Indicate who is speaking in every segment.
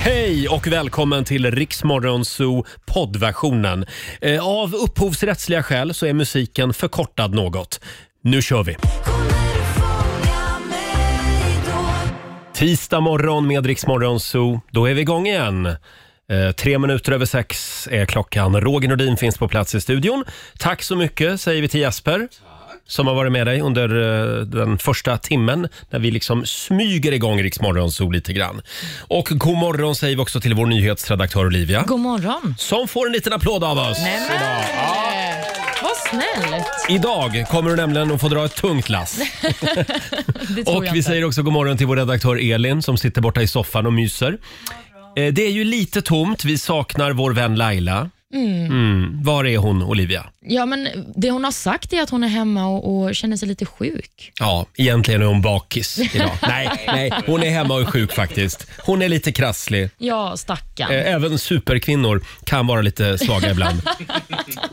Speaker 1: Hej och välkommen till Riksmorgon Zoo poddversionen. Eh, Av upphovsrättsliga skäl så är musiken förkortad något. Nu kör vi! Tisdag morgon med Riksmorgon Zoo. Då är vi igång igen. Eh, tre minuter över sex är klockan. Roger Nordin finns på plats i studion. Tack så mycket säger vi till Jasper. som har varit med dig under eh, den första timmen när vi liksom smyger igång Riksmorgon Zoo lite grann. Och god morgon säger vi också till vår nyhetsredaktör Olivia.
Speaker 2: God morgon.
Speaker 1: Som får en liten applåd av oss.
Speaker 2: Nämen. Vad snällt.
Speaker 1: Idag kommer du nämligen att få dra ett tungt lass.
Speaker 2: Det tror
Speaker 1: Och
Speaker 2: jag
Speaker 1: vi
Speaker 2: inte.
Speaker 1: säger också god morgon till vår redaktör Elin som sitter borta i soffan och myser. Eh, Det är ju lite tomt. Vi saknar vår vän Laila. Mm. Var är hon, Olivia?
Speaker 2: Ja, men det hon har sagt är att hon är hemma och, och känner sig lite sjuk.
Speaker 1: Ja, egentligen är hon bakis idag. nej, nej, hon är hemma och är sjuk faktiskt. Hon är lite krasslig.
Speaker 2: Ja, stackarn.
Speaker 1: Eh, Även superkvinnor kan vara lite svaga ibland.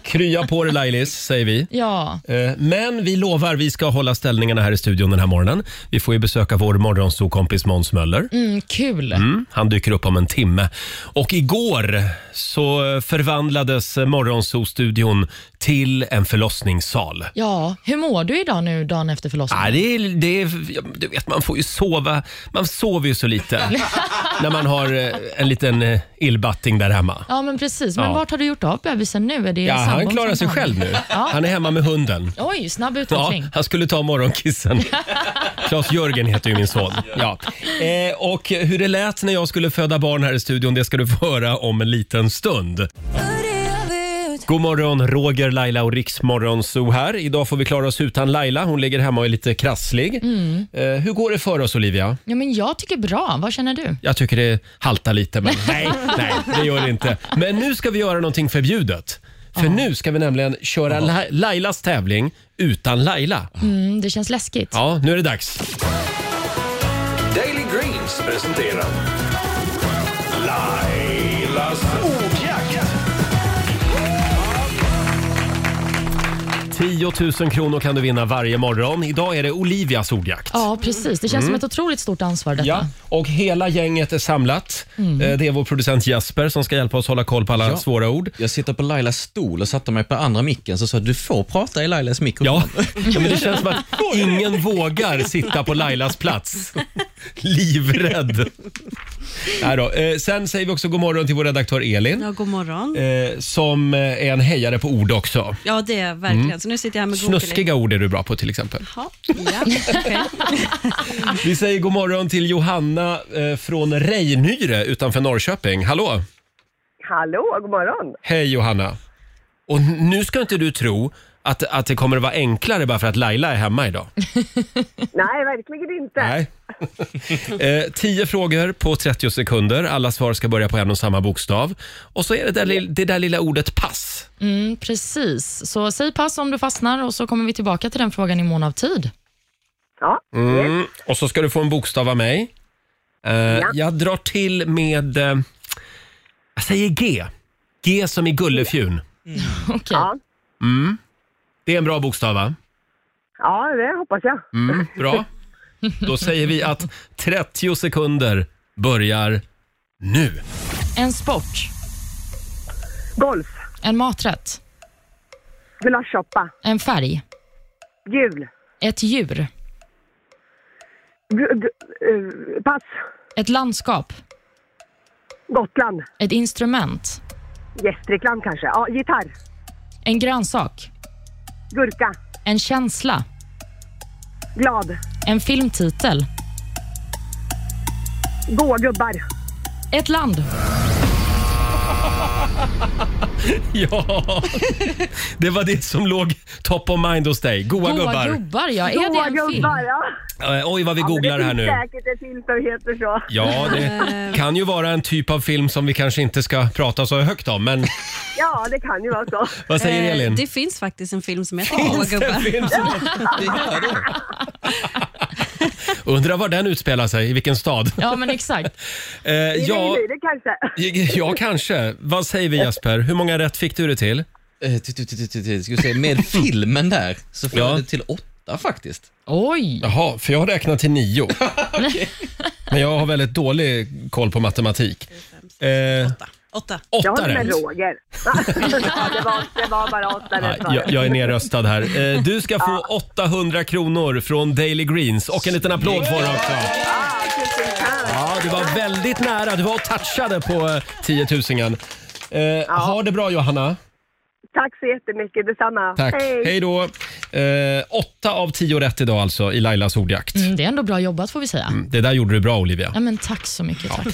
Speaker 1: Krya på dig Lailis, säger vi.
Speaker 2: Ja,
Speaker 1: Eh, Men vi lovar, vi ska hålla ställningarna här i studion den här morgonen. Vi får ju besöka vår morgonsokompis Måns Möller.
Speaker 2: mm, kul.
Speaker 1: Mm, han dyker upp om en timme. Och igår så förvandlades morgonsostudion till en förlossningssal.
Speaker 2: Ja, hur mår du idag nu dagen efter
Speaker 1: Ja,
Speaker 2: förlossningen?
Speaker 1: det är, det är, ja, du vet, man får ju sova. Man sover ju så lite när man har eh, en liten eh, illbatting där hemma.
Speaker 2: Ja, men precis. Men
Speaker 1: Ja.
Speaker 2: vart har du gjort av bebisen nu? Är det
Speaker 1: Ja,
Speaker 2: sambon
Speaker 1: han
Speaker 2: som
Speaker 1: klarar
Speaker 2: tar
Speaker 1: sig
Speaker 2: hand om
Speaker 1: själv nu.
Speaker 2: den? Ja.
Speaker 1: Han är hemma med hunden.
Speaker 2: Oj, snabb
Speaker 1: Ja,
Speaker 2: utveckling.
Speaker 1: han skulle ta morgonkissen. Claes-Jörgen heter ju min son. Ja. Eh, och hur det lät när jag skulle föda barn här i studion, det ska du få höra om en liten stund. God morgon, Roger, Laila och Riksmorgonzoo här. Idag får vi klara oss utan Laila. Hon ligger hemma och är lite krasslig. Eh, hur går det för oss, Olivia?
Speaker 2: Ja, men jag tycker bra. Vad känner du?
Speaker 1: Jag tycker det haltar lite, men nej, nej, det gör det inte. Men nu ska vi göra någonting förbjudet. För nu ska vi nämligen köra La- Lailas tävling utan Laila.
Speaker 2: Mm, det känns läskigt.
Speaker 1: Ja, nu är det dags.
Speaker 3: Daily Greens presenterar Lailas ordjakt.
Speaker 1: 10 000 kronor kan du vinna varje morgon. Idag är det Olivias ordjakt.
Speaker 2: Ja, precis. Det känns som ett otroligt stort ansvar detta.
Speaker 1: Mm. Ja, och hela gänget är samlat. Eh, Det är vår producent Jesper som ska hjälpa oss hålla koll på alla
Speaker 4: Ja.
Speaker 1: svåra ord.
Speaker 4: Jag sitter på Lailas stol och satte mig på andra micken så sa du får prata i Lailas
Speaker 1: Ja,
Speaker 4: mikrofon.
Speaker 1: men det känns som att ingen vågar sitta på Lailas plats. Livrädd. Nej då. Eh, Sen säger vi också god morgon till vår redaktör Elin.
Speaker 5: Ja, god morgon.
Speaker 1: eh, Som eh, är en hejare på ord också.
Speaker 5: Ja, det är verkligen.
Speaker 1: Mm.
Speaker 5: Så nu sitter jag här med Google.
Speaker 1: Snuskiga ord är du bra på till exempel.
Speaker 5: Ja, ja, okej.
Speaker 1: Vi säger god morgon till Johanna eh, från Rejnyre utanför Norrköping. Hallå!
Speaker 6: Hallå, god morgon.
Speaker 1: Hej Johanna! Och nu ska inte du tro att, att det kommer att vara enklare bara för att Laila är hemma idag.
Speaker 6: Nej, verkligen inte.
Speaker 1: Nej. eh, tio frågor på 30 sekunder. Alla svar ska börja på en och samma bokstav. Och så är det där, lill- det där lilla ordet pass.
Speaker 2: Mm, precis. Så säg pass om du fastnar och så kommer vi tillbaka till den frågan i mån av tid.
Speaker 6: Ja,
Speaker 1: Mm. Och så ska du få en bokstav av mig. Eh, Jag drar till med... Eh, jag säger G. G som i gullefjun.
Speaker 2: Okej.
Speaker 6: ja,
Speaker 1: Det är en bra bokstav va?
Speaker 6: ja, det hoppas jag.
Speaker 1: Mm, bra. Då säger vi att 30 sekunder börjar nu.
Speaker 2: En sport,
Speaker 6: Golf,
Speaker 2: en maträtt,
Speaker 6: gulaschsoppa,
Speaker 2: en färg,
Speaker 6: jul,
Speaker 2: ett djur,
Speaker 6: gu- gu- eh, pass,
Speaker 2: ett landskap,
Speaker 6: Gotland,
Speaker 2: ett instrument,
Speaker 6: Gästrikland kanske. Ja, gitarr,
Speaker 2: en grönsak,
Speaker 6: gurka,
Speaker 2: en känsla,
Speaker 6: glad,
Speaker 2: en filmtitel,
Speaker 6: goa gubbar.
Speaker 2: ett land.
Speaker 1: Ja, det var det som låg top of mind hos dig. Goa gubbar.
Speaker 2: gubbar, ja. Är
Speaker 6: Goa
Speaker 2: det en film?
Speaker 6: gubbar, ja.
Speaker 1: Eh, Oj, vad vi googlar
Speaker 6: det
Speaker 1: här
Speaker 6: finns
Speaker 1: nu.
Speaker 6: säkert en film som heter så.
Speaker 1: Ja, det kan ju vara en typ av film som vi kanske inte ska prata så högt om, men
Speaker 6: Ja, det kan ju vara så.
Speaker 1: vad säger
Speaker 5: Eh,
Speaker 1: Elin?
Speaker 5: Det finns faktiskt en film som heter Goa gubbar.
Speaker 1: Undrar var den utspelar sig, i vilken stad?
Speaker 2: Ja, men exakt.
Speaker 1: Eh, ja,
Speaker 6: Det är det kanske.
Speaker 1: ja, kanske. Vad säger vi Jesper? Hur många rätt fick du det till?
Speaker 4: Eh, t- t- t- t- t- Ska vi se, med filmen där så får
Speaker 1: Ja.
Speaker 4: jag det till åtta. åtta faktiskt.
Speaker 2: Oj!
Speaker 1: Jaha, för jag räknar till nio. Men jag har väldigt dålig koll på matematik. Eh,
Speaker 5: Åtta. Åtta.
Speaker 6: Jag
Speaker 1: åtta
Speaker 6: håller med
Speaker 1: rätt.
Speaker 6: Roger. ja, det, var, det var bara åtta
Speaker 1: Nej,
Speaker 6: rätt var
Speaker 1: jag,
Speaker 6: det.
Speaker 1: jag är nerröstad här. Eh, du ska få 800 kronor från Daily Greens och en liten applåd får du också.
Speaker 6: Ah, tusen tack.
Speaker 1: Ja, du var väldigt nära. Du var och touchade på eh, 10 000. Eh, ha det bra Johanna.
Speaker 6: Tack så jättemycket, detsamma.
Speaker 1: Tack. Hej då. Eh, åtta av tio rätt idag alltså i Lailas ordjakt.
Speaker 2: Mm, Det är ändå bra jobbat får vi säga.
Speaker 1: Det där gjorde du bra Olivia.
Speaker 2: Ja, men tack så mycket. Tack.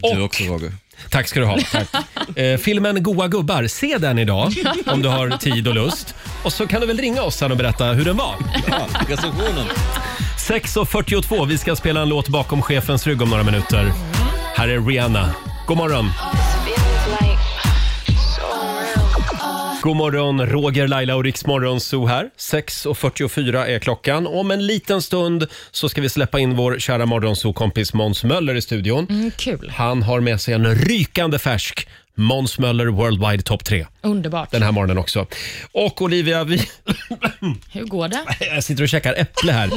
Speaker 1: Och-
Speaker 4: Du också Roger.
Speaker 1: Tack ska du ha. Tack. Eh, filmen Goa gubbar, se den idag om du har tid och lust. Och så kan du väl ringa oss sen och berätta hur den var.
Speaker 4: Ja, recensionen.
Speaker 1: 6.42, vi ska spela en låt bakom chefens rygg om några minuter. Här är Rihanna. God morgon. God morgon, Roger, Laila och Riksmorgon Zoo här. 6.44 är klockan. Om en liten stund så ska vi släppa in vår kära morgonzoo-kompis Måns Möller i studion.
Speaker 2: Mm, kul.
Speaker 1: Han har med sig en rykande färsk Måns Möller Worldwide Top 3
Speaker 2: Underbart.
Speaker 1: den här morgonen också. Och Olivia, vi,
Speaker 2: Hur går det?
Speaker 1: jag sitter och käkar äpple här.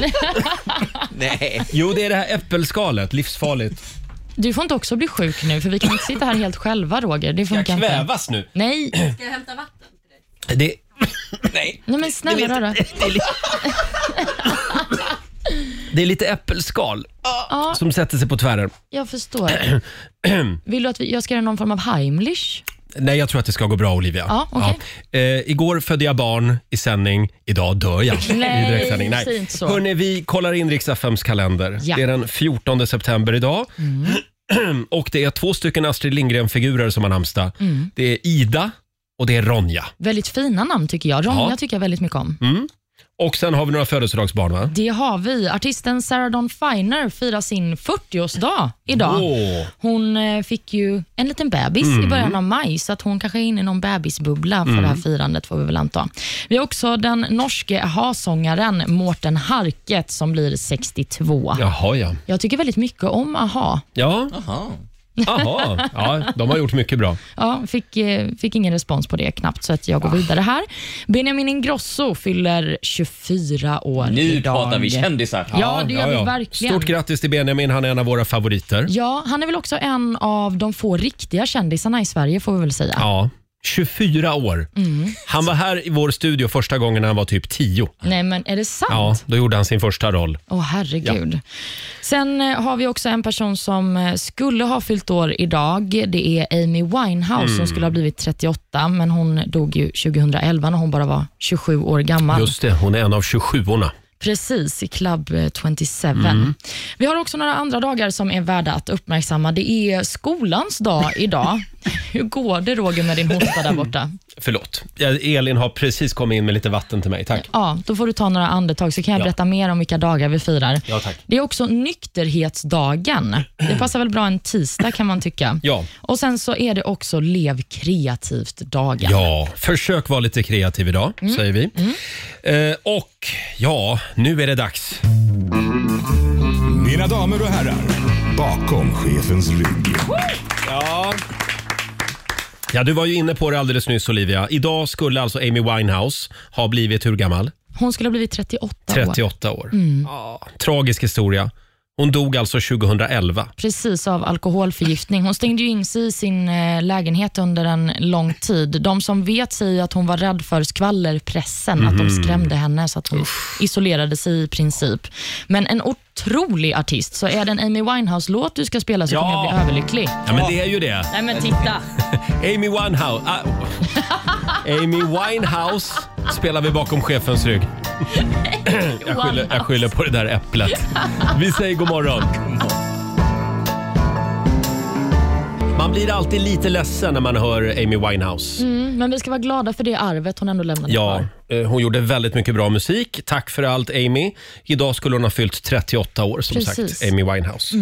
Speaker 4: Nej.
Speaker 1: Jo, det är det här äppelskalet, livsfarligt.
Speaker 2: Du får inte också bli sjuk nu, för vi kan inte sitta här helt själva, Roger. Det
Speaker 1: Jag
Speaker 2: funkar inte.
Speaker 1: kvävas nu.
Speaker 2: Nej,
Speaker 5: Ska jag hämta vatten?
Speaker 1: Det,
Speaker 4: Nej.
Speaker 2: nej men snälla röra.
Speaker 1: det är lite äppelskal
Speaker 2: Ja,
Speaker 1: som sätter sig på tvären.
Speaker 2: jag förstår. Vill du att vi, jag ska göra någon form av Heimlich?
Speaker 1: Nej, jag tror att det ska gå bra Olivia.
Speaker 2: Ja, okej.
Speaker 1: Ja. Eh, igår födde jag barn i sändning, idag dör jag.
Speaker 2: Nej,
Speaker 1: i direktsändning.
Speaker 2: säg inte så.
Speaker 1: Hörrni, vi kollar in Rix FMs kalender.
Speaker 2: Ja. Mm.
Speaker 1: Det är den 14 september idag. och det är två stycken Astrid Lindgren-figurer som har namnsdag.
Speaker 2: Mm.
Speaker 1: Det är Ida och det är Ronja.
Speaker 2: Väldigt fina namn tycker jag. Ronja
Speaker 1: Ja. Mm.
Speaker 2: tycker jag väldigt mycket om.
Speaker 1: Och sen har vi några födelsedagsbarn va?
Speaker 2: Det har vi. Artisten Sarah Dawn Finer firar sin 40-årsdag idag.
Speaker 1: Åh. Mm.
Speaker 2: Hon eh, fick ju en liten bebis i början av maj, så att hon kanske är inne i någon bebisbubbla för det här firandet får vi väl anta. Vi har också den norske AHA-sångaren Mårten Harket som blir 62.
Speaker 1: Jaha ja.
Speaker 2: Jag tycker väldigt mycket om AHA.
Speaker 1: Ja,
Speaker 4: Aha.
Speaker 1: aha. ja, de har gjort mycket bra.
Speaker 2: Ja, fick, eh, fick ingen respons på det knappt, så att jag går vidare här. Benjamin Ingrosso fyller 24 år
Speaker 4: Nu
Speaker 2: idag.
Speaker 4: pratar vi kändisar.
Speaker 2: Ja, det gör vi verkligen.
Speaker 1: Stort grattis till Benjamin, han är en av våra favoriter.
Speaker 2: Ja, han är väl också en av de få riktiga kändisarna i Sverige får vi väl säga.
Speaker 1: Ja, 24 år. Han var här i vår studio första gången när han var typ 10.
Speaker 2: Nej men är det sant?
Speaker 1: Ja, då gjorde han sin första roll.
Speaker 2: Åh herregud. Sen eh, har vi också en person som eh, skulle ha fyllt år idag. Det är Amy Winehouse som skulle ha blivit 38, men hon dog ju 2011 när hon bara var 27 år gammal.
Speaker 1: Just det, hon är en av 27orna.
Speaker 2: Precis, i Club eh, 27.
Speaker 1: Mm.
Speaker 2: Vi har också några andra dagar som är värda att uppmärksamma. Det är skolans dag idag. Hur går det Roger med din hosta där borta?
Speaker 1: Förlåt. Ja, Elin har precis kommit in med lite vatten till mig. Tack.
Speaker 2: Ja, då får du ta några andetag så kan jag
Speaker 1: Ja.
Speaker 2: berätta mer om vilka dagar vi firar.
Speaker 1: Ja, tack.
Speaker 2: Det är också nykterhetsdagen. Det passar väl bra en tisdag kan man tycka.
Speaker 1: Ja.
Speaker 2: Och sen så är det också lev kreativt-dagen.
Speaker 1: Ja, försök vara lite kreativ idag, säger vi. Eh, och ja, nu är det dags.
Speaker 3: Mina damer och herrar, bakom chefens rygg.
Speaker 1: Ja, du var ju inne på det alldeles nyss Olivia. Idag skulle alltså Amy Winehouse ha blivit hur gammal?
Speaker 2: Hon skulle ha blivit 38, år.
Speaker 1: 38 år. Ja, tragisk historia. Hon dog alltså 2011.
Speaker 2: Precis av alkoholförgiftning. Hon stängde ju in sig i sin eh, lägenhet under en lång tid. De som vet säger att hon var rädd för skvallerpressen, att
Speaker 1: Mhm.
Speaker 2: de skrämde henne så att hon isolerade sig i princip. Men en otrolig artist. Så är det en Amy Winehouse-låt du ska spela så
Speaker 1: Ja.
Speaker 2: kommer jag bli överlycklig.
Speaker 1: Ja, men det är ju det.
Speaker 2: Nej men titta.
Speaker 1: Amy Winehouse. Ah, Amy Winehouse spelar vi bakom chefens rygg. Jag skyller, jag skyller på det där äpplet. Vi säger god morgon. Man blir alltid lite ledsen när man hör Amy Winehouse.
Speaker 2: Mm, men vi ska vara glada för det arvet hon ändå lämnade
Speaker 1: Ja,
Speaker 2: kvar.
Speaker 1: eh, hon gjorde väldigt mycket bra musik. Tack för allt Amy. Idag skulle hon ha fyllt 38 år som
Speaker 2: Precis.
Speaker 1: sagt, Amy Winehouse.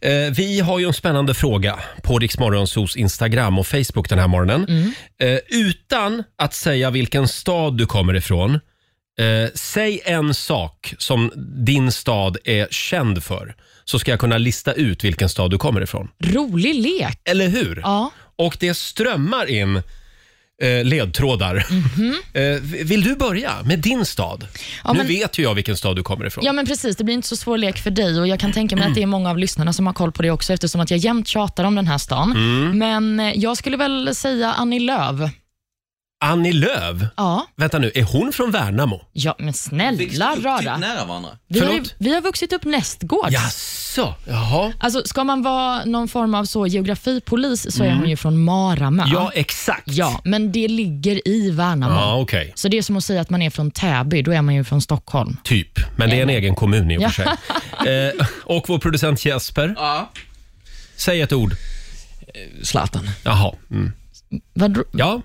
Speaker 1: Eh, Vi har ju en spännande fråga på Riksmorgonsos Instagram och Facebook den här morgonen. Eh, Utan att säga vilken stad du kommer ifrån, eh, säg en sak som din stad är känd för så ska jag kunna lista ut vilken stad du kommer ifrån.
Speaker 2: Rolig lek.
Speaker 1: Eller hur?
Speaker 2: Ja.
Speaker 1: Och det strömmar in eh, ledtrådar. Eh, vill du börja med din stad?
Speaker 2: Mhm. Ja,
Speaker 1: nu
Speaker 2: men-
Speaker 1: vet ju jag vilken stad du kommer ifrån.
Speaker 2: Ja men precis, det blir inte så svår lek för dig och jag kan tänka mig att det är många av lyssnarna som har koll på det också eftersom att jag jämt tjatar om den här stan.
Speaker 1: Mm.
Speaker 2: Men eh, jag skulle väl säga Annie Lööf.
Speaker 1: Annie Lööf.
Speaker 2: Ja,
Speaker 1: Vänta nu, är hon från Värnamo?
Speaker 2: ja men snälla rara.
Speaker 4: typ nära varandra.
Speaker 2: Vi har, ju,
Speaker 1: Förlåt?
Speaker 2: vi har vuxit upp nästgårds.
Speaker 1: Jaså, jaha.
Speaker 2: Alltså, ska man vara någon form av så geografipolis så är hon ju från Maramö.
Speaker 1: Mm. Ja, exakt.
Speaker 2: ja, men det ligger i Värnamo.
Speaker 1: Ja, okej.
Speaker 2: Så det är som att säga att man är från Täby, då är man ju från Stockholm.
Speaker 1: Typ. Men det är en egen kommun i och
Speaker 2: Ja.
Speaker 1: för sig. Eh, och vår producent Jesper.
Speaker 4: Ja.
Speaker 1: Säg ett ord.
Speaker 4: Zlatan.
Speaker 1: Jaha. Mm.
Speaker 2: Vad,
Speaker 1: Ja.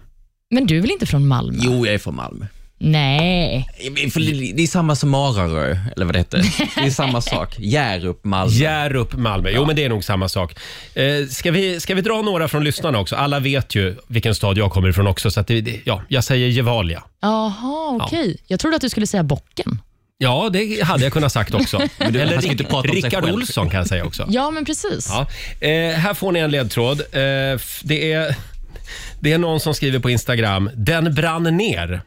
Speaker 2: Men du är väl inte från Malmö?
Speaker 4: Jo, jag är från Malmö.
Speaker 2: Nej.
Speaker 4: För det- Det är samma som Mararö, eller vad det heter. Det är samma sak. Hjärup, Malmö.
Speaker 1: Hjärup, Malmö. Jo, men det är nog samma sak. Eh, ska, vi, ska vi dra några från lyssnarna också? Alla vet ju vilken stad jag kommer ifrån också, så att det, det, ja, jag säger Gevalia.
Speaker 2: Jaha, okej. Jag trodde att du skulle säga bocken.
Speaker 1: Ja, det hade jag kunnat sagt också.
Speaker 4: du-
Speaker 1: Eller
Speaker 4: han ska inte prata om sig
Speaker 1: Rickard
Speaker 4: själv.
Speaker 1: Olsson kan jag säga också.
Speaker 2: Ja, men precis.
Speaker 1: Ja. Eh, här får ni en ledtråd. Eh, f- det, är, det är någon som skriver på Instagram, den brann ner.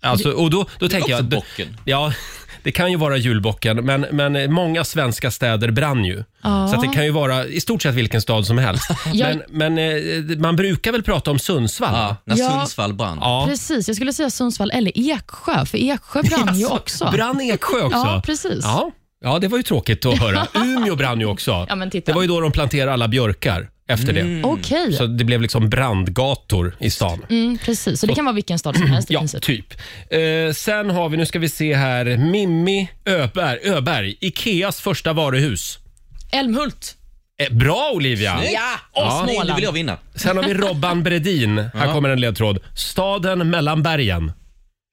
Speaker 1: Alltså, och då, då tänker
Speaker 4: också
Speaker 1: jag... d-
Speaker 4: bocken.
Speaker 1: Ja, det kan ju vara julbocken, men, men många svenska städer brann ju.
Speaker 2: Ja.
Speaker 1: Så att det kan ju vara i stort sett vilken stad som helst.
Speaker 2: Jag-
Speaker 1: Men, men eh, man brukar väl prata om Sundsvall?
Speaker 4: Ja, när
Speaker 2: Ja.
Speaker 4: Sundsvall brann.
Speaker 1: Ja.
Speaker 2: Precis, jag skulle säga Sundsvall eller Eksjö, för Eksjö brann ju också.
Speaker 1: Brann Eksjö också?
Speaker 2: Ja, precis.
Speaker 1: Ja. ja, det var ju tråkigt att höra. Umeå brann ju också.
Speaker 2: Ja, men titta. Mm.
Speaker 1: det var ju då de planterade alla björkar efter det.
Speaker 2: Okej,
Speaker 1: Så det blev liksom brandgator i stan.
Speaker 2: mm, precis. Så det kan vara vilken stad som helst i
Speaker 1: Ja,
Speaker 2: princip.
Speaker 1: typ. Eh, sen har vi, nu ska vi se här, Mimmi Öberg, Öberg Ikeas första varuhus.
Speaker 2: Älmhult.
Speaker 1: Eh, bra Olivia!
Speaker 4: Ja!
Speaker 1: Ja.
Speaker 4: Åh, snygg, Nu vill jag vinna.
Speaker 1: Sen har vi Robban Bredin. Här kommer en ledtråd. Staden mellan bergen.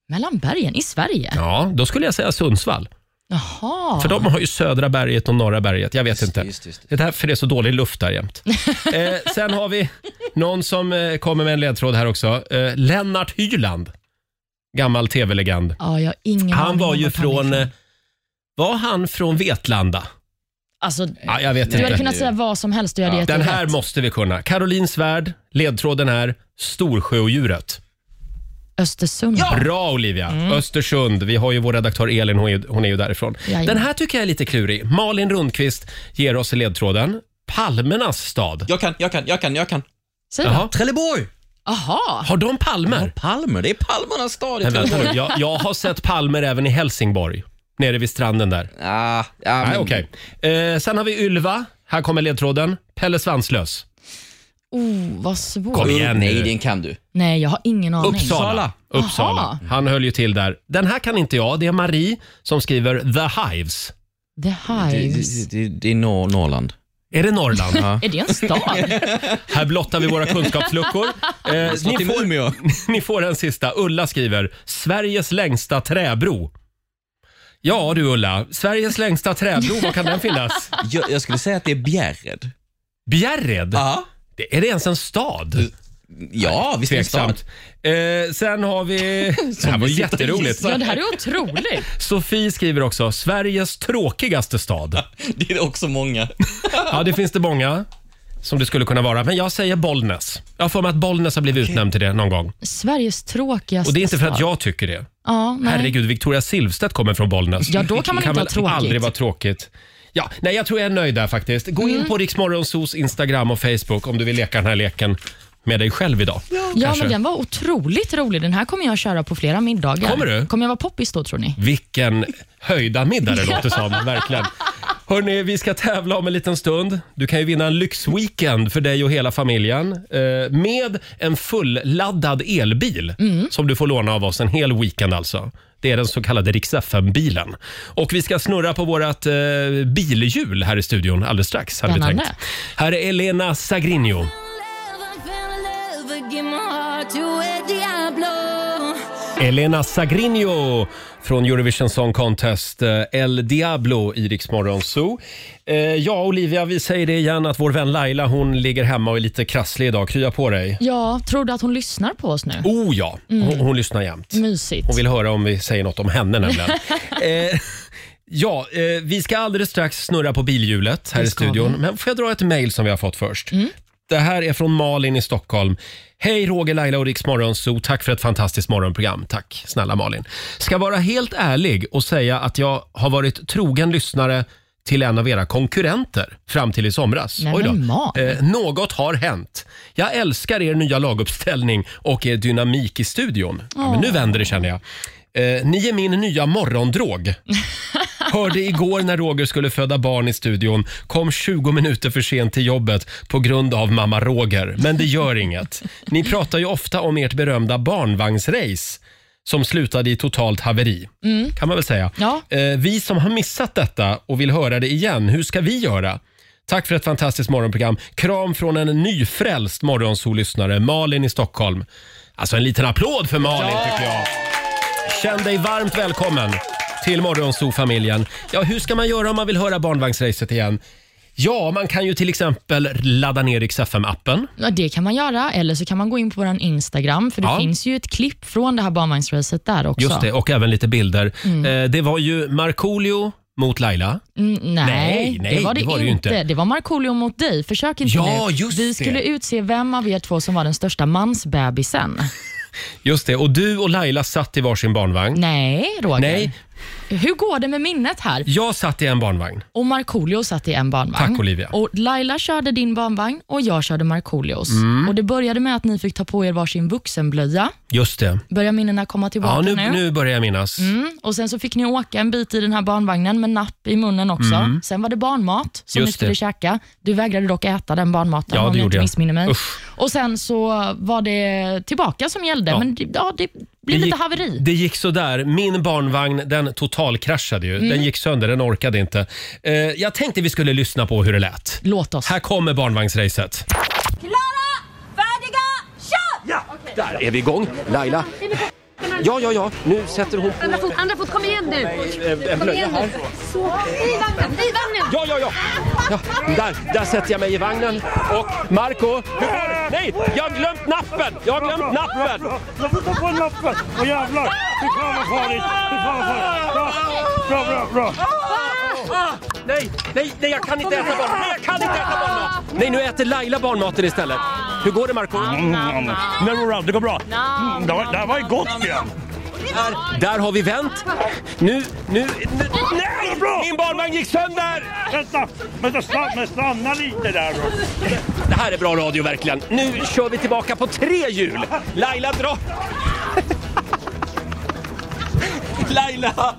Speaker 2: Mellan bergen i Sverige?
Speaker 1: Ja, då skulle jag säga Sundsvall.
Speaker 2: Jaha.
Speaker 1: För de har ju södra berget och norra berget. Jag vet inte.
Speaker 4: just, just.
Speaker 1: Det är därför det är så dålig luft där jämt. eh, sen har vi någon som eh, kommer med en ledtråd här också. Eh, Lennart Hyland. Gammal tv-legend.
Speaker 2: Ja, jag har ingen
Speaker 1: Han
Speaker 2: aning
Speaker 1: var
Speaker 2: om
Speaker 1: ju
Speaker 2: vart han är
Speaker 1: från...
Speaker 2: ifrån.
Speaker 1: eh, Var han från Vetlanda?
Speaker 2: Alltså,
Speaker 1: Ja, jag vet
Speaker 2: du hade
Speaker 1: inte.
Speaker 2: kunnat säga vad som helst du hade gett
Speaker 1: Den
Speaker 2: det
Speaker 1: här
Speaker 2: rätt.
Speaker 1: måste vi kunna. Caroline Svärd, ledtråden här. Storsjöodjuret.
Speaker 2: Östersund.
Speaker 1: Bra Olivia!
Speaker 4: Mm.
Speaker 1: Östersund. Vi har ju vår redaktör Elin, hon är ju, hon är ju därifrån.
Speaker 2: Jajamän.
Speaker 1: Den här tycker jag är lite klurig. Malin Rundqvist ger oss ledtråden. Palmernas stad.
Speaker 4: Jag kan, jag kan, jag kan, jag kan.
Speaker 2: Säg
Speaker 1: Jaha.
Speaker 2: då.
Speaker 4: Trelleborg!
Speaker 2: Jaha.
Speaker 1: Har de palmer?
Speaker 4: Palmer, det är palmernas stad i
Speaker 1: Men vänta
Speaker 4: Trelleborg.
Speaker 1: nu, jag, jag har sett palmer även i Helsingborg. Nere vid stranden där.
Speaker 4: Ja, ja,
Speaker 1: Nej,
Speaker 4: men-
Speaker 1: okej. Eh, sen har vi Ylva. Här kommer ledtråden. Pelle Svanslös.
Speaker 2: Oh, vad svårt.
Speaker 1: Kom igen
Speaker 4: Nej,
Speaker 1: nu.
Speaker 4: den kan du.
Speaker 2: Nej, jag har ingen aning.
Speaker 1: Uppsala. Uppsala.
Speaker 2: Jaha.
Speaker 1: Han höll ju till där. Den här kan inte jag. Det är Marie som skriver The Hives.
Speaker 2: The
Speaker 4: Det,
Speaker 2: Hives.
Speaker 4: det, det, det är Nor- Norrland.
Speaker 1: Är det Norrland?
Speaker 2: Är det en stad?
Speaker 1: Här blottar vi våra kunskapsluckor. Eh, ni, får, ni får en sista. Ulla skriver “Sveriges längsta träbro”. Ja du Ulla, Sveriges längsta träbro, var kan den finnas?
Speaker 4: Jag, jag skulle säga att det är Bjärred.
Speaker 1: Bjärred?
Speaker 4: Ja,
Speaker 1: Det- Är det ens en stad?
Speaker 4: ja visst är det en stad.
Speaker 1: Tveksamt. Eh, sen har vi... Det här var ju jätteroligt.
Speaker 2: ja, det här är otroligt.
Speaker 1: Sofie skriver också “Sveriges tråkigaste stad”.
Speaker 4: Det är också många.
Speaker 1: Ja, det finns det många som det skulle kunna vara. Men jag säger Bollnäs. Jag har för mig att Bollnäs har blivit utnämnd till det någon gång.
Speaker 2: Sveriges tråkigaste
Speaker 1: Och det är inte för att
Speaker 2: stad.
Speaker 1: jag tycker det.
Speaker 2: Ja, nej.
Speaker 1: Herregud, Victoria Silvstedt kommer från Bollnäs.
Speaker 2: Ja, då kan man
Speaker 1: Det
Speaker 2: inte ha
Speaker 1: väl
Speaker 2: tråkigt.
Speaker 1: aldrig vara tråkigt. Ja, nej, jag tror jag är nöjd där faktiskt. Gå
Speaker 2: Mm.
Speaker 1: in på Riksmorgonsos Instagram och Facebook om du vill leka den här leken med dig själv idag.
Speaker 2: Ja,
Speaker 1: Kanske.
Speaker 2: men den var otroligt rolig. Den här kommer jag köra på flera middagar.
Speaker 1: Kommer du?
Speaker 2: Kommer jag vara poppis då, tror ni?
Speaker 1: Vilken höjdarmiddag det låter som, verkligen. Hörni, vi ska tävla om en liten stund. Du kan ju vinna en lyxweekend för dig och hela familjen eh, med en fulladdad elbil som du får låna av oss en hel weekend alltså. Det är den så kallade Rix bilen Och vi ska snurra på vårt eh, bilhjul här i studion alldeles strax. Hade vi
Speaker 2: Spännande.
Speaker 1: tänkt. Här är Elena Sagrinho. Elena Sagrinho från Eurovision Song Contest, eh, El Diablo i Rix Morgon Zoo. Eh, Ja, Olivia, vi säger det igen att vår vän Laila hon ligger hemma och är lite krasslig idag. Krya på dig.
Speaker 2: Ja, tror du att hon lyssnar på oss nu?
Speaker 1: Oh ja,
Speaker 2: Mm.
Speaker 1: hon, hon lyssnar jämt.
Speaker 2: Mysigt.
Speaker 1: Hon vill höra om vi säger något om henne nämligen. eh, ja, eh, vi ska alldeles strax snurra på bilhjulet här
Speaker 2: Det
Speaker 1: i
Speaker 2: ska
Speaker 1: studion.
Speaker 2: vi. Mm.
Speaker 1: Men får jag dra ett mejl som vi har fått först? Det här är från Malin i Stockholm. Hej Roger, Laila och Riks Morgonzoo. Tack för ett fantastiskt morgonprogram. Tack snälla Malin. Ska vara helt ärlig och säga att jag har varit trogen lyssnare till en av era konkurrenter fram till i somras.
Speaker 2: Nej, men Malin.
Speaker 1: Eh, något har hänt. Jag älskar er nya laguppställning och er dynamik i studion. Ja, men nu vänder det känner jag. Eh, ni är min nya morgondrog. Hörde igår när Roger skulle föda barn i studion. Kom 20 minuter för sent till jobbet på grund av mamma Roger. Men det gör inget. Ni pratar ju ofta om ert berömda barnvagnsrace som slutade i totalt haveri. Kan man väl säga.
Speaker 2: Ja.
Speaker 1: Eh, vi som har missat detta och vill höra det igen, hur ska vi göra? Tack för ett fantastiskt morgonprogram. Kram från en nyfrälst morgonsolyssnare, Malin i Stockholm. Alltså en liten applåd för Malin tycker jag. Känn dig varmt välkommen till Morgonzoo-familjen. Ja, hur ska man göra om man vill höra barnvagnsracet igen? Ja, man kan ju till exempel ladda ner Rix FM-appen.
Speaker 2: Ja, det kan man göra, eller så kan man gå in på vår Instagram, för det
Speaker 1: Ja.
Speaker 2: finns ju ett klipp från det här barnvagnsracet där också.
Speaker 1: Just det, och även lite bilder. Eh, det var ju Markoolio mot Laila.
Speaker 2: Mm, nej,
Speaker 1: Nej, nej,
Speaker 2: det var det, inte.
Speaker 1: ju inte.
Speaker 2: Det var Markoolio mot dig. Försök inte
Speaker 1: Ja,
Speaker 2: nu.
Speaker 1: just
Speaker 2: Vi
Speaker 1: det.
Speaker 2: skulle utse vem av er två som var den största mansbebisen.
Speaker 1: Just det, och du och Laila satt i varsin barnvagn.
Speaker 2: Nej, Roger.
Speaker 1: Nej.
Speaker 2: Hur går det med minnet här?
Speaker 1: Jag satt i en barnvagn.
Speaker 2: Och Markoolio satt i en barnvagn.
Speaker 1: Tack, Olivia.
Speaker 2: Och Laila körde din barnvagn och jag körde Markoolios.
Speaker 1: Mm.
Speaker 2: Och Det började med att ni fick ta på er varsin vuxenblöja.
Speaker 1: Just det.
Speaker 2: Börjar minnena komma tillbaka
Speaker 1: Ja, nu, nu börjar jag minnas.
Speaker 2: Mm, och Sen så fick ni åka en bit i den här barnvagnen med napp i munnen också. Sen var det barnmat som
Speaker 1: Mm.
Speaker 2: ni
Speaker 1: Just
Speaker 2: skulle
Speaker 1: det.
Speaker 2: käka. Du vägrade dock äta den barnmaten
Speaker 1: Ja, det
Speaker 2: om jag
Speaker 1: gjorde
Speaker 2: inte
Speaker 1: jag.
Speaker 2: missminner mig.
Speaker 1: Usch.
Speaker 2: Och Sen så var det tillbaka som gällde,
Speaker 1: Ja.
Speaker 2: men det, ja, det blev
Speaker 1: Det
Speaker 2: lite
Speaker 1: gick-
Speaker 2: haveri.
Speaker 1: Det gick så där. Min barnvagn den totalkraschade ju.
Speaker 2: Mm.
Speaker 1: Den gick sönder, den orkade inte. Eh, jag tänkte vi skulle lyssna på hur det lät.
Speaker 2: Låt oss.
Speaker 1: Här kommer barnvagnsracet. Där är vi igång. Laila. Ja, ja, ja. Nu sätter hon på
Speaker 7: Andra fot, andra fot, kom igen nu!
Speaker 1: en blöja här.
Speaker 7: Så, i vagnen, i vagnen!
Speaker 1: Ja, ja, ja. ja där, där sätter jag mig i vagnen. Och Marco, hur går det? Nej, jag har glömt nappen! Jag har glömt nappen!
Speaker 8: Jag får ta på nappen! Åh jävlar! Fy fan vad farligt! Fy fan vad farligt! Bra, bra, bra! bra.
Speaker 1: Nej, nej, nej, jag kan inte äta barnmat! Nej, jag kan inte äta barnmat! Nej, nu äter Laila barnmaten istället. Hur går det Marco?
Speaker 8: Mm. Men Roland, det går bra. Mm, det, var, det här var ju gott igen!
Speaker 1: Där, där har vi vänt. Nu, nu, nu... Nej! Min barnvagn gick sönder!
Speaker 8: Vänta, vänta stanna, men stanna lite där då.
Speaker 1: Det här är bra radio verkligen. Nu kör vi tillbaka på tre hjul. Laila dra... Laila!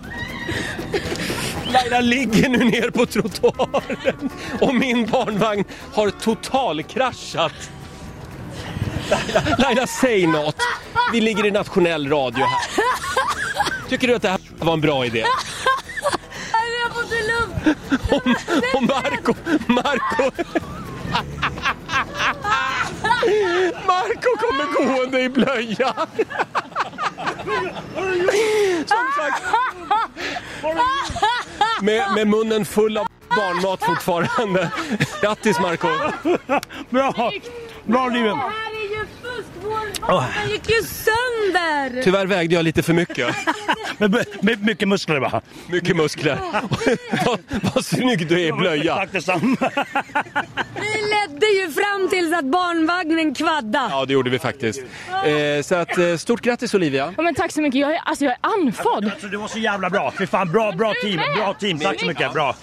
Speaker 1: Laila ligger nu ner på trottoaren och min barnvagn har totalkraschat. Laila, Laila, säg något. Vi ligger i nationell radio här. Tycker du att det här var en bra idé?
Speaker 7: Jag får inte luft!
Speaker 1: Och Marco, Marco... Marco kommer gående i blöja. Som sagt. Med, med munnen full av barnmat fortfarande. Grattis Marco.
Speaker 8: Bra, bra Liven!
Speaker 7: Det här är ju fusk! Vår vagn gick ju sönder!
Speaker 1: Tyvärr vägde jag lite för mycket.
Speaker 8: Med, med mycket muskler va?
Speaker 1: Mycket muskler. vad, vad snygg du är i blöja.
Speaker 8: Tack detsamma!
Speaker 7: Vi ledde ju fram tills att barnvagnen kvadda.
Speaker 1: Ja, det gjorde vi faktiskt. Eh, så att, eh, stort grattis Olivia.
Speaker 2: men tack så mycket. Jag är, alltså, jag är anfådd.
Speaker 8: Alltså, du var så jävla bra! Fy fan, bra, bra team! Bra team, tack så mycket! Bra!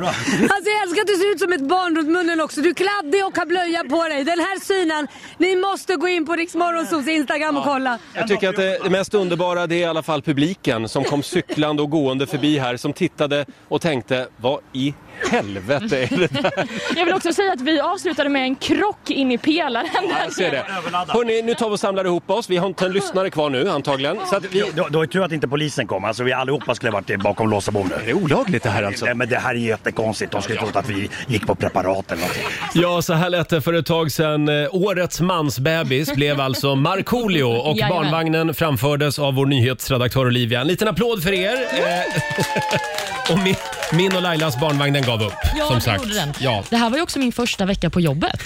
Speaker 7: Alltså jag älskar att du ser ut som ett barn runt munnen också. Du är kladdig och har blöja på dig. Den här synen, ni måste gå in på Rix Morgonzoos Instagram och kolla.
Speaker 1: Jag tycker att det, det mest underbara det är i alla fall publiken som kom cyklande och gående förbi här som tittade och tänkte vad i helvete är det där?
Speaker 9: Jag vill också säga att vi avslutade med en krock in i pelaren.
Speaker 1: Jag ser det. Hörrni, nu tar vi och samlar ihop oss. Vi har inte en lyssnare kvar nu antagligen. Så att vi...
Speaker 8: Det det var ju tur att inte polisen kom, alltså vi allihopa skulle ha varit bakom lås och bom nu.
Speaker 1: Det är olagligt det här alltså.
Speaker 8: Nej men det här är jättekonstigt, de skulle trott att vi gick på preparat eller någonting.
Speaker 1: Ja, så här lät det för ett tag sedan. Eh, Årets mansbebis blev alltså Markoolio och
Speaker 2: Jajamän.
Speaker 1: barnvagnen framfördes av vår nyhetsredaktör Olivia. En liten applåd för er. Eh, och min, min och Lailas barnvagn den gav upp,
Speaker 2: Ja,
Speaker 1: som
Speaker 2: det
Speaker 1: sagt.
Speaker 2: gjorde den.
Speaker 1: Ja.
Speaker 2: Det här var ju också min första vecka på jobbet.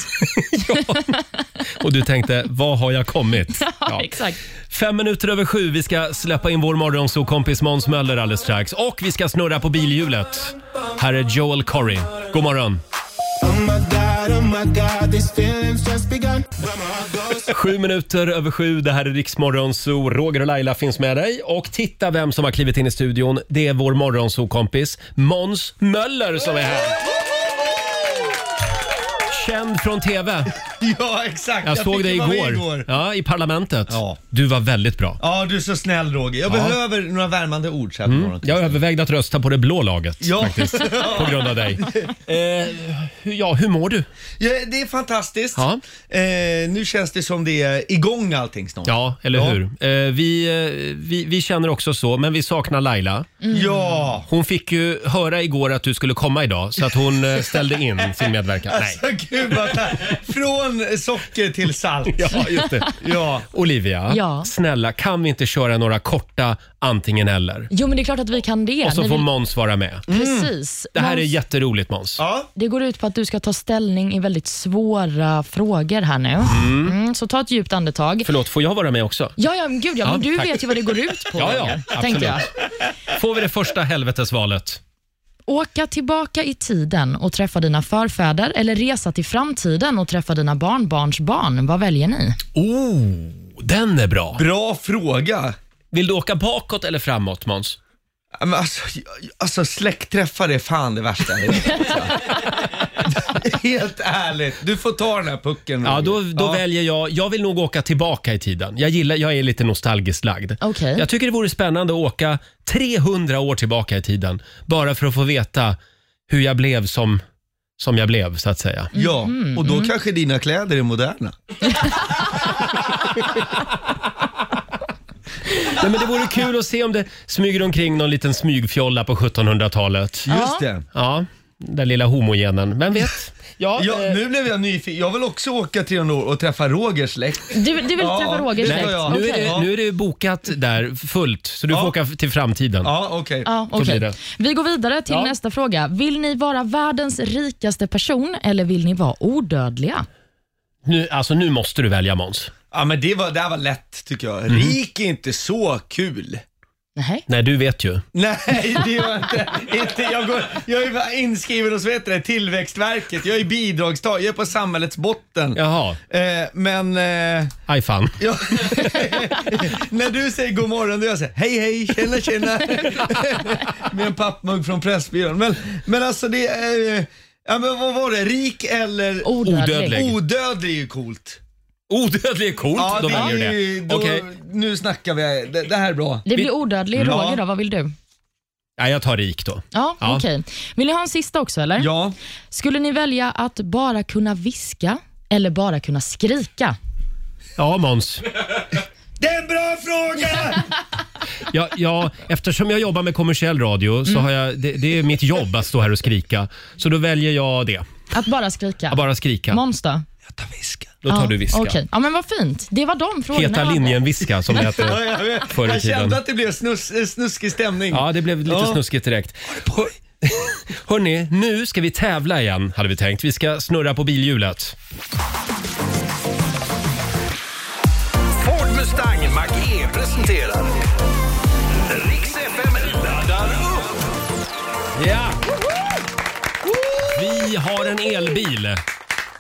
Speaker 1: Och du tänkte, vad har jag kommit? Ja.
Speaker 2: Exakt.
Speaker 1: Fem minuter över sju, vi ska släppa in vår morgonsokompis Måns Möller alldeles strax. Och vi ska snurra på bilhjulet. Här är Joel Corry. God morgon! Sju minuter över sju, det här är Riksmorgon Zoo. Roger och Laila finns med dig. Och titta vem som har klivit in i studion. Det är vår morgonzoo-kompis Måns Möller som är här. Känd från TV.
Speaker 10: Ja, exakt.
Speaker 1: Jag såg
Speaker 10: fick
Speaker 1: dig
Speaker 10: ju vara med
Speaker 1: igår. Ja, i Parlamentet.
Speaker 10: Ja.
Speaker 1: Du var väldigt bra.
Speaker 10: Ja, du är så snäll Roger. Jag
Speaker 1: Ja.
Speaker 10: behöver några värmande ord så här på
Speaker 1: Mm.
Speaker 10: morgonen.
Speaker 1: Jag övervägde att rösta på det blå laget
Speaker 10: Ja.
Speaker 1: faktiskt, på grund av dig. Eh, hur- ja, hur mår du?
Speaker 10: Ja, det är fantastiskt. Eh, nu känns det som det är igång allting snart.
Speaker 1: Ja, eller
Speaker 10: Ja.
Speaker 1: hur? Eh, vi, eh, vi, vi känner också så, men vi saknar Laila.
Speaker 10: Mm. Ja.
Speaker 1: Hon fick ju höra igår att du skulle komma idag, så att hon eh, ställde in sin medverkan. Nej.
Speaker 10: Alltså gud vad Från socker till salt.
Speaker 1: Ja, just det.
Speaker 10: Ja.
Speaker 1: Olivia,
Speaker 2: Ja.
Speaker 1: snälla kan vi inte köra några korta antingen eller?
Speaker 2: Jo, men det är klart att vi kan det.
Speaker 1: Och så
Speaker 2: När
Speaker 1: får
Speaker 2: vi...
Speaker 1: Måns vara med.
Speaker 2: Precis.
Speaker 1: Det här är
Speaker 2: Måns-
Speaker 1: jätteroligt Mm. Måns.
Speaker 2: Det går ut på att du ska ta ställning i väldigt svåra frågor här nu. Mm. så ta ett djupt andetag.
Speaker 1: Förlåt, får jag vara med också?
Speaker 2: Ja, ja, men gud ja,
Speaker 1: Ja,
Speaker 2: men du
Speaker 1: tack.
Speaker 2: vet ju vad det går ut på.
Speaker 1: Ja, ja,
Speaker 2: Roger,
Speaker 1: absolut.
Speaker 2: tänker jag.
Speaker 1: Får vi det första helvetesvalet?
Speaker 2: Åka tillbaka i tiden och träffa dina förfäder eller resa till framtiden och träffa dina barnbarns barn. Vad väljer ni?
Speaker 1: Oh, den är bra.
Speaker 10: Bra fråga.
Speaker 1: Vill du åka bakåt eller framåt Måns?
Speaker 10: Ja, Men alltså, jag- alltså släktträffar är fan det värsta jag vet. alltså. Helt ärligt, du får ta den här pucken.
Speaker 1: Ja, då,
Speaker 10: Roger.
Speaker 1: då väljer jag. Jag vill nog åka tillbaka i tiden. Jag gillar, jag är lite nostalgiskt lagd.
Speaker 2: Okej.
Speaker 1: Jag tycker det vore spännande att åka 300 år tillbaka i tiden. Bara för att få veta hur jag blev som, som jag blev, så att säga.
Speaker 10: Ja, och
Speaker 1: Mm,
Speaker 10: då kanske dina kläder är moderna.
Speaker 1: Nej, men det vore kul att se om det smyger omkring någon liten smygfjolla på 1700-talet.
Speaker 10: Just det.
Speaker 1: Ja, den lilla homogenen. Vem vet? Ja,
Speaker 10: Ja,
Speaker 1: eh,
Speaker 10: nu blev jag nyfiken. Jag vill också åka 300 år och träffa Rogers släkt.
Speaker 2: Du, du vill
Speaker 10: Ja,
Speaker 2: träffa Roger
Speaker 10: det
Speaker 2: direkt?
Speaker 10: tror jag.
Speaker 1: nu, är
Speaker 2: Okej.
Speaker 1: det, nu är det bokat där fullt, så du får åka till framtiden.
Speaker 10: Ja, okej.
Speaker 2: Ja,
Speaker 1: Så
Speaker 2: okej.
Speaker 1: blir det.
Speaker 2: Vi går vidare till
Speaker 1: Ja.
Speaker 2: nästa fråga. Vill ni vara världens rikaste person eller vill ni vara odödliga?
Speaker 1: Nu, alltså, nu måste du välja Måns.
Speaker 10: Ja, men det, var, det här var lätt tycker jag.
Speaker 1: Mm.
Speaker 10: Rik är inte så kul.
Speaker 2: Nej.
Speaker 1: Nej, du vet ju.
Speaker 10: Nej, det var inte. inte jag, går, jag är bara inskriven hos vad heter det, Tillväxtverket. Jag är bidragstagare. Jag är på samhällets botten.
Speaker 1: Jaha,
Speaker 10: Eh, men eh,
Speaker 1: aj fan.
Speaker 10: ja, när du säger god morgon, då jag säger hej hej, tjena tjena. Med en pappmugg från Pressbyrån. Men, men alltså det är, eh, ja, men vad var det, rik eller
Speaker 2: Odödlig.
Speaker 1: Odödlig.
Speaker 10: odödlig är ju coolt.
Speaker 1: Odödlig är coolt, då väljer
Speaker 10: är
Speaker 1: du
Speaker 10: ju-
Speaker 1: det.
Speaker 10: då-
Speaker 1: Okej,
Speaker 10: Nu snackar vi, det, det här är bra.
Speaker 2: Det blir odödlig
Speaker 10: Ja.
Speaker 2: Roger då, vad vill du?
Speaker 1: ja, jag tar rik då.
Speaker 2: Ja,
Speaker 1: Ja.
Speaker 2: okej. Vill ni ha en sista också eller?
Speaker 10: Ja.
Speaker 2: Skulle ni välja att bara kunna viska eller bara kunna skrika?
Speaker 1: Ja, Måns.
Speaker 10: Det är en bra fråga!
Speaker 1: Ja, ja, eftersom jag jobbar med kommersiell radio så har jag, det, det är mitt jobb att stå här och skrika. Så då väljer jag det.
Speaker 2: Att bara skrika?
Speaker 1: Att bara skrika.
Speaker 2: Måns då?
Speaker 10: Jag tar viska.
Speaker 1: Då tar du viska.
Speaker 2: okej. Ja, men vad fint. Det var de frågorna.
Speaker 1: Heta
Speaker 2: jag hade.
Speaker 1: linjen-viska som det
Speaker 10: Ja,
Speaker 1: hette
Speaker 10: jag vet.
Speaker 1: förr i
Speaker 10: Jag kände
Speaker 1: tiden.
Speaker 10: att det blev snus, eh, snuskig stämning.
Speaker 1: Ja, det blev lite
Speaker 10: Ja.
Speaker 1: snuskigt direkt. Hörni, nu ska vi tävla igen, hade vi tänkt. Vi ska snurra på bilhjulet.
Speaker 3: Ford Mustang Mach-E presenterar Riks FM laddar upp.
Speaker 1: Ja! Vi har en elbil.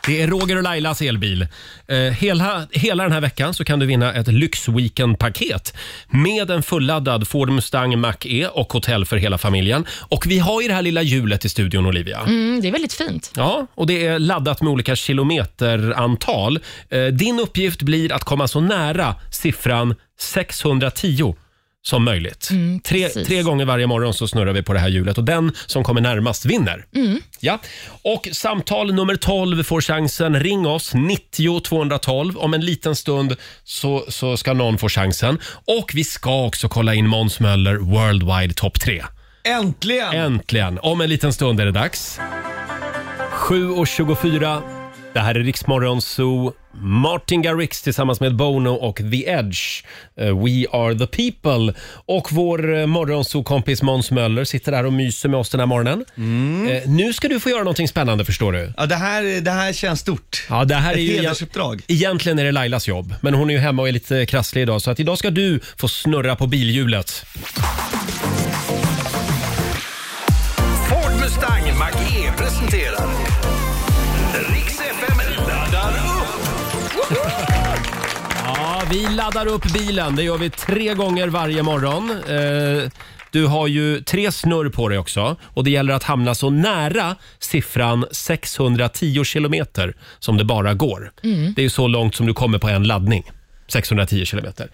Speaker 1: Det är Roger och Lailas elbil. Eh, hela, hela den här veckan så kan du vinna ett lyxweekendpaket med en fulladdad Ford Mustang Mach-E och hotell för hela familjen. Och vi har ju det här lilla hjulet i studion, Olivia.
Speaker 2: Mm, det är väldigt fint.
Speaker 1: Ja, och det är laddat med olika kilometerantal. Eh, din uppgift blir att komma så nära siffran 610 som möjligt. tre,
Speaker 2: precis.
Speaker 1: tre gånger varje morgon så snurrar vi på det här hjulet och den som kommer närmast vinner. Ja. Och samtal nummer 12 får chansen. Ring oss, 90 212. Om en liten stund så, så ska någon få chansen. Och vi ska också kolla in Måns Möller Worldwide Top 3.
Speaker 10: Äntligen!
Speaker 1: Äntligen! Om en liten stund är det dags. 7.24. Det här är Riksmorgon Zoo. Martin Garrix tillsammans med Bono och The Edge. Eh, We are the people. Och vår eh, morgonzoo-kompis Måns Möller sitter där och myser med oss den här morgonen. Eh, nu ska du få göra någonting spännande förstår du.
Speaker 10: Ja, det, här, det här känns stort.
Speaker 1: Ja, det här
Speaker 10: Ett
Speaker 1: är ju
Speaker 10: hedersuppdrag.
Speaker 1: Egentligen är det Lailas jobb, men hon är ju hemma och är lite krasslig idag. Så att idag ska du få snurra på bilhjulet.
Speaker 3: Ford Mustang Mach-E presenterar
Speaker 1: Vi laddar upp bilen. Det gör vi tre gånger varje morgon. Eh, Du har ju tre snurr på dig också och det gäller att hamna så nära siffran 610 kilometer som det bara går.
Speaker 11: Mm.
Speaker 1: Det är ju så långt som du kommer på en laddning. 610 kilometer.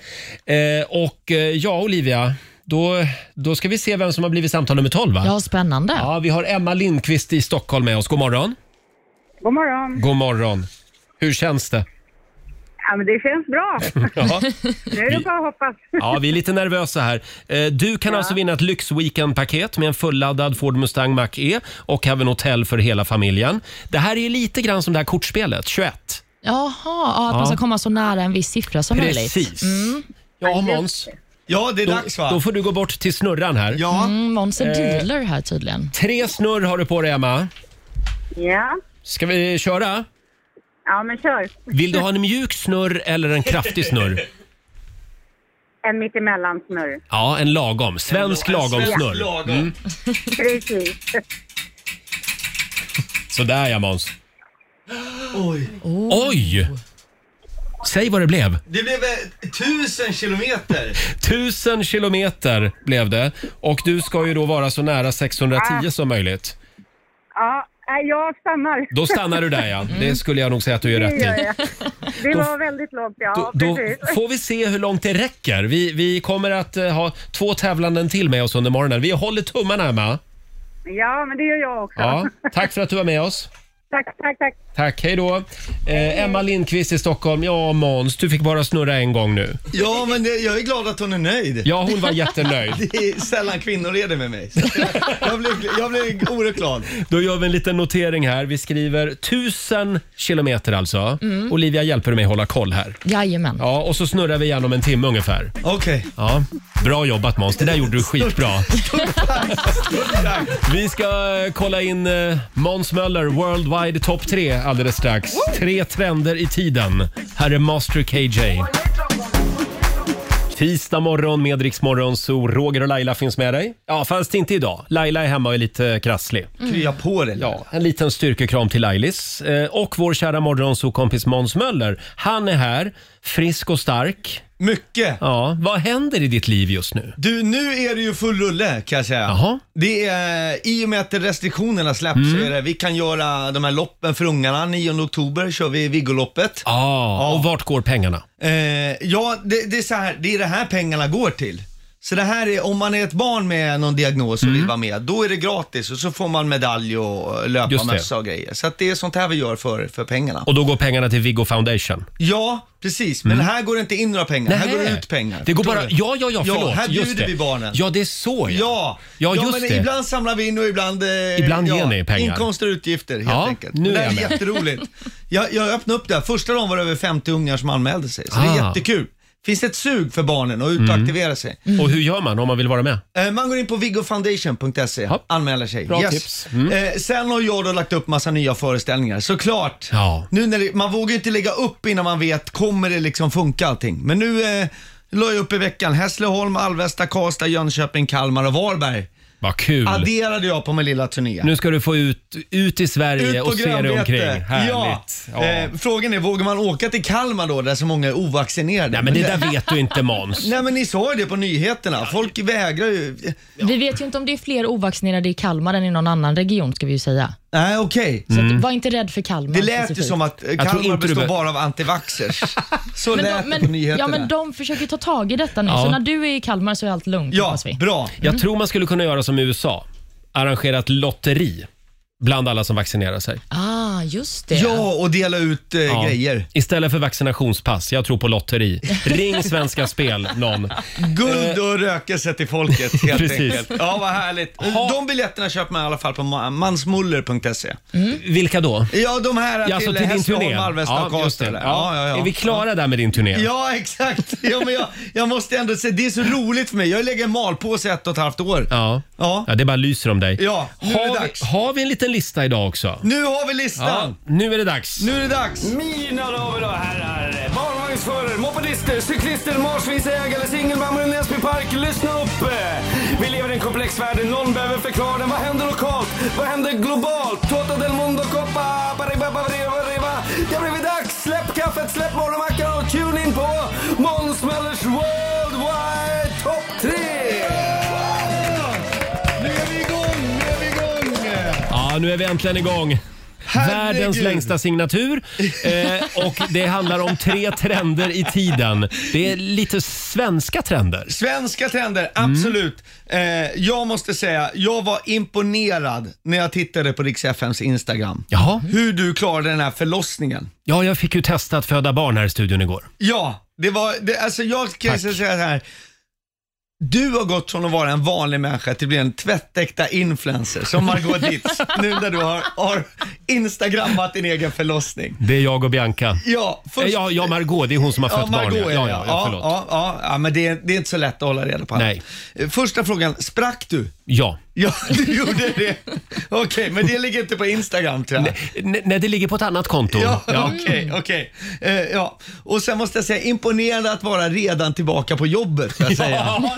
Speaker 1: Eh, och eh, ja, Olivia, då, då ska vi se vem som har blivit samtal nummer 12. Va?
Speaker 2: Ja, spännande.
Speaker 1: Ja, vi har Emma Lindqvist i Stockholm med oss. God morgon.
Speaker 12: God morgon.
Speaker 1: God morgon. Hur känns det?
Speaker 12: Ja, men det känns bra.
Speaker 1: Ja.
Speaker 12: Nu är det bara att hoppas.
Speaker 1: Ja, vi är lite nervösa här. Eh, Du kan alltså vinna ett lyxweekendpaket med en fulladdad Ford Mustang Mach-E och även hotell för hela familjen. Det här är lite grann som det här kortspelet, 21.
Speaker 2: Jaha, ja, att man ska
Speaker 1: Ja.
Speaker 2: komma så nära en viss siffra som möjligt.
Speaker 1: Precis. Ja, Måns.
Speaker 10: Ja, det är
Speaker 1: då,
Speaker 10: dags, va?
Speaker 1: Då får du gå bort till snurran här.
Speaker 10: Ja.
Speaker 2: Mm, Måns är
Speaker 1: Eh,
Speaker 2: dealer här tydligen.
Speaker 1: Tre snurr har du på dig, Emma.
Speaker 12: Ja,
Speaker 1: Ska vi köra?
Speaker 12: ja men kör.
Speaker 1: Vill du ha en mjuk snurr eller en kraftig snurr?
Speaker 12: En mittemellan snurr.
Speaker 1: Ja, en lagom. Svensk lagom
Speaker 12: svensk
Speaker 1: snurr.
Speaker 12: lagom.
Speaker 1: Mm.
Speaker 12: Precis.
Speaker 1: Sådär ja, Måns. Oj! Säg vad det blev.
Speaker 10: Det blev eh, tusen kilometer.
Speaker 1: Tusen kilometer blev det och du ska ju då vara så nära 610 som möjligt.
Speaker 12: Ja, nej, jag stannar.
Speaker 1: Då stannar du där ja. Det skulle jag nog säga att du gör
Speaker 12: Det
Speaker 1: rätt
Speaker 12: gör
Speaker 1: i.
Speaker 12: jag. Det
Speaker 1: Då-
Speaker 12: var väldigt långt, ja.
Speaker 1: Då, då
Speaker 12: precis.
Speaker 1: får vi se hur långt det räcker. Vi, vi kommer att eh, ha två tävlanden till med oss under morgonen. Vi håller tummarna Emma.
Speaker 12: Ja, men det gör jag också.
Speaker 1: Ja, tack för att du var med oss.
Speaker 12: Tack, tack, tack.
Speaker 1: Tack, hej då. Eh, Emma Lindqvist i Stockholm. Ja, Måns, du fick bara snurra en gång nu.
Speaker 10: Ja, men det, jag är glad att hon är nöjd.
Speaker 1: Ja, hon var jättenöjd.
Speaker 10: Det är sällan kvinnor är det med mig. Så Jag blev, jag blev oerhört glad.
Speaker 1: Då gör vi en liten notering här. Vi skriver 1000 kilometer alltså.
Speaker 2: Mm.
Speaker 1: Olivia hjälper mig hålla koll här.
Speaker 2: Jajamän.
Speaker 1: Ja, och så snurrar vi igen om en timme ungefär.
Speaker 10: Okej.
Speaker 1: Ja, bra jobbat Måns. Det där gjorde du skitbra. Vi ska eh, kolla in eh, Måns Möller Worldwide Top 3 alldeles strax. Tre trender i tiden. Här är Master KJ. Tisdag morgon med Rix Morgon, så Roger och Laila finns med dig. Ja, fast inte idag. Laila är hemma och är lite krasslig.
Speaker 10: Mm. Krya på dig.
Speaker 1: Ja, en liten styrkekram till Lailis. Eh, Och vår kära morgonsokompis Måns Möller. Han är här, frisk och stark.
Speaker 10: Mycket.
Speaker 1: Ja, vad händer i ditt liv just nu?
Speaker 10: Du, nu är det ju full rulle kan jag säga. Det är, I och med att restriktionerna släpps
Speaker 1: Mm.
Speaker 10: så är det, vi kan göra de här loppen för ungarna. 9 oktober kör vi Viggoloppet.
Speaker 1: ja, och vart går pengarna?
Speaker 10: Eh, ja, det, det är så här, det är det här pengarna går till. Så det här är, om man är ett barn med någon diagnos och
Speaker 1: Mm.
Speaker 10: vill vara med, då är det gratis och så får man medalj och
Speaker 1: Just det.
Speaker 10: löparmössa och grejer. Så att det är sånt här vi gör för, för pengarna.
Speaker 1: Och då går pengarna till Viggo Foundation.
Speaker 10: Ja, precis. Men här går det inte in några pengar. Här
Speaker 1: Nej.
Speaker 10: går det ut pengar.
Speaker 1: Det går
Speaker 10: Förstår
Speaker 1: bara-
Speaker 10: du?
Speaker 1: ja, ja, ja, förlåt.
Speaker 10: här
Speaker 1: Just
Speaker 10: bjuder
Speaker 1: det.
Speaker 10: vi barnen.
Speaker 1: Ja, det är så ja.
Speaker 10: Ja,
Speaker 1: Ja, just
Speaker 10: men
Speaker 1: det.
Speaker 10: ibland samlar vi in och ibland... Eh,
Speaker 1: Ibland
Speaker 10: ja,
Speaker 1: ger ni pengar.
Speaker 10: Inkomster och utgifter helt
Speaker 1: Ja,
Speaker 10: enkelt.
Speaker 1: nu
Speaker 10: det
Speaker 1: är
Speaker 10: är
Speaker 1: jag med.
Speaker 10: jätteroligt. Jag, jag öppnade upp det här. Första dagen var det över 50 ungar som anmälde sig. Så det
Speaker 1: Ah. Mm.
Speaker 10: är jättekul. Finns ett sug för barnen att ut och aktivera sig.
Speaker 1: Och hur gör man om man vill vara med?
Speaker 10: Eh, Man går in på viggofoundation.se, anmäler sig.
Speaker 1: Bra tips. Mm.
Speaker 10: Eh, Sen har jag då lagt upp massa nya föreställningar, såklart.
Speaker 1: Ja.
Speaker 10: Nu när det, man vågar ju inte lägga upp innan man vet, kommer det liksom funka allting? Men nu eh, la jag upp i veckan Hässleholm, Alvesta, Karlstad, Jönköping, Kalmar och Varberg.
Speaker 1: Vad kul.
Speaker 10: Adderade jag på min lilla turné.
Speaker 1: Nu ska du få ut, ut i Sverige
Speaker 10: Ut på
Speaker 1: och se dig
Speaker 10: grönbete.
Speaker 1: omkring.
Speaker 10: Ja.
Speaker 1: Härligt. Ja.
Speaker 10: Eh, frågan är, vågar man åka till Kalmar då, där så många är ovaccinerade?
Speaker 1: Nej, men det där vet du inte Måns.
Speaker 10: Nej men ni sa ju det på nyheterna. Folk vägrar ju.
Speaker 2: Vi vet ju inte om det är fler ovaccinerade i Kalmar än i någon annan region ska vi ju säga.
Speaker 10: Nej okej.
Speaker 1: Mm.
Speaker 10: Mm.
Speaker 2: Så att, var inte rädd för Kalmar.
Speaker 10: Det lät ju
Speaker 2: specifikt.
Speaker 10: som att eh, Kalmar består bara av antivaxxers. Så
Speaker 2: Men de-
Speaker 10: lät det på
Speaker 2: men,
Speaker 10: nyheterna.
Speaker 2: Ja, men de försöker ta tag i detta nu.
Speaker 1: Ja.
Speaker 2: Så när du är i Kalmar så är allt lugnt hoppas vi.
Speaker 10: bra.
Speaker 1: Jag tror man skulle kunna göra som i USA. Arrangera ett lotteri bland alla som vaccinerar sig.
Speaker 2: Ah, just det.
Speaker 10: Ja, och dela ut eh,
Speaker 1: Ja.
Speaker 10: grejer.
Speaker 1: Istället för vaccinationspass. Jag tror på lotteri. Ring Svenska Spel någon.
Speaker 10: Guld och rökelse till folket helt
Speaker 1: Eh, Precis.
Speaker 10: enkelt. Ja, vad härligt. De biljetterna köper man i alla fall på ma- mansmuller.se.
Speaker 1: Vilka då?
Speaker 10: Ja, de här
Speaker 1: Ja, alltså
Speaker 10: till,
Speaker 1: till din
Speaker 10: Hässleholm,
Speaker 1: turné?
Speaker 10: Alvesta och
Speaker 1: Ja, just det.
Speaker 10: Karlstad. eller? Ja, ja, ja.
Speaker 1: Är vi klara där med din turné?
Speaker 10: Ja, exakt. Ja, men jag, jag måste ändå säga, det är så roligt för mig. Jag lägger en malpåse i ett och ett halvt år.
Speaker 1: Ja.
Speaker 10: Ja.
Speaker 1: det bara lyser om dig.
Speaker 10: Ja, nu är det
Speaker 1: har,
Speaker 10: dags.
Speaker 1: vi, har vi en liten lista idag också?
Speaker 10: Nu har vi listan!
Speaker 1: Ja, nu är det dags.
Speaker 10: Nu är det dags!
Speaker 8: Mina damer och herrar,
Speaker 10: barnvagnsförare, mopedister, cyklister, marsvinsägare, singelmammor i Näsby park. Lyssna upp!
Speaker 8: Vi lever i en komplex värld, någon behöver förklara den. Vad händer lokalt? Vad händer globalt? Toto del mundo coppa, pariba, pariba, pariba. Det har blivit dags! Släpp kaffet, släpp morgonmackan och tune in på
Speaker 11: Måns Möllers Worldwide Top 3!
Speaker 10: Nu är vi igång, nu är vi igång!
Speaker 1: Ja, nu är vi äntligen igång. Världens längsta signatur eh, och det handlar om tre trender i tiden. Det är lite svenska trender.
Speaker 10: Svenska trender,
Speaker 1: Mm.
Speaker 10: absolut. Eh, jag måste säga, jag var imponerad när jag tittade på Rix FMs Instagram.
Speaker 1: Jaha.
Speaker 10: Hur du klarade den här förlossningen.
Speaker 1: Ja, jag fick ju testa att föda barn här i studion igår.
Speaker 10: Ja, det var, det, alltså jag kan ju säga så här. Du har gått från att vara en vanlig människa till att bli en tvättäkta influencer som Margot Ditz. nu när du har, har instagrammat din egen förlossning.
Speaker 1: Det är jag och Bianca.
Speaker 10: Ja, först-
Speaker 1: Eh, ja, ja Margot, det är hon som har
Speaker 10: Ja,
Speaker 1: fött barn.
Speaker 10: Margot
Speaker 1: Ja,
Speaker 10: är
Speaker 1: ja,
Speaker 10: det,
Speaker 1: ja,
Speaker 10: ja,
Speaker 1: förlåt.
Speaker 10: ja, ja, ja, men det, är- det är inte så lätt att hålla reda på. allt.
Speaker 1: Nej.
Speaker 10: Eh, Första frågan, sprack du?
Speaker 1: Ja.
Speaker 10: Ja, du gjorde det. Okej, men det ligger inte på Instagram tror jag.
Speaker 1: Nej, nej, det ligger på ett annat konto.
Speaker 10: Ja, okej,
Speaker 1: Ja.
Speaker 10: okej. Eh, ja. Och sen måste jag säga, imponerande att vara redan tillbaka på jobbet. får Jag säga.
Speaker 1: Ja.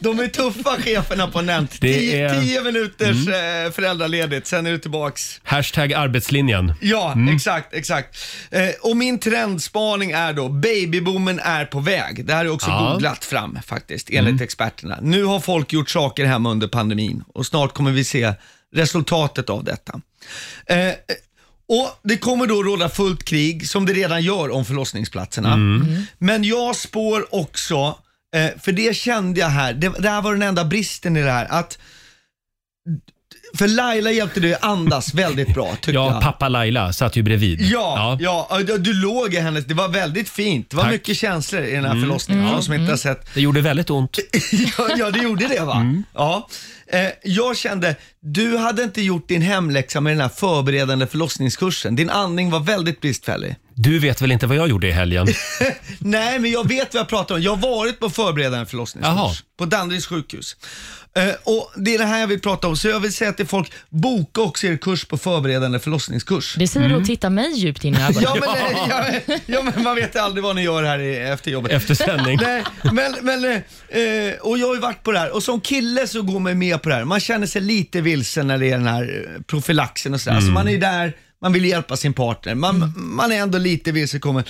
Speaker 10: De är tuffa cheferna på Nent.
Speaker 1: Det
Speaker 10: Tio,
Speaker 1: är- Mm.
Speaker 10: tio minuters eh, föräldraledigt, sen är du tillbaks.
Speaker 1: Hashtag arbetslinjen.
Speaker 10: Ja,
Speaker 1: Mm.
Speaker 10: exakt, exakt. Eh, och min trendspaning är då, babyboomen är på väg. Det här är också
Speaker 1: Ja. Mm.
Speaker 10: googlat fram faktiskt, enligt experterna. Nu har folk gjort saker hemma under pandemin och snart kommer vi se resultatet av detta. Eh, eh, och Det kommer då råda fullt krig, som det redan gör om förlossningsplatserna.
Speaker 1: Mm.
Speaker 10: Men jag spår också, eh, för det kände jag här, det, det här var den enda bristen i det här, att för Laila hjälpte dig att andas väldigt bra tyckte
Speaker 1: Ja,
Speaker 10: jag.
Speaker 1: pappa Laila satt ju bredvid.
Speaker 10: Ja, ja. du- du låg i hennes, det var väldigt fint. Det var
Speaker 1: Tack.
Speaker 10: mycket känslor i den här
Speaker 1: Mm.
Speaker 10: förlossningen
Speaker 1: Mm.
Speaker 10: mm. som inte har sett.
Speaker 1: Det gjorde väldigt ont.
Speaker 10: ja, ja, det gjorde det va?
Speaker 1: Mm.
Speaker 10: Ja. Eh, jag kände, du hade inte gjort din hemläxa med den här förberedande förlossningskursen. Din andning var väldigt bristfällig.
Speaker 1: Du vet väl inte vad jag gjorde i helgen?
Speaker 10: Nej, men jag vet vad jag pratar om. Jag har varit på förberedande förlossningskurs
Speaker 1: Jaha.
Speaker 10: på Danderyds sjukhus. Eh, och Det är det här jag vill prata om, så jag vill säga till folk, boka också er kurs på förberedande förlossningskurs.
Speaker 2: Det säger du och tittar mig djupt in i ögonen.
Speaker 10: Ja men, eh, ja, men- ja men man vet aldrig vad ni gör här i- efter jobbet.
Speaker 1: Efter sändning.
Speaker 10: Nej, men, men, eh, och jag har ju varit på det här och som kille så går man med på det här. Man känner sig lite vilsen när det är den här eh, profylaxen och sådär.
Speaker 11: Mm.
Speaker 10: Så man är ju där, man vill hjälpa sin partner. Man, man är ändå lite vilsekommen.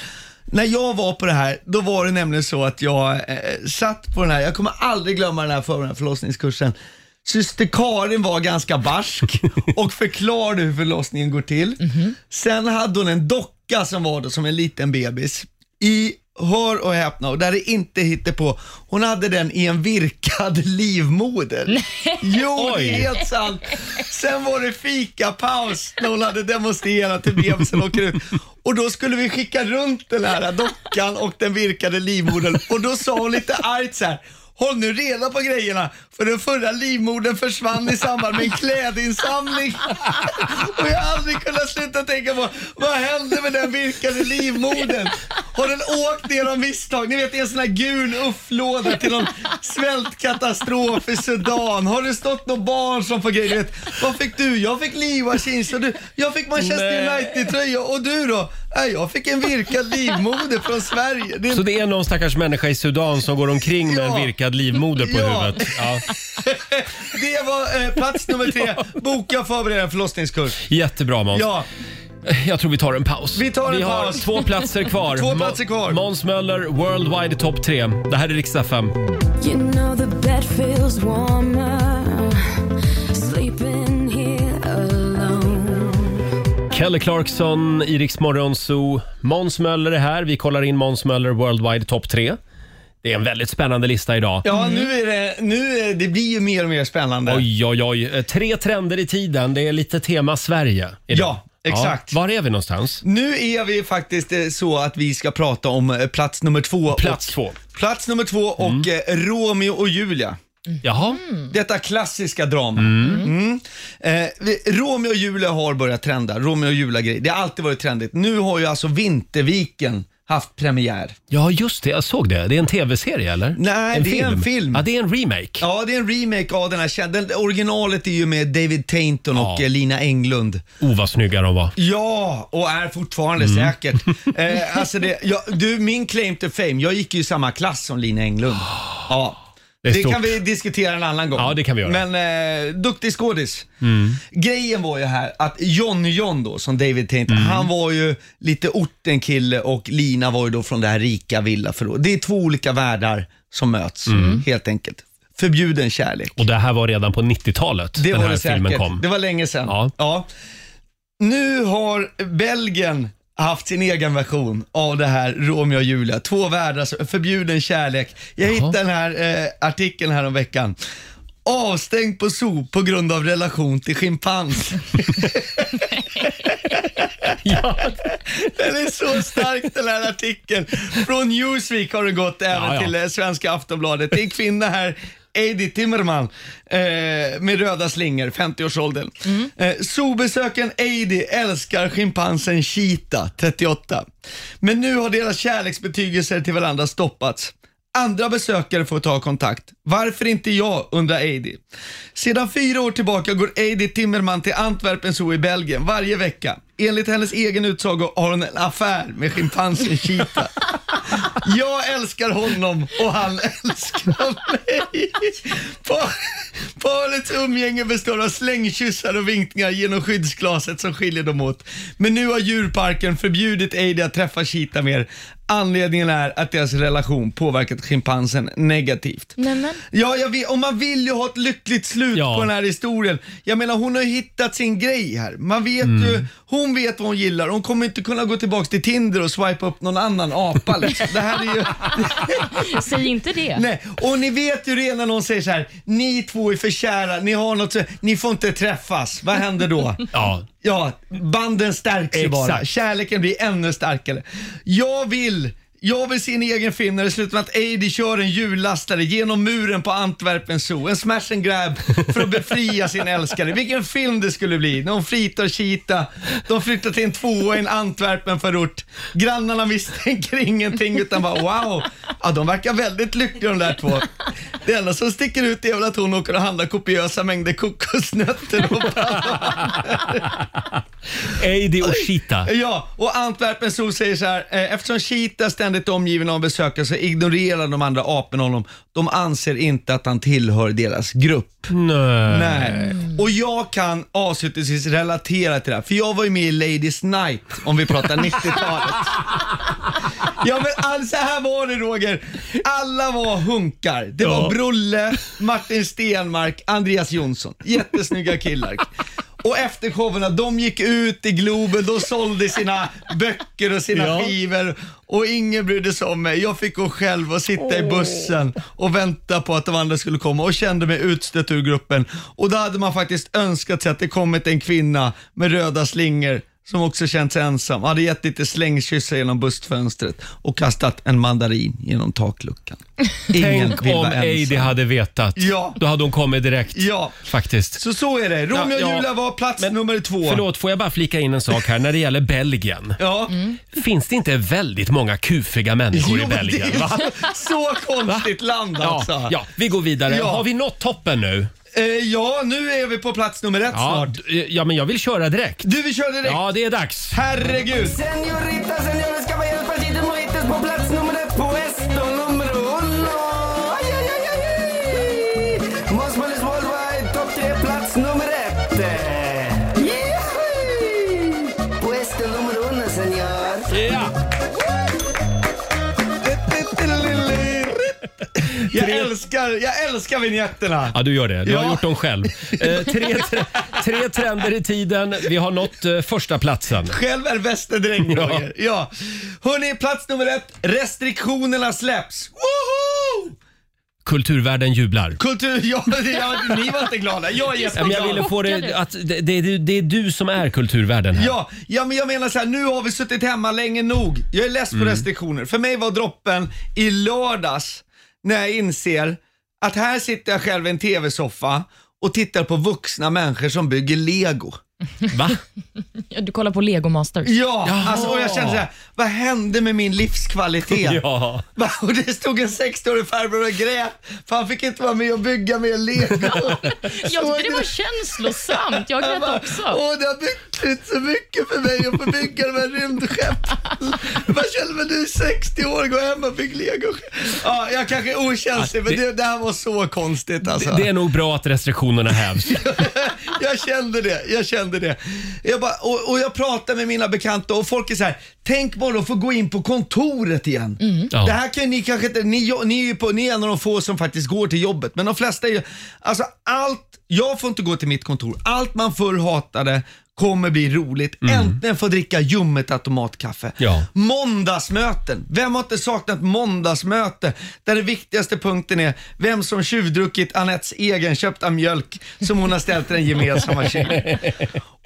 Speaker 10: När jag var på det här, då var det nämligen så att jag eh, satt på den här, jag kommer aldrig glömma den här för den här förlossningskursen. Syster Karin var ganska barsk och förklarade hur förlossningen går till. Sen hade hon en docka som var då som en liten bebis i, hör och häpna, och där är inte på. hon hade den i en virkad livmoder. Jo, det är
Speaker 11: Oj.
Speaker 10: helt sant. Sen var det fikapaus när hon hade demonstrerat hur bebisen åker ut. Och då skulle vi skicka runt den här dockan och den virkade livmodern och då sa hon lite argt så här. Håll nu reda på grejerna, för den förra livmodern försvann i samband med en klädinsamling. Och jag har aldrig kunnat sluta tänka på vad hände med den virkade livmodern? Har den åkt ner av misstag? Ni vet, det är en sån här gul ufflåda till någon svältkatastrof i Sudan. Har det stått något barn som får grejer? Ni Vet, vad fick du? Jag fick Liwa Kinz och du, jag fick Manchester
Speaker 1: Nej.
Speaker 10: United-tröja och du då? Nej, jag fick en virkad livmoder från Sverige. Det är
Speaker 1: Så det är någon stackars människa i Sudan som går omkring med en
Speaker 10: Ja.
Speaker 1: virkad livmoder på
Speaker 10: Ja.
Speaker 1: huvudet. Ja.
Speaker 10: Det var eh, plats nummer tre. Boka och förbereda en förlossningskurs.
Speaker 1: Jättebra Måns.
Speaker 10: Ja.
Speaker 1: Jag tror vi tar en paus.
Speaker 10: Vi tar en
Speaker 1: har
Speaker 10: paus.
Speaker 1: två platser kvar.
Speaker 10: Två platser
Speaker 1: kvar. Måns Möller, Worldwide Top 3. Det här är riksdag 5.
Speaker 13: You know the bed feels warmer sleeping here alone.
Speaker 1: Kelly Clarkson, Iriks Morgonzoo. Måns Möller är här. Vi kollar in Måns Möller Worldwide Top 3. Det är en väldigt spännande lista idag.
Speaker 10: Ja, nu är det, nu är, det blir ju mer och mer spännande.
Speaker 1: Oj, oj, oj. Eh, Tre trender i tiden. Det är lite tema Sverige. Idag.
Speaker 10: Ja, exakt.
Speaker 1: Var är vi någonstans?
Speaker 10: Nu är vi faktiskt eh, så att vi ska prata om eh, plats nummer två. Plats och, två.
Speaker 1: Mm.
Speaker 10: Plats nummer två och eh, Romeo och Julia.
Speaker 1: Jaha.
Speaker 10: Detta klassiska drama. Mm. Eh, vi- Romeo och Julia har börjat trenda. Romeo och Julia-grej. Det har alltid varit trendigt. Nu har ju alltså Vinterviken haft premiär.
Speaker 1: Ja, just det. Jag såg det. Det är en tv-serie, eller?
Speaker 10: Nej, det är en film.
Speaker 1: Ja, det är en remake.
Speaker 10: Ja, det är en remake av den här kända. den- Originalet är ju med David Tainton och eh, Lina Englund.
Speaker 1: Oh, vad snygga de var.
Speaker 10: Ja, och är fortfarande
Speaker 1: Mm.
Speaker 10: säkert. Eh, alltså det, jag, du, min claim to fame, jag gick ju i samma klass som Lina Englund. Ja.
Speaker 1: Det är
Speaker 10: Det,
Speaker 1: stort.
Speaker 10: kan vi diskutera en annan gång.
Speaker 1: Ja, det kan vi göra.
Speaker 10: Men eh, duktig skådis.
Speaker 1: Mm.
Speaker 10: Grejen var ju här att John John då, som David tänkte,
Speaker 1: Mm.
Speaker 10: han var ju lite ortenkille och Lina var ju då från det här rika villaförrådet. Det är två olika världar som möts,
Speaker 1: Mm.
Speaker 10: helt enkelt. Förbjuden kärlek.
Speaker 1: Och det här var redan på 90-talet
Speaker 10: Det
Speaker 1: den
Speaker 10: var
Speaker 1: här
Speaker 10: det säkert.
Speaker 1: filmen kom.
Speaker 10: Det var länge sedan. Ja. Nu har Belgien haft sin egen version av det här Romeo och Julia. Två världar, förbjuden kärlek. Jag hittade den här eh, artikeln här om veckan. Avstängd på zoo på grund av relation till schimpans. Den är så stark den här artikeln. Från Newsweek har det gått även
Speaker 11: Ja, ja.
Speaker 10: till eh, svenska Aftonbladet. Det är en kvinna här, Edith Timmerman, eh, med röda slingor, 50-årsåldern.
Speaker 11: Mm.
Speaker 10: Eh, Zoobesökaren Heidi älskar schimpansen Cheetah, 38. Men nu har deras kärleksbetygelser till varandra stoppats. Andra besökare får ta kontakt. Varför inte jag, undrar Heidi. Sedan fyra år tillbaka går Heidi Timmerman till Antwerpen Zoo i Belgien varje vecka. Enligt hennes egen utsago har hon en affär med schimpansen Cheetah. Jag älskar honom och han älskar mig. Par, parets umgänge består av slängkyssar och vinkningar genom skyddsglaset som skiljer dem åt. Men nu har djurparken förbjudit Heidi att träffa Cheetah mer. Anledningen är att deras relation påverkat schimpansen negativt.
Speaker 2: Nämen.
Speaker 10: Ja, jag vet, och man vill ju ha ett lyckligt slut på den här historien. Jag menar, hon har ju hittat sin grej här. Man vet ju, hon vet vad hon gillar. Hon kommer inte kunna gå tillbaka till Tinder och swipa upp någon annan apa liksom. Det här är ju...
Speaker 2: Säg inte det.
Speaker 10: Nej, och ni vet ju redan när någon säger så här, ni två är för kära, ni har något, så- ni får inte träffas. Vad händer då?
Speaker 1: Ja.
Speaker 10: Ja, banden stärks ju bara.
Speaker 1: Exakt.
Speaker 10: Kärleken blir ännu starkare. Jag vill jag vill se en egen film när det slutar med att Ady kör en hjullastare genom muren på Antwerpen Zoo. En smash and grab för att befria sin älskare. Vilken film det skulle bli. De fritar Kita. De flyttar till en tvåa i en Antwerpen-förort. Grannarna misstänker ingenting utan bara wow. Ja, de verkar väldigt lyckliga de där två. Det enda som sticker ut är väl att hon åker och handlar kopiösa mängder kokosnötter och
Speaker 1: Heidi och Cheetah.
Speaker 10: Ja, och Antwerpen Zoo säger så här. eh, Eftersom Cheetah ständigt är omgiven av besökare så ignorerar de andra aporna honom. De anser inte att han tillhör deras grupp.
Speaker 1: Nej.
Speaker 10: Nej. Och jag kan avslutningsvis relatera till det här. För jag var ju med i Ladies Night, om vi pratar 90-talet. Ja men all, så här var det Roger. Alla var hunkar. Det var
Speaker 11: Ja.
Speaker 10: Brolle, Martin Stenmark, Andreas Jonsson. Jättesnygga killar. Och efter showerna, de gick ut i Globen, de sålde sina böcker och sina
Speaker 11: Ja.
Speaker 10: skivor. Och ingen brydde sig om mig. Jag fick gå själv och sitta i bussen och vänta på att de andra skulle komma och kände mig utstött ur gruppen. Och då hade man faktiskt önskat sig att det kommit en kvinna med röda slingor som också känt sig ensam. Hade gett lite slängkyssar genom bussfönstret och kastat en mandarin genom takluckan. Ingen
Speaker 1: Tänk
Speaker 10: vill
Speaker 1: om
Speaker 10: vara ensam.
Speaker 1: Heidi hade vetat.
Speaker 10: Ja.
Speaker 1: Då hade hon kommit direkt.
Speaker 10: Ja.
Speaker 1: Faktiskt.
Speaker 10: Så så är det. Romeo och
Speaker 1: Ja, ja.
Speaker 10: Julia var plats nummer två.
Speaker 1: Förlåt, får jag bara flika in en sak här när det gäller Belgien?
Speaker 10: Ja.
Speaker 1: Finns det inte väldigt många kufiga människor
Speaker 10: Jo,
Speaker 1: i
Speaker 10: men
Speaker 1: Belgien?
Speaker 10: det är
Speaker 1: va?
Speaker 10: så- Så konstigt land alltså.
Speaker 1: Ja, ja, vi går vidare.
Speaker 10: Ja.
Speaker 1: Har vi nått toppen nu?
Speaker 10: Eh, ja, nu är vi på plats nummer ett
Speaker 1: Ja,
Speaker 10: snart.
Speaker 1: d- ja, men jag vill köra direkt.
Speaker 10: Du vill köra direkt?
Speaker 1: Ja, det är dags.
Speaker 10: Herregud.
Speaker 11: Señorita, señores, caballeros, partido mojitos på plats nummer ett, puesto numero uno. Ay, ay, ay, ay, ay. Mosmanis Worldwide, topp tre, plats nummer ett. Yay! Puesto numero uno, señor.
Speaker 10: Jag älskar, jag älskar vignetterna.
Speaker 1: Ja, du gör det. Du har
Speaker 10: Ja.
Speaker 1: gjort dem själv. Eh, tre, tre, tre trender i tiden. Vi har nått eh, första platsen.
Speaker 10: Själv är västerdräng, ja. Roger. Ja. Hörni, plats nummer ett. Restriktionerna släpps. Woho!
Speaker 1: Kulturvärlden jublar.
Speaker 10: Kultur... Ja, ja, ni var inte glada. Jag är
Speaker 1: Ja, men
Speaker 10: jätteglad.
Speaker 1: jag ville få det att det, det, är du- det är du som är kulturvärden här.
Speaker 10: Ja, ja, men jag menar så här, nu har vi suttit hemma länge nog. Jag är less på
Speaker 1: Mm.
Speaker 10: restriktioner. För mig var droppen i lördags när jag inser att här sitter jag själv i en tv-soffa och tittar på vuxna människor som bygger lego.
Speaker 1: Va?
Speaker 2: Ja, Du kollar på Lego Masters.
Speaker 10: Ja, alltså, och jag kände så här, vad hände med min livskvalitet?
Speaker 1: Ja.
Speaker 10: Va? Och det stod en 60-årig farbror och grät för han fick inte vara med och bygga mer lego.
Speaker 2: Jag tyckte det var känslosamt. Jag grät också.
Speaker 10: Åh, det har betytt så mycket för mig att få bygga de här rymdskeppen. Vad känner man nu 60 år, gå hem och bygg lego. Ja, jag kanske är okänslig, men det, det här var så konstigt alltså.
Speaker 1: Det är nog bra att restriktionerna hävs.
Speaker 10: jag kände det, jag kände det. Jag bara, och, och jag pratar med mina bekanta och folk är så här, tänk bara att få gå in på kontoret igen.
Speaker 1: Ja.
Speaker 10: Det här kan ju ni kanske inte, ni, jo- ni, är ju på, ni är en av de få som faktiskt går till jobbet, men de flesta är ju, alltså allt, jag får inte gå till mitt kontor, allt man förr hatade kommer bli roligt. Äntligen få dricka ljummet automatkaffe.
Speaker 1: Mm. Ja.
Speaker 10: Måndagsmöten. Vem har inte saknat måndagsmöte? Där den viktigaste punkten är vem som tjuvdruckit Anettes egenköpta mjölk som hon har ställt i den gemensamma kylen.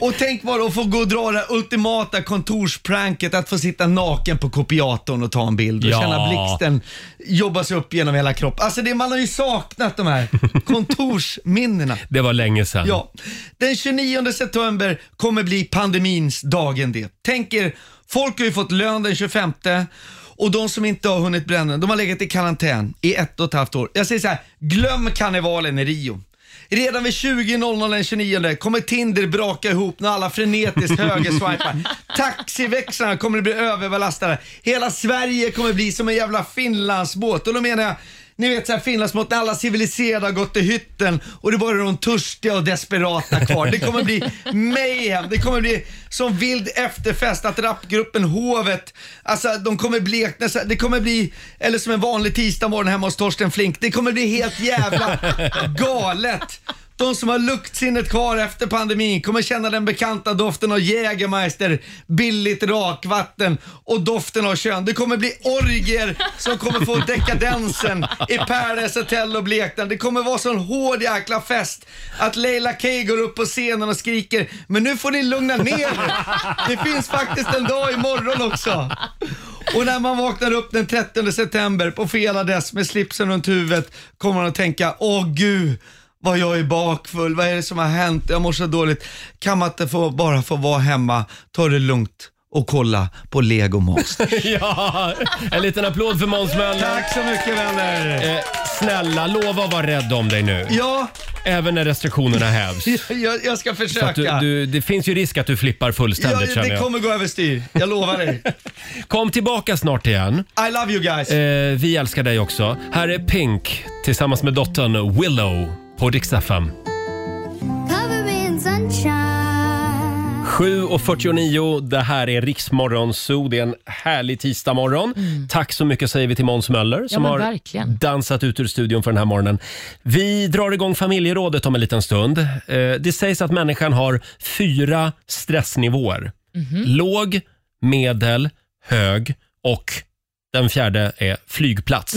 Speaker 10: Och tänk bara att få gå och dra det här ultimata kontorspranket att få sitta naken på kopiatorn och ta en bild och
Speaker 1: Ja.
Speaker 10: känna blixten jobba sig upp genom hela kroppen. Alltså det, man har ju saknat de här kontorsminnena.
Speaker 1: Det var länge sedan.
Speaker 10: Ja. Den 29 september kommer bli pandemins dagen det. Tänk er, folk har ju fått lön den 25 och de som inte har hunnit bränna, de har legat i karantän i ett och ett halvt år. Jag säger så här, glöm karnevalen i Rio. Redan vid 20.00 den 29 kommer Tinder braka ihop när alla frenetiskt högerswipar. Taxiväxlarna kommer att bli överbelastade. Hela Sverige kommer bli som en jävla Finlandsbåt. Och då menar jag, ni vet så här Finlandsbåt när alla civiliserade har gått till hytten och det är bara de törstiga och desperata kvar. Det kommer bli mayhem. Det kommer bli som vild efterfest att rapgruppen Hovet, alltså de kommer blekna. så här. Det kommer bli, eller som en vanlig tisdagmorgon hemma hos Torsten Flink. Det kommer bli helt jävla galet. De som har luktsinnet kvar efter pandemin kommer känna den bekanta doften av Jägermeister, billigt rakvatten och doften av kön. Det kommer bli orger som kommer få dekadensen i Paradise Hotel och Blekten. Det kommer vara sån hård jäkla fest att Leila K går upp på scenen och skriker “Men nu får ni lugna ner er. Det finns faktiskt en dag imorgon också!” Och när man vaknar upp den 30 september på fel adress med slipsen runt huvudet kommer man att tänka “Åh gud, vad jag är bakfull, vad är det som har hänt, jag mår så dåligt. Kan man inte få, bara få vara hemma, ta det lugnt och kolla på Lego Monster.
Speaker 1: ja, en liten applåd för Måns Möller. Tack
Speaker 10: så mycket vänner.
Speaker 1: Eh, snälla, lova att vara rädd om dig nu.
Speaker 10: Ja.
Speaker 1: Även när restriktionerna hävs.
Speaker 10: jag, jag ska
Speaker 1: Så
Speaker 10: försöka.
Speaker 1: att du, du, det finns ju risk att du flippar
Speaker 10: ja,
Speaker 1: fullständigt känner
Speaker 10: det
Speaker 1: jag.
Speaker 10: kommer gå överstyr, jag lovar dig.
Speaker 1: Kom tillbaka snart igen.
Speaker 10: I love you guys.
Speaker 1: Eh, vi älskar dig också. Här är Pink tillsammans med dottern Willow på Dix FM.
Speaker 13: Cover in sunshine.
Speaker 1: 7.49, det här är Riksmorgon Zoo. Det är en härlig tisdagmorgon. Tack så mycket säger vi till Måns Möller som
Speaker 2: Mm. men
Speaker 1: har
Speaker 2: verkligen.
Speaker 1: dansat ut ur studion för den här morgonen. Vi drar igång familjerådet om en liten stund. Eh, Det sägs att människan har fyra stressnivåer.
Speaker 2: Mhm.
Speaker 1: Låg, medel, hög och den fjärde är flygplats.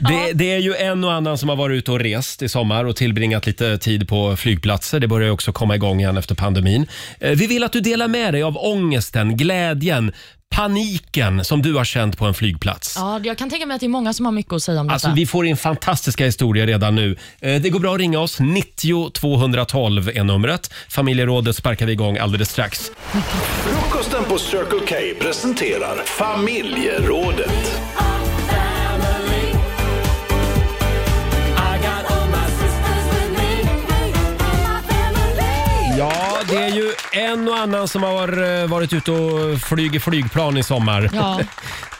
Speaker 1: Det, det är ju en och annan som har varit ute och rest i sommar och tillbringat lite tid på flygplatser. Det börjar ju också komma igång igen efter pandemin. Eh, Vi vill att du delar med dig av ångesten, glädjen, paniken som du har känt på en flygplats.
Speaker 2: Ja, jag kan tänka mig att det är många som har mycket att säga om
Speaker 1: Alltså,
Speaker 2: detta.
Speaker 1: vi får in fantastiska historier redan nu. Eh, Det går bra att ringa oss. 90 212 är numret. Familjerådet sparkar vi igång alldeles strax.
Speaker 3: Frukosten på Circle K presenterar familjerådet.
Speaker 1: Ja, det är ju en och annan som har eh, varit ute och flyger flygplan i sommar.
Speaker 2: Ja.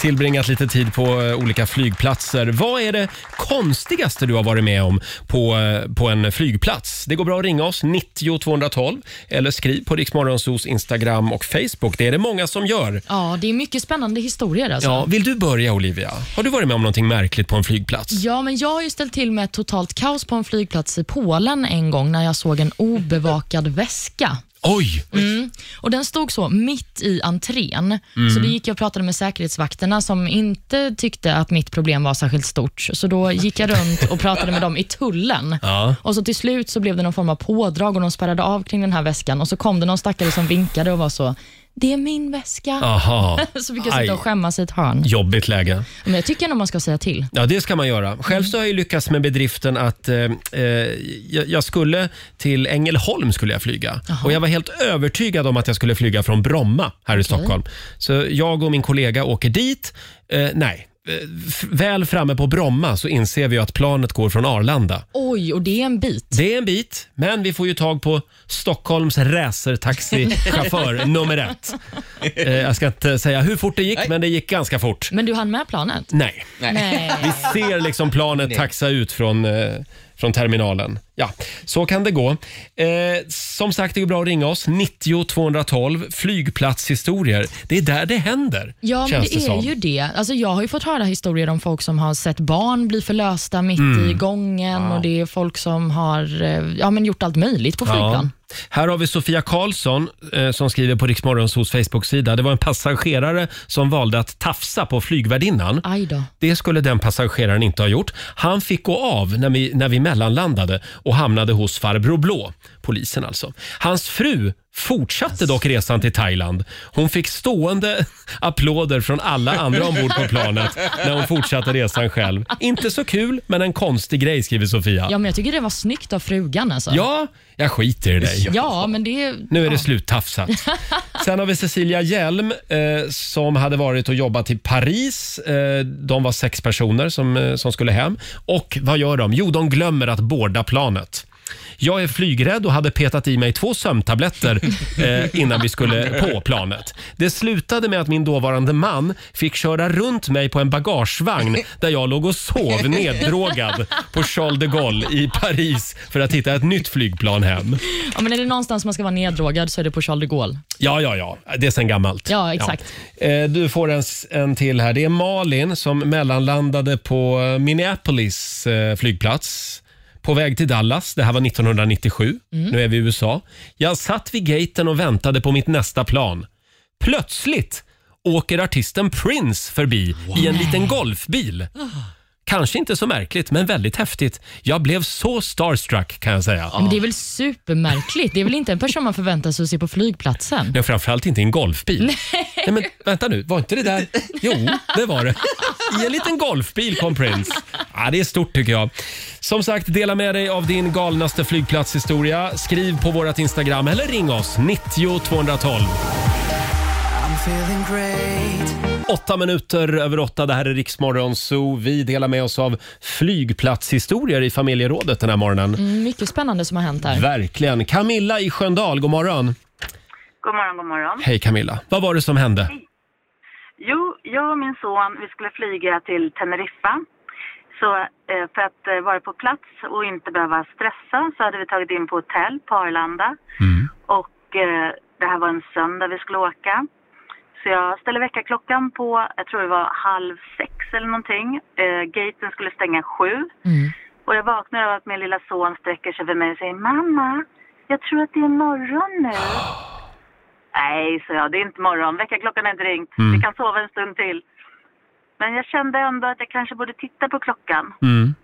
Speaker 1: Tillbringat lite tid på eh, olika flygplatser. Vad är det konstigaste du har varit med om på, eh, på en flygplats? Det går bra att ringa oss, 90 212 eller skriv på Riksmorgonsos Instagram och Facebook. Det är det många som gör.
Speaker 2: Ja, det är mycket spännande historier alltså.
Speaker 1: Ja, vill du börja Olivia? Har du varit med om någonting märkligt på en flygplats?
Speaker 2: Ja, men jag har ju ställt till med ett totalt kaos på en flygplats i Polen en gång när jag såg en obevakad väska.
Speaker 1: Oj!
Speaker 2: Mm. Och Den stod så mitt i entrén,
Speaker 1: Mm.
Speaker 2: så då gick jag och pratade med säkerhetsvakterna som inte tyckte att mitt problem var särskilt stort. Så då gick jag runt och pratade med dem i tullen.
Speaker 1: Ja.
Speaker 2: Och så Till slut så blev det någon form av pådrag och de spärrade av kring den här väskan och så kom det någon stackare som vinkade och var så det är min väska.
Speaker 1: Aha.
Speaker 2: Så fick jag sitta och
Speaker 1: Aj.
Speaker 2: skämmas i ett hörn.
Speaker 1: Jobbigt läge.
Speaker 2: Men jag tycker nog man ska säga till.
Speaker 1: Ja, det ska man göra. Själv
Speaker 2: Mm.
Speaker 1: så har jag ju lyckats med bedriften att eh, eh, jag, jag skulle till Ängelholm skulle jag flyga. Och jag var helt övertygad om att jag skulle flyga från Bromma här i Stockholm. Så jag och min kollega åker dit. Eh, nej, eh, f- väl framme på Bromma så inser vi ju att planet går från Arlanda.
Speaker 2: Oj, och det är en bit.
Speaker 1: Det är en bit, men vi får ju tag på Stockholms racertaxichaufför nummer ett. Eh, jag ska inte säga hur fort det gick, men det gick ganska fort.
Speaker 2: Men du hann med planet?
Speaker 1: Nej.
Speaker 2: Nej.
Speaker 1: Vi ser liksom planet taxa ut från, eh, från terminalen. Ja, så kan det gå. Eh, som sagt, det går bra att ringa oss. 90 212 flygplatshistorier. Det är där det händer,
Speaker 2: Ja, men
Speaker 1: känns
Speaker 2: det är
Speaker 1: som.
Speaker 2: ju det. Alltså, jag har ju fått höra historier om folk som har sett barn bli förlösta mitt
Speaker 1: Mm.
Speaker 2: i gången
Speaker 1: Ja.
Speaker 2: och det är folk som har eh, ja, men gjort allt möjligt på flygplan.
Speaker 1: Ja. Här har vi Sofia Karlsson eh, som skriver på Riksmorgonsos Facebook-sida. Det var en passagerare som valde att tafsa på flygvärdinnan.
Speaker 2: Aj då.
Speaker 1: Det skulle den passageraren inte ha gjort. Han fick gå av när vi, när vi mellanlandade och hamnade hos farbror Blå, polisen alltså. Hans fru fortsatte dock resan till Thailand. Hon fick stående applåder från alla andra ombord på planet när hon fortsatte resan själv. Inte så kul, men en konstig grej skriver Sofia.
Speaker 2: Ja. men jag tycker det var snyggt av frugan alltså.
Speaker 1: Ja, jag skiter i dig.
Speaker 2: Ja, men det är...
Speaker 1: Nu är det sluttafsat. Sen har vi Cecilia Hjelm eh, som hade varit och jobbat i Paris. Eh, de var sex personer som, eh, som skulle hem. Och vad gör de? Jo, de glömmer att boarda planet. Jag är flygrädd och hade petat i mig två sömntabletter eh, innan vi skulle på planet. Det slutade med att min dåvarande man fick köra runt mig på en bagagevagn där jag låg och sov neddrogad på Charles de Gaulle i Paris för att hitta ett nytt flygplan hem.
Speaker 2: Ja, men är det någonstans man ska vara neddrogad så är det på Charles de Gaulle.
Speaker 1: Ja, ja, ja. Det är sen gammalt.
Speaker 2: Ja, exakt.
Speaker 1: Ja. Eh, Du får en, s- en till här. Det är Malin som mellanlandade på eh, Minneapolis eh, flygplats. På väg till Dallas. Det här var 1997.
Speaker 14: Mm.
Speaker 1: Nu är vi i USA. Jag satt vid gaten och väntade på mitt nästa plan. Plötsligt åker artisten Prince förbi i en liten golfbil.
Speaker 2: Ah.
Speaker 1: Kanske inte så märkligt, men väldigt häftigt. Jag blev så starstruck kan jag säga.
Speaker 2: Men det är väl supermärkligt? Det är väl inte en person man förväntar sig att se på flygplatsen?
Speaker 1: Nej, framförallt inte i en golfbil.
Speaker 2: Nej.
Speaker 1: Nej, men vänta nu, var inte det där... Jo, det var det. I en liten golfbil kom Prince. Ja, det är stort tycker jag. Som sagt, dela med dig av din galnaste flygplatshistoria. Skriv på vårt Instagram eller ring oss, 90 212. Åtta minuter över åtta, det här är Riksmorgon Zoo. Vi delar med oss av flygplatshistorier i familjerådet den här morgonen.
Speaker 2: Mm, mycket spännande som har hänt här.
Speaker 1: Verkligen. Camilla i Sköndal, god morgon.
Speaker 15: God morgon, god morgon.
Speaker 1: Hej Camilla, vad var det som hände?
Speaker 15: Jo, jag och min son, vi skulle flyga till Teneriffa. Så eh, för att eh, vara på plats och inte behöva stressa så hade vi tagit in på hotell på Arlanda. Och eh, det här var en söndag vi skulle åka. Så jag ställde väckarklockan på, jag tror det var halv sex eller någonting. Eh, gaten skulle stänga sju. Och jag vaknar av att min lilla son sträcker sig över mig och säger Mamma, jag tror att det är morgon nu. Nej, så jag, det är inte morgon. Väckarklockan är inte ringt.
Speaker 1: Mm.
Speaker 15: Vi kan sova en stund till. Men jag kände ändå att jag kanske borde titta på klockan.
Speaker 1: Mm.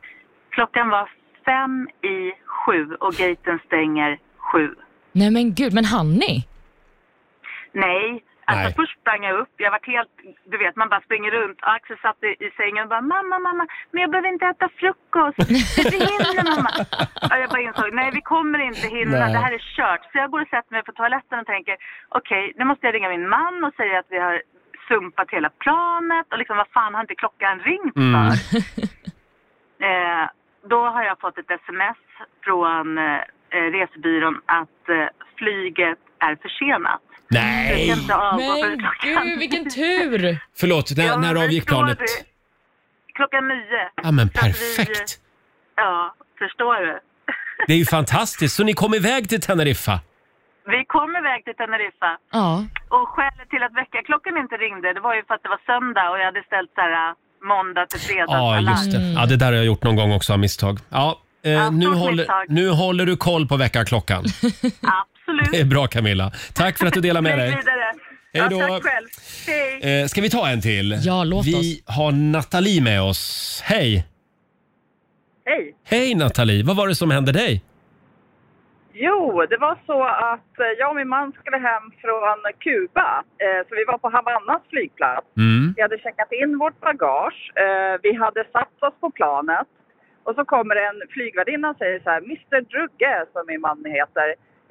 Speaker 15: Klockan var fem i sju och gaten stänger sju.
Speaker 2: Nej men gud, men hann ni?
Speaker 15: Nej. Alltså först sprang jag upp, jag var helt, du vet man bara springer runt. Och Axel satt i, i sängen och bara mamma, mamma, men jag behöver inte äta frukost. Det hinner mamma. Och jag bara insåg, nej vi kommer inte hinna,
Speaker 16: Nej.
Speaker 15: det här är kört. Så jag går och sätter mig på toaletten och tänker, okej nu måste jag ringa min man och säga att vi har sumpat hela planet och liksom vad fan har inte klockan ringt för?
Speaker 16: Mm.
Speaker 15: Eh, då har jag fått ett sms från eh, eh, resebyrån att eh, flyget är försenat.
Speaker 1: Nej!
Speaker 15: Jag kan inte avgå
Speaker 2: Men
Speaker 15: förrän klockan-
Speaker 2: gud, vilken tur!
Speaker 1: Förlåt, när, när avgick
Speaker 15: Förstår
Speaker 1: planet?
Speaker 15: du? Klockan nio.
Speaker 1: Ja, men
Speaker 15: Så att vi,
Speaker 1: perfekt.
Speaker 15: Ja, förstår du?
Speaker 1: Det är ju fantastiskt. Så ni kom iväg till Teneriffa?
Speaker 15: Vi kom iväg till Teneriffa.
Speaker 2: Ja.
Speaker 15: Och skälet till att väckarklockan inte ringde, det var ju för att det var söndag och jag hade ställt så här äh, måndag till fredag.
Speaker 1: Ja,
Speaker 15: alarm.
Speaker 1: just det. Ja, det där har jag gjort någon gång också av misstag. Ja, eh, nu,
Speaker 15: stort
Speaker 1: håller,
Speaker 15: misstag.
Speaker 1: nu håller du koll på väckarklockan.
Speaker 15: Absolut.
Speaker 1: Det är bra Camilla. Tack för att du delar med
Speaker 15: Flyg
Speaker 1: dig.
Speaker 15: vidare.
Speaker 1: Hej då.
Speaker 15: Ja, tack själv. Hej.
Speaker 1: Eh, ska vi ta en till?
Speaker 2: Ja, låt
Speaker 1: vi
Speaker 2: oss.
Speaker 1: har Nathalie med oss. Hej!
Speaker 12: Hej!
Speaker 1: Hej Nathalie! Vad var det som hände dig?
Speaker 12: Jo, det var så att eh, jag och min man skulle hem från Kuba. Eh, Så vi var på Havannas flygplats.
Speaker 14: Mm.
Speaker 12: Vi hade checkat in vårt bagage. Eh, Vi hade satt oss på planet. Och så kommer en flygvärdinna och säger så här, Mr Drugge, som min man heter,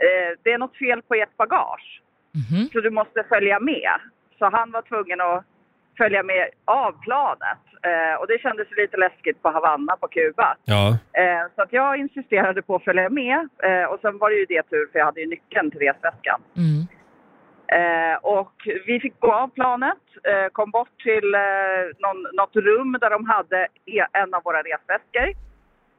Speaker 12: eh, det är något fel på ert bagage. Så du måste följa med. Så han var tvungen att följa med av planet. Eh, Och det kändes lite läskigt på Havanna på Kuba.
Speaker 1: Ja.
Speaker 12: Eh, så att jag insisterade på att följa med eh, och sen var det ju det tur för jag hade ju nyckeln till resväskan.
Speaker 2: Mm.
Speaker 12: Eh, och vi fick gå av planet, eh, kom bort till eh, någon, något rum där de hade e- en av våra resväskor.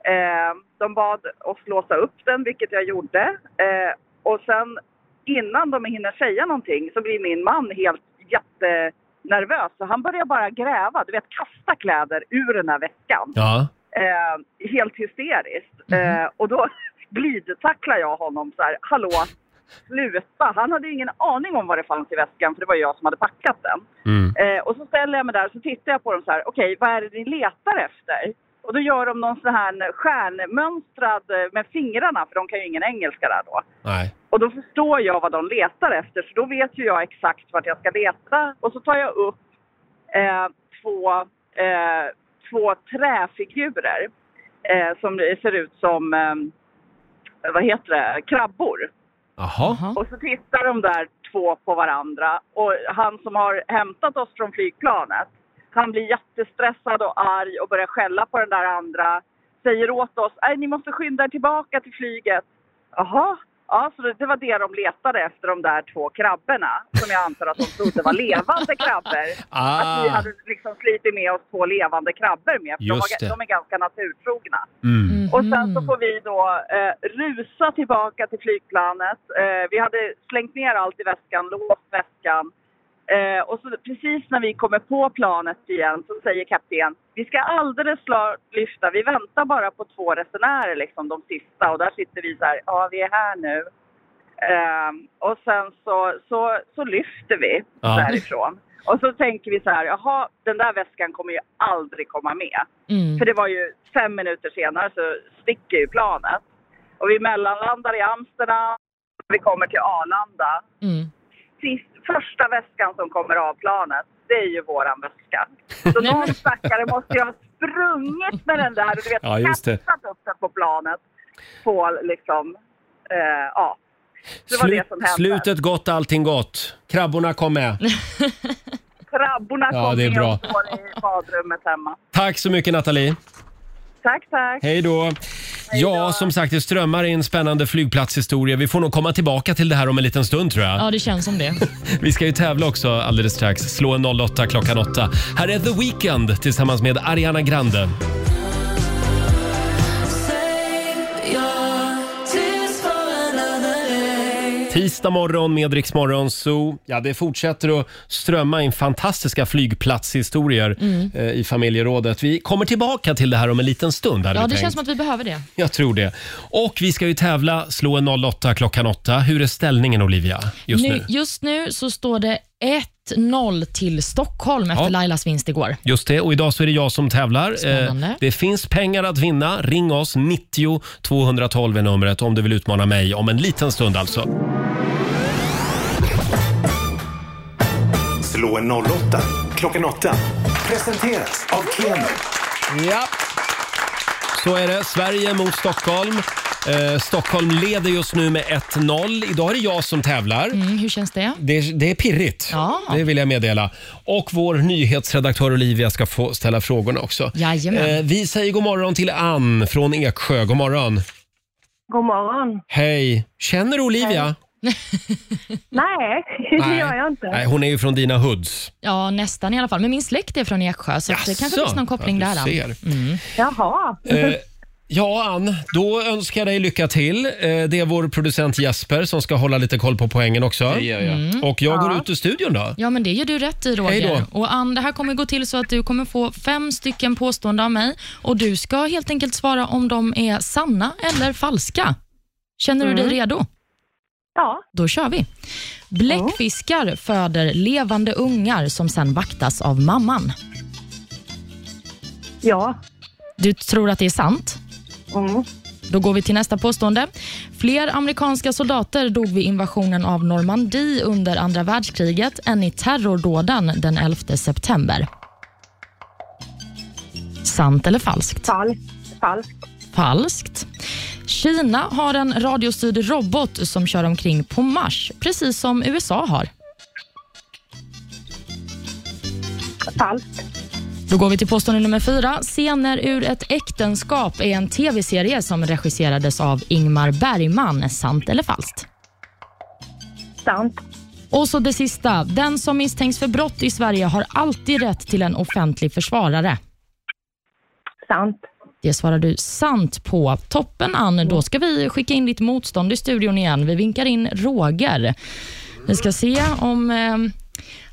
Speaker 12: Eh, de bad oss låsa upp den, vilket jag gjorde. Eh, och sen innan de hinner säga någonting så blir min man helt jättenervös. Så han börjar bara gräva, du vet kasta kläder ur den här väskan.
Speaker 1: Ja.
Speaker 12: Eh, helt hysteriskt.
Speaker 1: Mhm.
Speaker 12: Eh, och då glidtacklar jag honom så här, hallå, sluta. Han hade ju ingen aning om vad det fanns i väskan för det var ju jag som hade packat den.
Speaker 1: Mm.
Speaker 12: Eh, och så ställer jag mig där och så tittar jag på dem så här, okej vad är det ni letar efter? Och då gör de någon sån här stjärnmönstrad eh, med fingrarna, för de kan ju ingen engelska där då.
Speaker 1: Nej.
Speaker 12: Och då förstår jag vad de letar efter, så då vet ju jag exakt vart jag ska leta. Och så tar jag upp eh, två, eh, två träfigurer eh, som ser ut som, eh, vad heter det, krabbor.
Speaker 1: Jaha.
Speaker 12: Och så tittar de där två på varandra och han som har hämtat oss från flygplanet, han blir jättestressad och arg och börjar skälla på den där andra. Säger åt oss, nej ni måste skynda er tillbaka till flyget. Jaha, ja så det, det var det de letade efter, de där två krabborna. Som jag antar att de trodde var levande krabbor.
Speaker 1: Ah.
Speaker 12: Att vi hade liksom slitit med oss två levande krabbor med, för de,
Speaker 1: Just
Speaker 12: var,
Speaker 1: det.
Speaker 12: de är ganska naturtrogna.
Speaker 1: Mm.
Speaker 12: Och sen så får vi då eh, rusa tillbaka till flygplanet. Eh, vi hade slängt ner allt i väskan, låst väskan. Eh, och så precis när vi kommer på planet igen så säger kapten vi ska alldeles klart lyfta, vi väntar bara på två resenärer liksom, de sista och där sitter vi så här, ja vi är här nu. Ehm, och sen så, så, så lyfter vi
Speaker 16: Ja.
Speaker 12: därifrån. Och så tänker vi så här, jaha, den där väskan kommer ju aldrig komma med.
Speaker 16: Mm.
Speaker 12: För det var ju fem minuter senare så sticker ju planet. Och vi mellanlandar i Amsterdam, vi kommer till Arlanda.
Speaker 2: Mm.
Speaker 12: Sist, första väskan som kommer av planet, det är ju våran väska. Så någon stackare måste ju ha sprungit med den där och du vet,
Speaker 1: Ja, just det.
Speaker 12: kastat upp den på planet. På liksom, eh, ja. Så det var det som hände.
Speaker 1: Ah, Slutet gott, allting gott. Krabborna kom med.
Speaker 12: Krabborna
Speaker 1: Ja,
Speaker 12: kom
Speaker 1: det är
Speaker 12: med
Speaker 1: bra.
Speaker 12: och står i badrummet hemma.
Speaker 1: Tack så mycket Nathalie.
Speaker 12: Tack, tack.
Speaker 1: Hej då. Ja, som sagt, det strömmar in spännande flygplatshistoria. Vi får nog komma tillbaka till det här om en liten stund tror jag.
Speaker 2: Ja, det känns som det.
Speaker 1: Vi ska ju tävla också alldeles strax. Slå en 08 klockan 8. Här är The Weeknd tillsammans med Ariana Grande. Tisdag morgon med Rix Morgon Zoo. Ja, det fortsätter att strömma in fantastiska flygplatshistorier
Speaker 2: Mm.
Speaker 1: eh, i familjerådet. Vi kommer tillbaka till det här om en liten stund. hade
Speaker 2: Ja,
Speaker 1: vi
Speaker 2: det
Speaker 1: tänkt.
Speaker 2: känns som att vi behöver det.
Speaker 1: Jag tror det. Och vi ska ju tävla, slå en 08 klockan 8. Hur är ställningen Olivia just nu?
Speaker 2: just nu så står det 1-0 till Stockholm efter Lailas vinst igår.
Speaker 1: Just det, och idag så är det jag som tävlar. Eh,
Speaker 2: Spännande.
Speaker 1: det finns pengar att vinna. Ring oss, 90 212 är numret om du vill utmana mig om en liten stund alltså.
Speaker 3: Slå en 08 klockan 8. Presenteras av Keno.
Speaker 1: Ja. Så är det. Sverige mot Stockholm. Eh, Stockholm leder just nu med 1-0. Idag är det jag som tävlar.
Speaker 2: Mm, hur känns det?
Speaker 1: Det, det är pirrigt,
Speaker 2: Ja.
Speaker 1: det vill jag meddela. Och vår nyhetsredaktör Olivia ska få ställa frågorna också.
Speaker 2: Jajamän.
Speaker 1: Eh, vi säger god morgon till Ann från Eksjö. God morgon.
Speaker 16: God morgon.
Speaker 1: Hej. Känner du Olivia?
Speaker 16: Nej, det gör jag inte.
Speaker 1: Nej, hon är ju från dina hoods.
Speaker 2: Ja, nästan i alla fall. Men min släkt är från Eksjö, så att det kanske
Speaker 1: Jaså?
Speaker 2: finns någon koppling
Speaker 1: Ja,
Speaker 2: där. Mm.
Speaker 1: du
Speaker 2: då.
Speaker 1: ser.
Speaker 16: Jaha.
Speaker 1: Eh, ja, Ann, då önskar jag dig lycka till. Eh, det är vår producent Jesper som ska hålla lite koll på poängen också.
Speaker 2: Det gör jag. Mm.
Speaker 1: Och jag går
Speaker 2: Ja.
Speaker 1: ut ur studion då.
Speaker 2: Ja, men det gör du rätt i
Speaker 1: Hej
Speaker 2: Roger.
Speaker 1: då.
Speaker 2: Och Ann, det här kommer gå till så att du kommer få fem stycken påståenden av mig och du ska helt enkelt svara om de är sanna eller falska. Känner du
Speaker 16: Mm.
Speaker 2: dig redo?
Speaker 16: Ja.
Speaker 2: Då kör vi. Bläckfiskar föder levande ungar som sen vaktas av mamman.
Speaker 16: Ja.
Speaker 2: Du tror att det är sant?
Speaker 16: Mm.
Speaker 2: Då går vi till nästa påstående. Fler amerikanska soldater dog vid invasionen av Normandie under andra världskriget än i terrordåden den 11 september. Sant eller falskt?
Speaker 16: Falskt. Falskt.
Speaker 2: Falskt. Kina har en radiostyrd robot som kör omkring på Mars, precis som USA har.
Speaker 16: Falskt.
Speaker 2: Då går vi till påstående nummer fyra. Scener ur ett äktenskap är en tv-serie som regisserades av Ingmar Bergman. Sant eller falskt?
Speaker 16: Sant.
Speaker 2: Och så det sista. Den som misstänks för brott i Sverige har alltid rätt till en offentlig försvarare.
Speaker 16: Sant.
Speaker 2: Det svarar du sant på. Toppen, Ann. Då ska vi skicka in ditt motstånd i studion igen. Vi vinkar in Roger. Vi ska se om eh,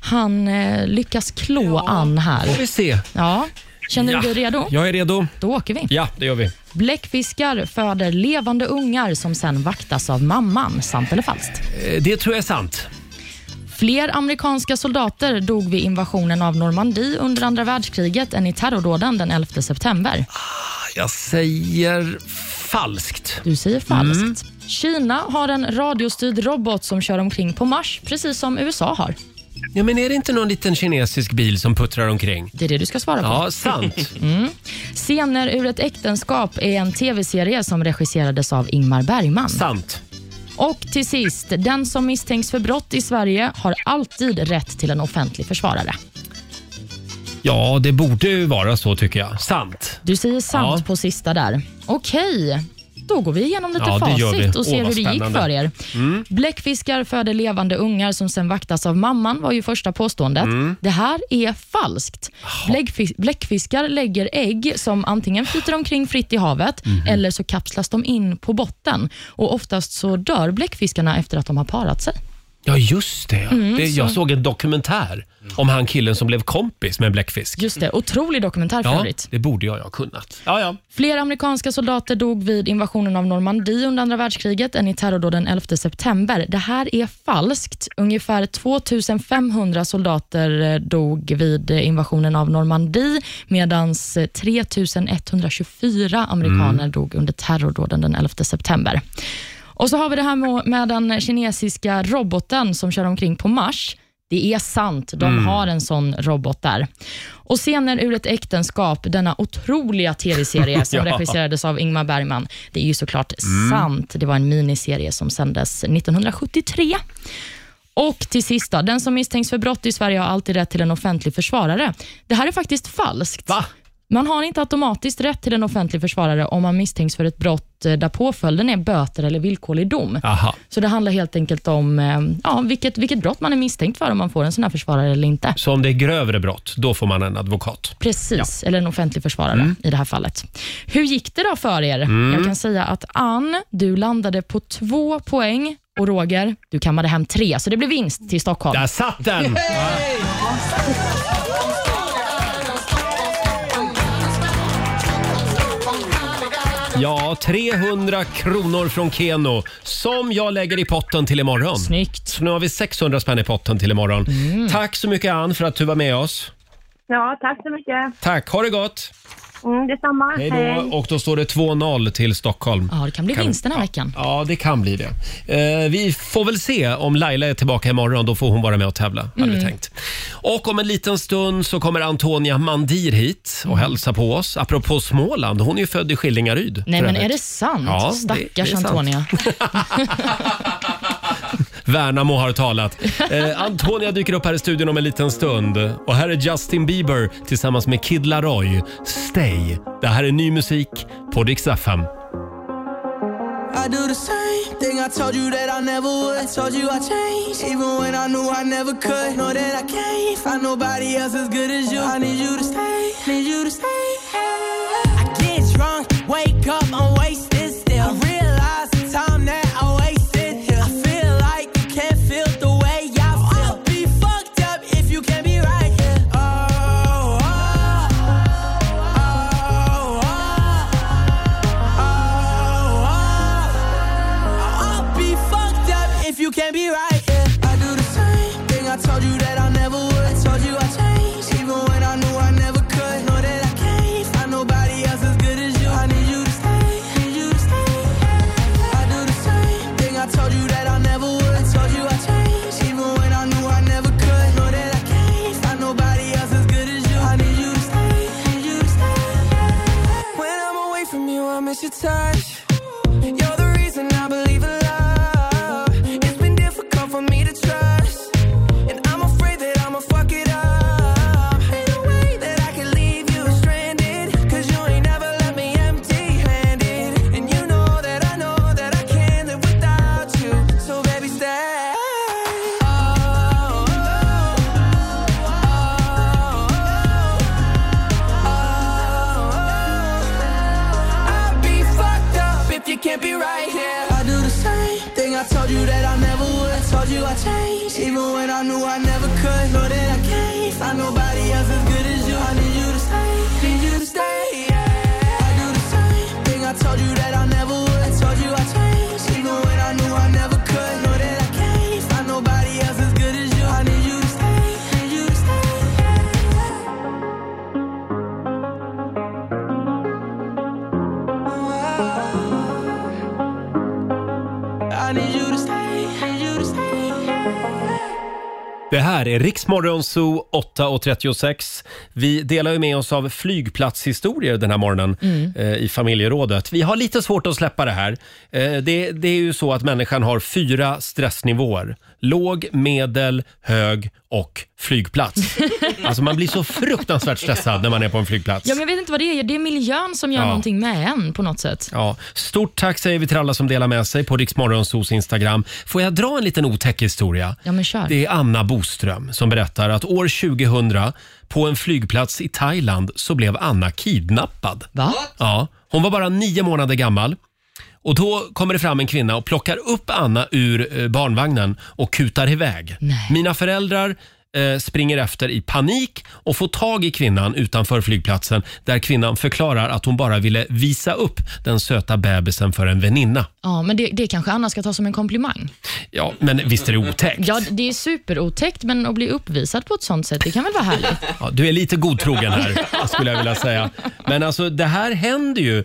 Speaker 2: han eh, lyckas klå Ann här.
Speaker 1: Får vi se.
Speaker 2: Ja. Känner
Speaker 1: Ja,
Speaker 2: du dig redo?
Speaker 1: Jag är redo.
Speaker 2: Då åker vi.
Speaker 1: Ja, det gör vi. Eh,
Speaker 2: Bläckfiskar föder levande ungar som sen vaktas av mamman. Sant eller falskt?
Speaker 1: Eh, Det tror jag är sant.
Speaker 2: Fler amerikanska soldater dog vid invasionen av Normandie under andra världskriget än i terrordåden den 11 september.
Speaker 1: Jag säger falskt.
Speaker 2: Du säger falskt. Kina har en radiostyrd robot som kör omkring på Mars, precis som USA har.
Speaker 1: Ja, men är det inte någon liten kinesisk bil som puttrar omkring?
Speaker 2: Det är det du ska svara på.
Speaker 1: Ja, sant.
Speaker 2: Mm. Scener ur ett äktenskap är en tv-serie som regisserades av Ingmar Bergman.
Speaker 1: Sant.
Speaker 2: Och till sist, den som misstänks för brott i Sverige har alltid rätt till en offentlig försvarare.
Speaker 1: Ja, det borde ju vara så tycker jag. Sant.
Speaker 2: Du säger sant på sista där. Okej, då går vi igenom lite
Speaker 1: Ja, det gör vi.
Speaker 2: facit och
Speaker 1: Åh,
Speaker 2: ser
Speaker 1: vad
Speaker 2: hur det gick
Speaker 1: spännande.
Speaker 2: för er.
Speaker 1: Mm.
Speaker 2: Bläckfiskar föder levande ungar som sen vaktas av mamman var ju första påståendet.
Speaker 1: Mm.
Speaker 2: Det här är falskt. Bläckfis- bläckfiskar lägger ägg som antingen flyter omkring fritt i havet
Speaker 1: Mhm.
Speaker 2: eller så kapslas de in på botten. Och Oftast så dör bläckfiskarna efter att de har parat sig.
Speaker 1: Ja, just det.
Speaker 2: Mm,
Speaker 1: det jag
Speaker 2: så-
Speaker 1: såg en dokumentär om han killen som blev kompis med en bläckfisk.
Speaker 2: Just det, otrolig dokumentär för
Speaker 1: Ja,
Speaker 2: övrigt.
Speaker 1: det borde jag ju ha kunnat. Ja, ja.
Speaker 2: Flera amerikanska soldater dog vid invasionen av Normandie under andra världskriget än i terrordåden 11 september. Det här är falskt. Ungefär 2500 soldater eh, dog vid eh, invasionen av Normandie medan 3124 amerikaner
Speaker 14: Mm.
Speaker 2: dog under terrordåden den 11 september. Och så har vi det här med- med den kinesiska roboten som kör omkring på Mars. Det är sant, de
Speaker 14: Mm.
Speaker 2: har en sån robot där. Och scener ur ett äktenskap, denna otroliga tv-serie som
Speaker 14: Ja.
Speaker 2: regisserades av Ingmar Bergman. Det är ju såklart
Speaker 14: Mm.
Speaker 2: sant. Det var en miniserie som sändes 1973. Och till sist då, den som misstänks för brott i Sverige har alltid rätt till en offentlig försvarare. Det här är faktiskt falskt. Man har inte automatiskt rätt till en offentlig försvarare om man misstänks för ett brott eh, där påföljden är böter eller villkorlig dom.
Speaker 1: Aha.
Speaker 2: Så det handlar helt enkelt om eh, ja, vilket, vilket brott man är misstänkt för, om man får en sån här försvarare eller inte.
Speaker 1: Så om det är grövre brott, då får man en advokat.
Speaker 2: Precis, eller en offentlig försvarare
Speaker 1: Mm.
Speaker 2: i det här fallet. Hur gick det då för er?
Speaker 1: Mm.
Speaker 2: Jag kan säga att Ann, du landade på två poäng och Roger, du kammade hem tre, så det blev vinst till Stockholm.
Speaker 1: Där satt den! Ja, 300 kronor från Keno som jag lägger i potten till imorgon.
Speaker 2: Snyggt. Mm.
Speaker 1: Så nu har vi 600 spänn i potten till imorgon. Tack så mycket Ann för att du var med oss.
Speaker 16: Ja, tack så mycket.
Speaker 1: Tack, ha det gott!
Speaker 16: Mm, detsamma.
Speaker 1: Hej då. Och då står det 2-0 till Stockholm.
Speaker 2: Ja, det kan bli vinst den här veckan.
Speaker 1: Ja, det kan bli det. Eh, vi får väl se om Laila är tillbaka imorgon. Då får hon vara med och tävla, hade vi
Speaker 2: Mm.
Speaker 1: tänkt. Och om en liten stund så kommer Antonia Mandir hit
Speaker 2: Mm.
Speaker 1: och hälsa på oss. Apropå Småland, hon är ju född i Skillingaryd.
Speaker 2: Nej,
Speaker 1: för
Speaker 2: men är
Speaker 1: övrigt.
Speaker 2: det sant?
Speaker 1: Ja, det-
Speaker 2: Stackars
Speaker 1: det är sant.
Speaker 2: Antonia.
Speaker 1: Värnamo har talat. Eh, Antonia dyker upp här i studion om en liten stund. Och här är Justin Bieber tillsammans med Kid Laroi. Stay. Det här är ny musik på Dix FM.
Speaker 11: I do the same thing I told you that I never would. I told you I changed, even when I knew I never could. Know that I can't find nobody else as good as you. I need you to stay, need you to stay. I get drunk, wake up, I'm wasted still. I realize the time that I wasted here. I feel like you can't feel the way I feel. I'll be fucked up if you can't be right here. Oh, oh, oh, oh, oh, oh. I'll be fucked up if you can't be right. Yeah. I do the same thing. I told you that I never would. I told you I changed, even when I knew I never could. Know that I can't find nobody else as good as you. I need you to stay. change, even when I knew I never could. Know that I can't find nobody else as good as you. I need you to stay, need you to stay. Yeah. I do the same thing. I told you that I never would. Told you I changed, even when I knew I never could. Know that I can't find nobody else as good as you. I need you to stay, need you to stay. I need you to stay, need you to stay.
Speaker 1: Det här är Riksmorgon Zoo 8.36. Vi delar ju med oss av flygplatshistorier den här morgonen
Speaker 14: Mm.
Speaker 1: eh, i familjerådet. Vi har lite svårt att släppa det här. Eh, det, det är ju så att människan har fyra stressnivåer. Låg, medel, hög och flygplats. Alltså man blir så fruktansvärt stressad när man är på en flygplats.
Speaker 2: Ja, men jag vet inte vad det är. Det är miljön som gör
Speaker 1: Ja.
Speaker 2: någonting med en på något sätt.
Speaker 1: Ja, stort tack säger vi till alla som delar med sig på Riksmorgonsos Instagram. Får jag dra en liten otäck historia?
Speaker 2: Ja, men kör.
Speaker 1: Det är Anna Boström som berättar att år 2000 på en flygplats i Thailand så blev Anna kidnappad.
Speaker 2: Va?
Speaker 1: Ja, hon var bara nio månader gammal. Och Då kommer det fram en kvinna och plockar upp Anna ur eh, barnvagnen och kutar iväg. Mina föräldrar eh, springer efter i panik och får tag i kvinnan utanför flygplatsen där kvinnan förklarar att hon bara ville visa upp den söta bebisen för en väninna.
Speaker 2: Ja, men det, det kanske Anna ska ta som en komplimang.
Speaker 1: Ja, men visst är det otäckt?
Speaker 2: Ja, det är superotäckt, men att bli uppvisad på ett sånt sätt, det kan väl vara härligt?
Speaker 1: Ja, du är lite godtrogen här, skulle jag vilja säga. Men alltså, det här händer ju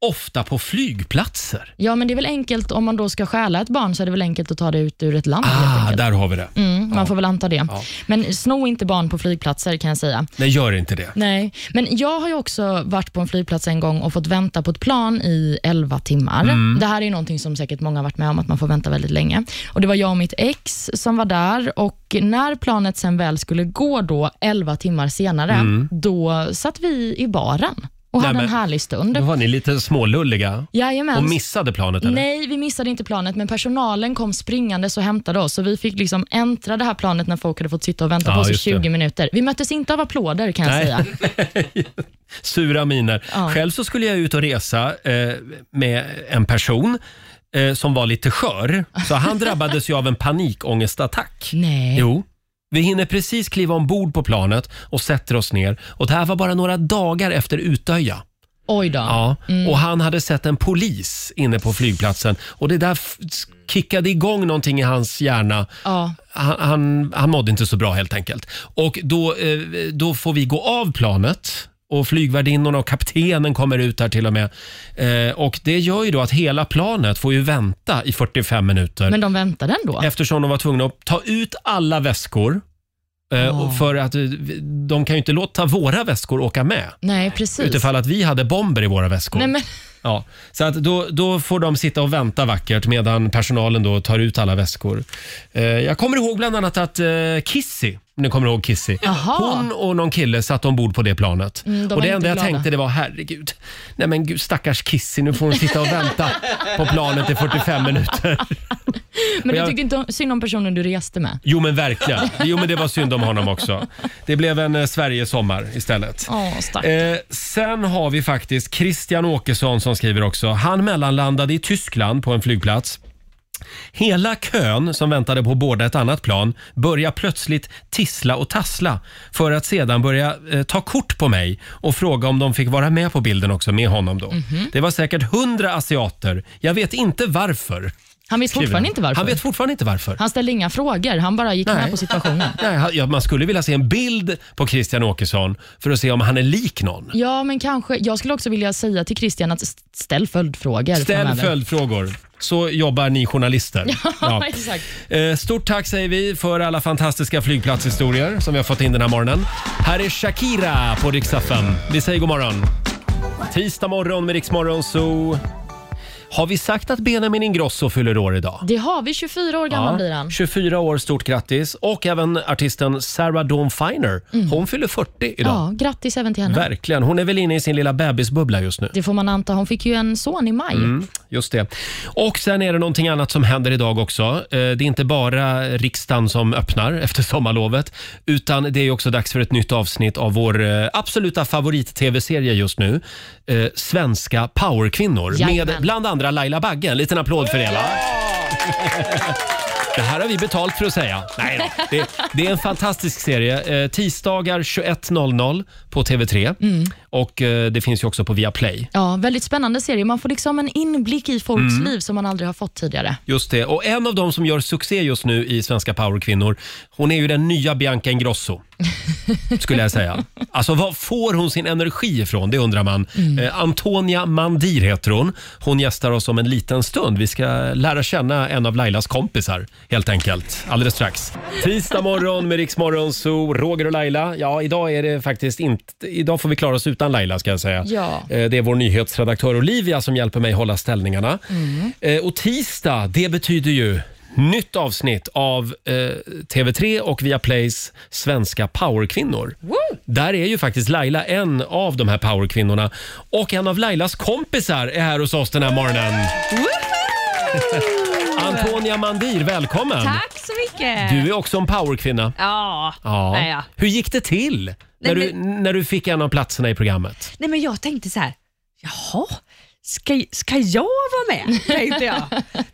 Speaker 1: ofta på flygplatser.
Speaker 2: Ja, men det är väl enkelt om man då ska stjäla ett barn så är det väl enkelt att ta det ut ur ett land. helt
Speaker 1: Ah,
Speaker 2: enkelt.
Speaker 1: där har vi det.
Speaker 2: Mm, man får väl anta det. Men sno inte barn på flygplatser kan jag säga.
Speaker 1: Nej, gör inte det.
Speaker 2: Nej, men jag har ju också varit på en flygplats en gång och fått vänta på ett plan i 11 timmar.
Speaker 17: Mm.
Speaker 2: Det här är ju någonting som säkert många har varit med om, att man får vänta väldigt länge. Och Det var jag och mitt ex som var där och när planet sen väl skulle gå då 11 timmar senare,
Speaker 1: Mm.
Speaker 2: då satt vi i baren och hade
Speaker 1: Nej,
Speaker 2: en
Speaker 1: men-
Speaker 2: härlig stund.
Speaker 1: Då var ni lite smålulliga
Speaker 2: Jajamän.
Speaker 1: och missade planet eller?
Speaker 2: Nej, vi missade inte planet, men personalen kom springandes och hämtade oss. Så vi fick liksom äntra det här planet när folk hade fått sitta och vänta
Speaker 1: Ja,
Speaker 2: på oss i
Speaker 1: just det.
Speaker 2: 20 minuter. Vi möttes inte av applåder kan jag
Speaker 1: Nej.
Speaker 2: säga.
Speaker 1: Sura miner.
Speaker 2: Ja.
Speaker 1: Själv så skulle jag ut och resa eh, med en person eh, som var lite skör. Så han drabbades ju av en panikångestattack.
Speaker 2: Nej.
Speaker 1: Jo. Vi hinner precis kliva ombord på planet och sätter oss ner. Och Det här var bara några dagar efter Utöja.
Speaker 2: Oj då.
Speaker 1: Ja,
Speaker 2: Mm.
Speaker 1: och han hade sett en polis inne på flygplatsen och det där f- kickade igång någonting i hans hjärna.
Speaker 2: Ja.
Speaker 1: Han, han, han mådde inte så bra helt enkelt. Och då, eh, då får vi gå av planet och flygvärdinnorna och kaptenen kommer ut här till och med. Eh, och det gör ju då att hela planet får ju vänta i 45 minuter.
Speaker 2: Men de väntade ändå.
Speaker 1: Eftersom de var tvungna att ta ut alla väskor. Eh, och
Speaker 2: Ja.
Speaker 1: För att eh, de kan ju inte låta våra väskor åka med.
Speaker 2: Nej, precis.
Speaker 1: Utifall att vi hade bomber i våra väskor.
Speaker 2: Nej, men,
Speaker 1: Ja, så att då, då får de sitta och vänta vackert medan personalen då tar ut alla väskor. Eh, jag kommer ihåg bland annat att eh, Kissy, om ni kommer ihåg Kissy,
Speaker 2: Jaha.
Speaker 1: hon och någon kille satt ombord på det planet.
Speaker 2: Mm, de
Speaker 1: och
Speaker 2: var
Speaker 1: det
Speaker 2: inte
Speaker 1: enda jag
Speaker 2: glada.
Speaker 1: tänkte det var herregud, nej men gud, stackars Kissy, nu får hon sitta och vänta på planet i 45 minuter.
Speaker 2: men du
Speaker 1: jag-
Speaker 2: tyckte inte synd om personen du reste med.
Speaker 1: Jo men verkligen, jo men det var synd om honom också. Det blev en eh, Sverige-sommar istället.
Speaker 2: Åh, stack.
Speaker 1: Eh, sen har vi faktiskt Christian Åkesson som skriver också. Han mellanlandade i Tyskland på en flygplats. Hela kön som väntade på båda ett annat plan började plötsligt tissla och tassla för att sedan börja eh, ta kort på mig och fråga om de fick vara med på bilden också med honom då.
Speaker 2: Mhm.
Speaker 1: Det var säkert hundra asiater. Jag vet inte varför.
Speaker 2: Han vet
Speaker 1: skriver
Speaker 2: fortfarande inte varför.
Speaker 1: Han vet fortfarande inte varför.
Speaker 2: Han ställde inga frågor, han bara gick med på situationen.
Speaker 1: Nej, han- ja, man skulle vilja se en bild på Christian Åkesson för att se om han är lik någon.
Speaker 2: Ja, men kanske. Jag skulle också vilja säga till Christian att st- ställ följdfrågor.
Speaker 1: Ställ
Speaker 2: framöver.
Speaker 1: följdfrågor. Så jobbar ni journalister.
Speaker 2: Ja, exakt.
Speaker 1: Eh, Stort tack säger vi för alla fantastiska flygplatshistorier som vi har fått in den här morgonen. Här är Shakira på riksdag Vi säger god morgon. Tisdag morgon med Riksmorgon så Har vi sagt att Benjamin Ingrosso fyller år idag?
Speaker 2: Det har vi, 24 år gammal
Speaker 1: Ja,
Speaker 2: blir han.
Speaker 1: 24 år, stort grattis. Och även artisten Sarah Dawn Finer.
Speaker 2: Mm.
Speaker 1: Hon fyller 40
Speaker 2: Ja,
Speaker 1: idag.
Speaker 2: grattis även till henne.
Speaker 1: Verkligen. Hon är väl inne i sin lilla bebisbubbla just nu.
Speaker 2: Det får man anta. Hon fick ju en son i maj.
Speaker 1: Mm, just det. Och sen är det någonting annat som händer idag också. Eh, Det är inte bara riksdagen som öppnar efter sommarlovet, utan det är också dags för ett nytt avsnitt av vår eh, absoluta favorit-tv-serie just nu. Eh, Svenska powerkvinnor med
Speaker 14: Jajamän.
Speaker 1: bland andra Laila Bagge. En liten applåd för det va? Det här har vi betalt för att säga. Nej då. Det, det är en fantastisk serie. Eh, Tisdagar 21.00 på TV3.
Speaker 2: Mm.
Speaker 1: Och eh, det finns ju också på Viaplay.
Speaker 2: Ja, väldigt spännande serie. Man får liksom en inblick i folks
Speaker 1: Mm.
Speaker 2: liv som man aldrig har fått tidigare.
Speaker 1: Just det. Och en av dem som gör succé just nu i Svenska powerkvinnor, hon är ju den nya Bianca Ingrosso. Skulle jag säga. Alltså var får hon sin energi ifrån? Det undrar man. Eh, Antonia Mandir heter hon. Hon gästar oss om en liten stund. Vi ska lära känna en av Lailas kompisar helt enkelt. Alldeles strax. Tisdag morgon med Riksmorgon så Roger och Laila. Ja, idag är det faktiskt inte... Idag får vi klara oss utan Laila ska jag säga.
Speaker 2: Ja.
Speaker 1: Eh, Det är vår nyhetsredaktör Olivia som hjälper mig hålla ställningarna.
Speaker 2: Mm.
Speaker 1: Eh, Och tisdag, det betyder ju nytt avsnitt av eh, TV3 och Viaplays svenska powerkvinnor. Där är ju faktiskt Laila en av de här powerkvinnorna. Och en av Lailas kompisar är här hos oss den här morgonen. Antonia Mandir, välkommen!
Speaker 14: Tack så mycket!
Speaker 1: Du är också en powerkvinna.
Speaker 14: Ja.
Speaker 1: Ja.
Speaker 14: Nej, ja.
Speaker 1: Hur gick det till när,
Speaker 14: Nej,
Speaker 1: du, när du fick en av platserna i programmet?
Speaker 14: Nej, men jag tänkte så här, jaha, ska, ska jag vara med? Tänkte jag.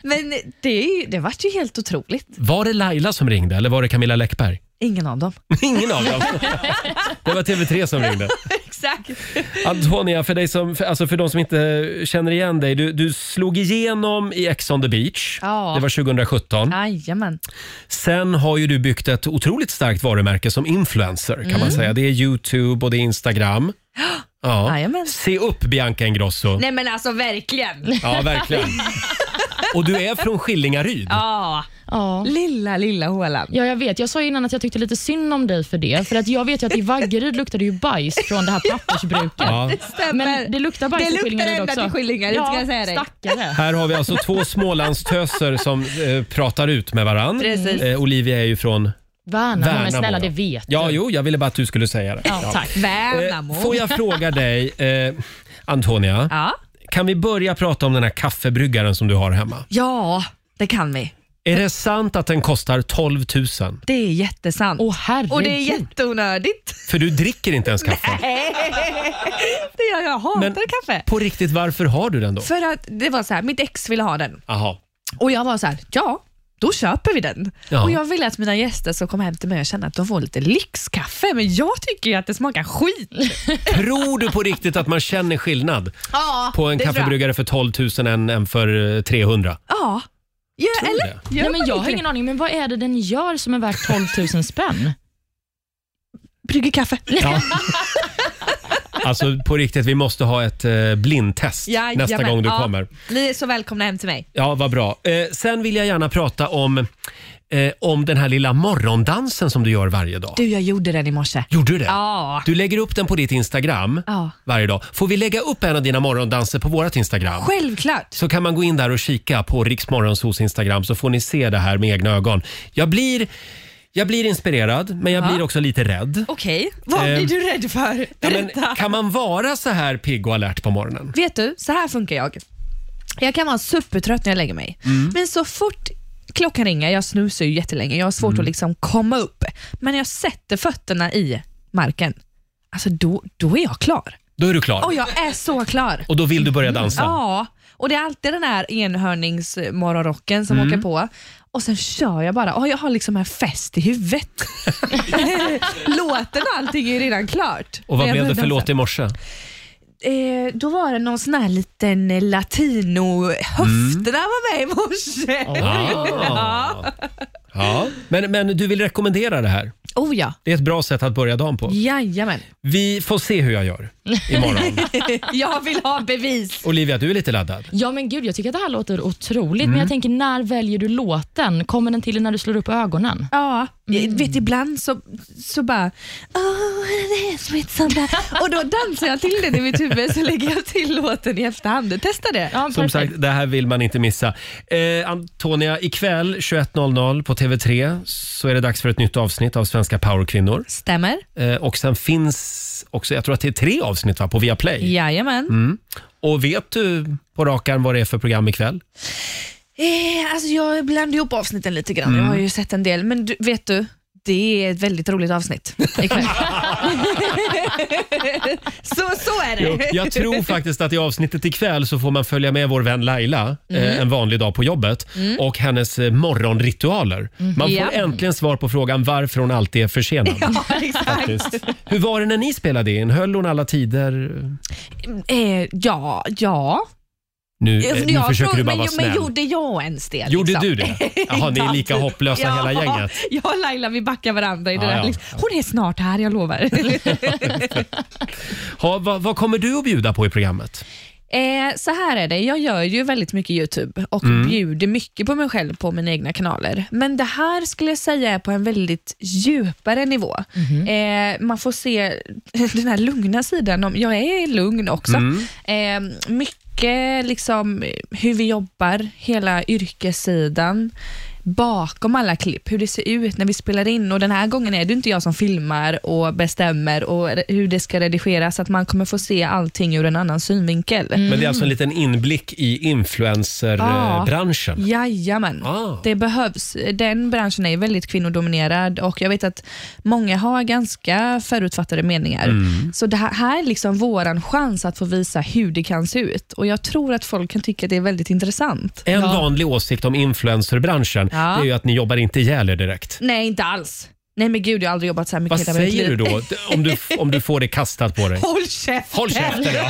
Speaker 14: Men det, är ju- det vart ju helt otroligt.
Speaker 1: Var det Laila som ringde eller var det Camilla Läckberg?
Speaker 14: Ingen av dem.
Speaker 1: Ingen av dem. Det var TV3 som ringde.
Speaker 14: Exakt.
Speaker 1: Antonia, för, dig som, för, alltså för de som inte känner igen dig. Du, du slog igenom i Ex on the beach.
Speaker 14: Ja.
Speaker 1: Det var 2017.
Speaker 14: Jajamän.
Speaker 1: Sen har ju du byggt ett otroligt starkt varumärke som influencer. kan
Speaker 14: Mm.
Speaker 1: man säga. Det är Youtube och det är Instagram. Ja. Se upp Bianca Ingrosso.
Speaker 14: Nej men alltså verkligen.
Speaker 1: Ja, verkligen. Och du är från Skillingaryd.
Speaker 14: Ja. Lilla, lilla hålan.
Speaker 2: Ja, jag vet. Jag sa ju innan att jag tyckte lite synd om dig för det. För att jag vet ju att i Vaggeryd luktar det ju bajs från det här pappersbruket.
Speaker 1: Ja. Det
Speaker 2: Men det luktar bajs
Speaker 14: Det
Speaker 2: i
Speaker 14: luktar
Speaker 2: Skillingaryd
Speaker 14: ända
Speaker 2: också.
Speaker 14: till Skillingaryd,
Speaker 2: ja,
Speaker 14: ska jag säga dig.
Speaker 2: Stackare.
Speaker 1: Här har vi alltså två Smålandstöser som eh, pratar ut med varann.
Speaker 2: Precis.
Speaker 1: Eh, Olivia är ju från
Speaker 2: Värnamo, men
Speaker 1: Värnamo,
Speaker 2: snälla
Speaker 1: ja.
Speaker 2: det vet
Speaker 1: Ja, jo, jag ville bara att du skulle säga det.
Speaker 2: Ja, tack.
Speaker 14: Värnamo.
Speaker 1: Eh, Får jag fråga dig, eh, Antonia? Kan vi börja prata om den här kaffebryggaren som du har hemma?
Speaker 14: Ja, det kan vi.
Speaker 1: Är det sant att den kostar 12 000?
Speaker 14: Det är jättesant.
Speaker 2: Åh, herregud.
Speaker 14: Och det är jätteonödigt.
Speaker 1: För du dricker inte ens kaffe.
Speaker 14: det gör jag, jag hatar
Speaker 1: Men
Speaker 14: kaffe.
Speaker 1: på riktigt, varför har du den då?
Speaker 14: För att det var så här, mitt ex ville ha den
Speaker 1: Aha.
Speaker 14: och jag var så här, ja, då köper vi den.
Speaker 1: Ja.
Speaker 14: Och Jag ville att mina gäster som kom hem till mig och kände att de får lite lyxkaffe, men jag tycker ju att det smakar skit.
Speaker 1: Tror du på riktigt att man känner skillnad
Speaker 14: ja,
Speaker 1: på en
Speaker 14: det tror jag.
Speaker 1: kaffebryggare för 12 000 än, än för eh, 300?
Speaker 14: Ja. Ja,
Speaker 1: Tror
Speaker 14: eller?
Speaker 1: det.
Speaker 14: Gör
Speaker 2: Nej, men
Speaker 14: man
Speaker 2: jag
Speaker 14: inte
Speaker 2: har ingen
Speaker 14: det?
Speaker 2: aning, men vad är det den gör som är värt 12 000 spänn?
Speaker 14: Brygger kaffe.
Speaker 1: Ja. Alltså på riktigt, vi måste ha ett eh, blindtest
Speaker 14: Jajamän,
Speaker 1: nästa gång du
Speaker 14: ja.
Speaker 1: kommer.
Speaker 14: Ni är så välkomna hem till mig.
Speaker 1: Ja, vad bra. Eh, sen vill jag gärna prata om, eh, om den här lilla morgondansen som du gör varje dag.
Speaker 14: Du, jag gjorde den i morse.
Speaker 1: Gjorde du det?
Speaker 14: Ja.
Speaker 1: Du lägger upp den på ditt Instagram
Speaker 14: Ja.
Speaker 1: varje dag. Får vi lägga upp en av dina morgondanser på vårt Instagram?
Speaker 14: Självklart.
Speaker 1: Så kan man gå in där och kika på Riksmorgonsos Instagram så får ni se det här med egna ögon. Jag blir, jag blir inspirerad, men jag
Speaker 14: Ja.
Speaker 1: blir också lite rädd.
Speaker 14: Okej, vad
Speaker 1: Eh,
Speaker 14: blir du rädd för?
Speaker 1: Ja,
Speaker 14: Berätta.
Speaker 1: men, kan man vara så här pigg och alert på morgonen?
Speaker 14: Vet du, så här funkar jag. Jag kan vara supertrött när jag lägger mig,
Speaker 1: Mm.
Speaker 14: men så fort klockan ringer, jag snusar ju jättelänge, jag har svårt
Speaker 1: Mm.
Speaker 14: att liksom komma upp, men när jag sätter fötterna i marken, alltså då, då är jag klar.
Speaker 1: Då är du klar.
Speaker 14: Och jag är så klar.
Speaker 1: Och då vill du börja dansa?
Speaker 14: Ja, och det är alltid den här enhörningsmorgonrocken som
Speaker 1: Mm.
Speaker 14: åker på. Och sen kör jag bara. Och jag har liksom en fest i huvudet. Låten och allting är redan klart.
Speaker 1: Och
Speaker 14: Men
Speaker 1: vad
Speaker 14: jag börjar
Speaker 1: blev det för
Speaker 14: dansa.
Speaker 1: låt i morse?
Speaker 14: Eh, då var det någon sån här liten eh, latino... Höfterna var med i morse.
Speaker 1: Ah. Ja. Men, men du vill rekommendera det här?
Speaker 14: Oh ja.
Speaker 1: Det är ett bra sätt att börja dagen på.
Speaker 14: Jajamän.
Speaker 1: Vi får se hur jag gör imorgon.
Speaker 14: jag vill ha bevis.
Speaker 1: Olivia, du är lite laddad.
Speaker 2: Ja men gud, jag tycker att det här låter otroligt,
Speaker 1: Mm.
Speaker 2: men jag tänker när väljer du låten? Kommer den till när du slår upp ögonen?
Speaker 14: Ja, jag vet ibland så, så bara oh, it is with somebody." och då dansar jag till den i mitt huvud så lägger jag till låten i efterhand. Testa det.
Speaker 1: Som sagt, det här vill man inte missa. Eh, Antonia, ikväll 21.00 på TV3 så är det dags för ett nytt avsnitt av Svenska powerkvinnor.
Speaker 14: Stämmer?
Speaker 1: Eh, och sen finns också, jag tror att det är tre avsnitt va, på Viaplay.
Speaker 14: Jajamän.
Speaker 1: Mm. Och vet du på rak arm vad det är för program ikväll?
Speaker 14: Eh, alltså jag blandar ihop avsnitten lite grann.
Speaker 1: Mm.
Speaker 14: Jag har ju sett en del, men du, vet du? Det är ett väldigt roligt avsnitt ikväll. så, så är
Speaker 1: Jo,
Speaker 14: det.
Speaker 1: jag tror faktiskt att i avsnittet ikväll så får man följa med vår vän Laila
Speaker 14: Mm.
Speaker 1: eh, en vanlig dag på jobbet
Speaker 14: Mm.
Speaker 1: och hennes eh, morgonritualer.
Speaker 14: Mm.
Speaker 1: Man får
Speaker 14: Ja.
Speaker 1: äntligen svar på frågan varför hon alltid är försenad.
Speaker 14: Ja, exakt.
Speaker 1: Faktiskt. Hur var det när ni spelade in? Höll hon alla tider?
Speaker 14: Eh, ja, ja. alltså,
Speaker 1: Nu, eh, nu
Speaker 14: Jag
Speaker 1: försöker
Speaker 14: tror-
Speaker 1: du bara
Speaker 14: men,
Speaker 1: vara
Speaker 14: jo, men
Speaker 1: snäll.
Speaker 14: gjorde jag ens det?
Speaker 1: Gjorde
Speaker 14: liksom?
Speaker 1: du det? Jaha, ni är lika hopplösa hela gänget.
Speaker 14: Jag och Laila vi backar varandra i det
Speaker 1: Ja,
Speaker 14: där.
Speaker 1: ja.
Speaker 14: Liksom. Hon är snart här, jag lovar.
Speaker 1: Ha, vad, vad kommer du att bjuda på i programmet?
Speaker 14: Eh, så här är det, jag gör ju väldigt mycket YouTube och
Speaker 1: Mm.
Speaker 14: bjuder mycket på mig själv på mina egna kanaler. Men det här skulle jag säga är på en väldigt djupare nivå. Eh, man får se den här lugna sidan, om, jag är lugn också. Eh, mycket liksom hur vi jobbar, hela yrkessidan bakom alla klipp, hur det ser ut när vi spelar in och den här gången är det inte jag som filmar och bestämmer och re- hur det ska redigeras, så att man kommer få se allting ur en annan synvinkel.
Speaker 1: Men det är alltså en
Speaker 14: Mm.
Speaker 1: liten inblick i influencerbranschen.
Speaker 14: Jajamän.
Speaker 1: Ah.
Speaker 14: Det behövs. Den branschen är ju väldigt kvinnodominerad och jag vet att många har ganska förutfattade meningar.
Speaker 1: Mm.
Speaker 14: Så det här, här är liksom våran chans att få visa hur det kan se ut och jag tror att folk kan tycka att det är väldigt intressant.
Speaker 1: En vanlig åsikt om influencerbranschen
Speaker 14: Ja.
Speaker 1: det är ju att ni jobbar inte ihjäl er direkt.
Speaker 14: Nej, inte alls. Nej men gud, jag har aldrig jobbat så här mycket
Speaker 1: Vad
Speaker 14: i hela mitt
Speaker 1: säger du
Speaker 14: liv.
Speaker 1: då om du, om du får det kastat på dig?
Speaker 14: Håll käften!
Speaker 1: Håll käften, ja.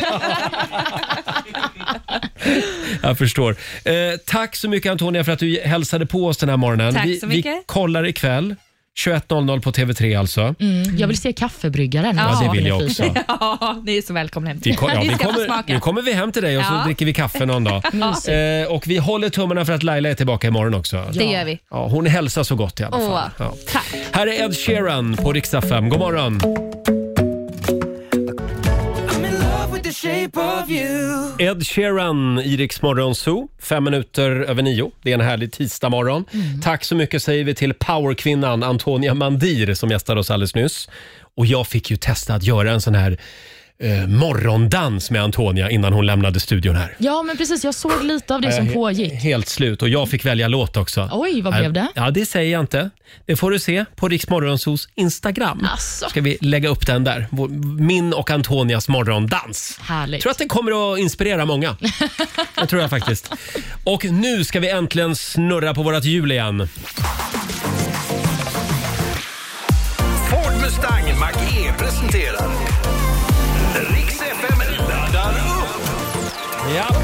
Speaker 1: Jag förstår. Eh, tack så mycket Antonia för att du hälsade på oss den här morgonen.
Speaker 2: Tack
Speaker 1: vi,
Speaker 2: så mycket.
Speaker 1: vi kollar ikväll. 21.00 på TV3 alltså.
Speaker 2: Mm, jag vill se kaffebryggaren.
Speaker 1: Ja, det vill jag också.
Speaker 14: Ja, ni är så välkomna hem.
Speaker 1: Vi, ko- ja,
Speaker 14: Ni
Speaker 1: vi
Speaker 14: ska få
Speaker 1: kommer,
Speaker 14: smaka.
Speaker 1: nu kommer vi hem till dig och så
Speaker 14: Ja.
Speaker 1: dricker vi kaffe någon dag.
Speaker 14: Mysigt.
Speaker 1: Eh, och vi håller tummarna för att Laila är tillbaka imorgon också.
Speaker 14: Det gör vi.
Speaker 1: Ja, hon hälsar så gott i alla fall.
Speaker 14: Åh,
Speaker 1: Ja. Här är Ed Sheeran på riksdag 5. God morgon! Ed Sheeran i Rix Morgon Zoo, fem minuter över nio. Det är en härlig tisdagmorgon.
Speaker 14: Mm.
Speaker 1: Tack så mycket säger vi till powerkvinnan Antonia Mandir som gästade oss alldeles nyss. Och jag fick ju testa att göra en sån här eh, morgondans med Antonia innan hon lämnade studion här.
Speaker 2: Ja, men precis. Jag såg lite av det som
Speaker 1: Jag är he-
Speaker 2: pågick.
Speaker 1: Helt slut och jag fick välja låt också.
Speaker 2: Oj, vad blev det?
Speaker 1: Ja, det säger jag inte. Det får du se på Rix Morgonzoos Instagram.
Speaker 2: Alltså.
Speaker 1: Ska vi lägga upp den där. Vår- Min och Antonias morgondans.
Speaker 2: Härligt.
Speaker 1: tror att den kommer att inspirera många. Det tror jag faktiskt. Och nu ska vi äntligen snurra på vårt hjul igen.
Speaker 3: Ford Mustang Mach-E presenterar Riks FM laddar upp.
Speaker 1: Ja.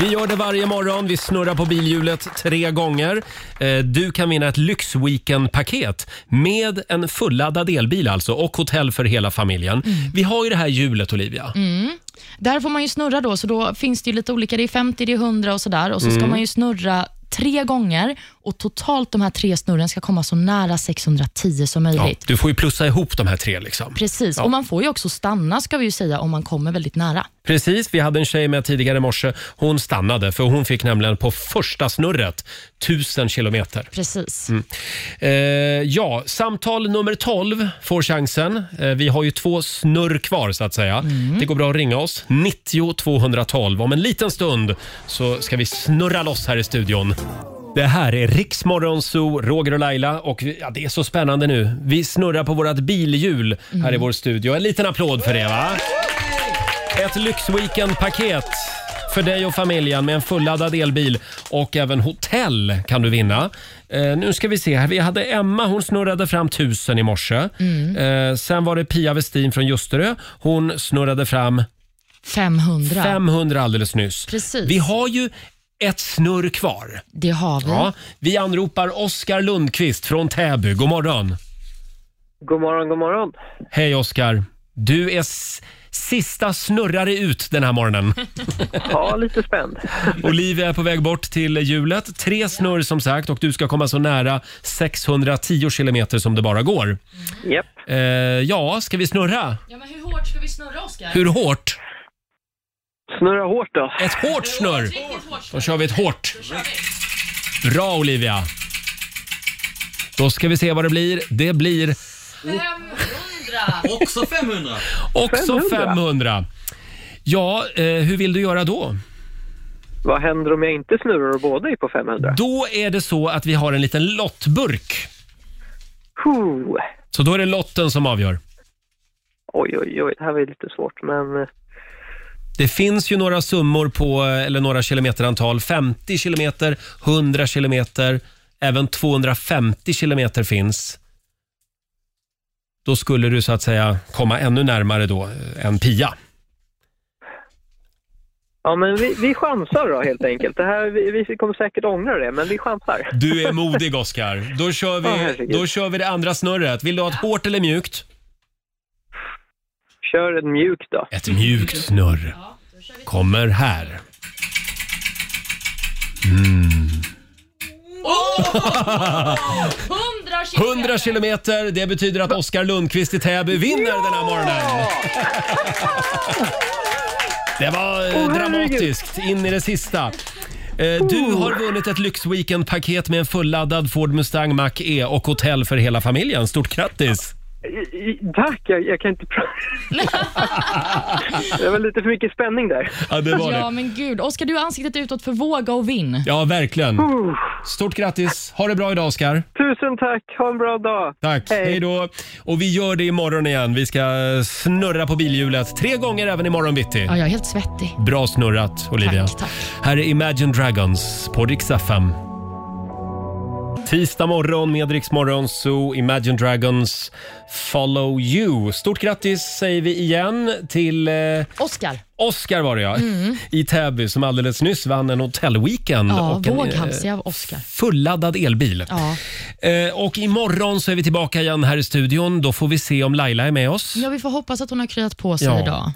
Speaker 1: Vi gör det varje morgon. Vi snurrar på bilhjulet tre gånger. Eh, Du kan vinna ett Lyxweekend-paket med en fulladdad elbil alltså och hotell för hela familjen. Vi har ju det här hjulet, Olivia.
Speaker 2: Mm. Där får man ju snurra då, så då finns det ju lite olika. Det är 50, det är 100 och sådär. Och så ska
Speaker 1: Mm.
Speaker 2: man ju snurra tre gånger och totalt de här tre snurren ska komma så nära 610 som
Speaker 1: Ja,
Speaker 2: möjligt.
Speaker 1: du får ju plussa ihop de här tre. liksom.
Speaker 2: Precis,
Speaker 1: Ja.
Speaker 2: och man får ju också stanna ska vi ju säga om man kommer väldigt nära.
Speaker 1: Precis, vi hade en tjej med tidigare i morse. Hon stannade för hon fick nämligen på första snurret 1000 kilometer.
Speaker 2: Precis.
Speaker 1: Mm. Eh, ja, samtal nummer 12 får chansen. Eh, vi har ju två snurr kvar så att säga. Det går bra att ringa oss. 90 212. Om en liten stund så ska vi snurra loss här i studion. Det här är Riksmorgon Zoo, Roger och Laila och vi, ja, det är så spännande nu. Vi snurrar på vårt bilhjul här i vår studio. En liten applåd för det va? Ett lyxweekendpaket för dig och familjen med en fulladdad elbil och även hotell kan du vinna. Eh, nu ska vi se här. Vi hade Emma, hon snurrade fram 1000 i morse. Eh, sen var det Pia Westin från Ljusterö. Hon snurrade fram
Speaker 2: 500.
Speaker 1: 500 alldeles nyss.
Speaker 2: Precis.
Speaker 1: Vi har ju ett snurr kvar.
Speaker 2: Det har vi.
Speaker 1: Ja, vi anropar Oskar Lundqvist från Täby. God morgon.
Speaker 17: God morgon, god morgon.
Speaker 1: Hej Oskar. Du är s- sista snurrare ut den här morgonen.
Speaker 17: Ja, lite spänd.
Speaker 1: Olivia är på väg bort till hjulet. Tre snurr som sagt och du ska komma så nära 610 kilometer som det bara går.
Speaker 17: Japp.
Speaker 1: Eh, ja, ska vi snurra?
Speaker 2: Ja, men hur hårt ska vi snurra, Oskar?
Speaker 1: Hur hårt?
Speaker 17: Snurra hårt då.
Speaker 1: Ett hårt snurr! Då kör vi ett hårt. Bra Olivia! Då ska vi se vad det blir. Det blir
Speaker 4: 500! Också 500!
Speaker 1: också 500.
Speaker 17: 500.
Speaker 1: Ja, eh, hur vill du göra då?
Speaker 17: Vad händer om jag inte snurrar och båda är på 500?
Speaker 1: Då är det så att vi har en liten lottburk.
Speaker 17: Puh.
Speaker 1: Så då är det lotten som avgör.
Speaker 17: Oj, oj, oj. Det här var ju lite svårt, men... eh,
Speaker 1: Det finns ju några summor på, eh, eller några kilometerantal. 50 kilometer, 100 kilometer, även 250 kilometer finns. Då skulle du så att säga komma ännu närmare då eh, än Pia.
Speaker 17: Ja, men vi, vi chansar då helt enkelt. Det här, vi, vi kommer säkert ångra det, men vi chansar.
Speaker 1: Du är modig Oscar. Då kör
Speaker 17: Ja,
Speaker 1: vi,
Speaker 17: herregud.
Speaker 1: då kör vi det andra snurret. Vill du ha ett hårt eller mjukt?
Speaker 17: Kör ett mjukt då.
Speaker 1: Ett mjukt snurr kommer här. Mm.
Speaker 2: 100
Speaker 1: 100 kilometer, det betyder att Oskar Lundqvist i Täby vinner den här morgonen. Det var eh,
Speaker 8: Åh, herregud.
Speaker 1: dramatiskt in i det sista. Eh, Du har vunnit ett lyxweekendpaket med en fulladdad Ford Mustang Mach-E och hotell för hela familjen. Stort grattis!
Speaker 17: I- i- Tack, jag, jag kan inte prata. det var lite för mycket spänning där.
Speaker 1: Ja, det var
Speaker 2: Ja,
Speaker 1: det.
Speaker 2: men gud. Oskar, du har ansiktet utåt för våga och vinn.
Speaker 1: Ja, verkligen. Stort grattis! Ha det bra idag, Oskar.
Speaker 17: Tusen tack, ha en bra dag.
Speaker 1: Tack, hej då. Och vi gör det imorgon igen. Vi ska eh, snurra på bilhjulet tre gånger även imorgon bitti.
Speaker 2: Ja, jag är helt svettig.
Speaker 1: Bra snurrat, Olivia.
Speaker 2: Tack, tack.
Speaker 1: Här är Imagine Dragons på Rix FM. Tisdag morgon med Rix Morgon Zoo, Imagine Dragons Follow You. Stort grattis säger vi igen till eh,
Speaker 2: Oskar.
Speaker 1: Oscar var det ja,
Speaker 2: Mm.
Speaker 1: i Täby som alldeles nyss vann en hotellweekend
Speaker 2: Ja,
Speaker 1: och en
Speaker 2: våghalsig
Speaker 1: eh,
Speaker 2: av Oskar.
Speaker 1: fulladdad elbil.
Speaker 2: Ja.
Speaker 1: Eh, och imorgon så är vi tillbaka igen här i studion. Då får vi se om Laila är med oss.
Speaker 2: ja, vi får hoppas att hon har kryat på sig
Speaker 1: Ja.
Speaker 2: idag.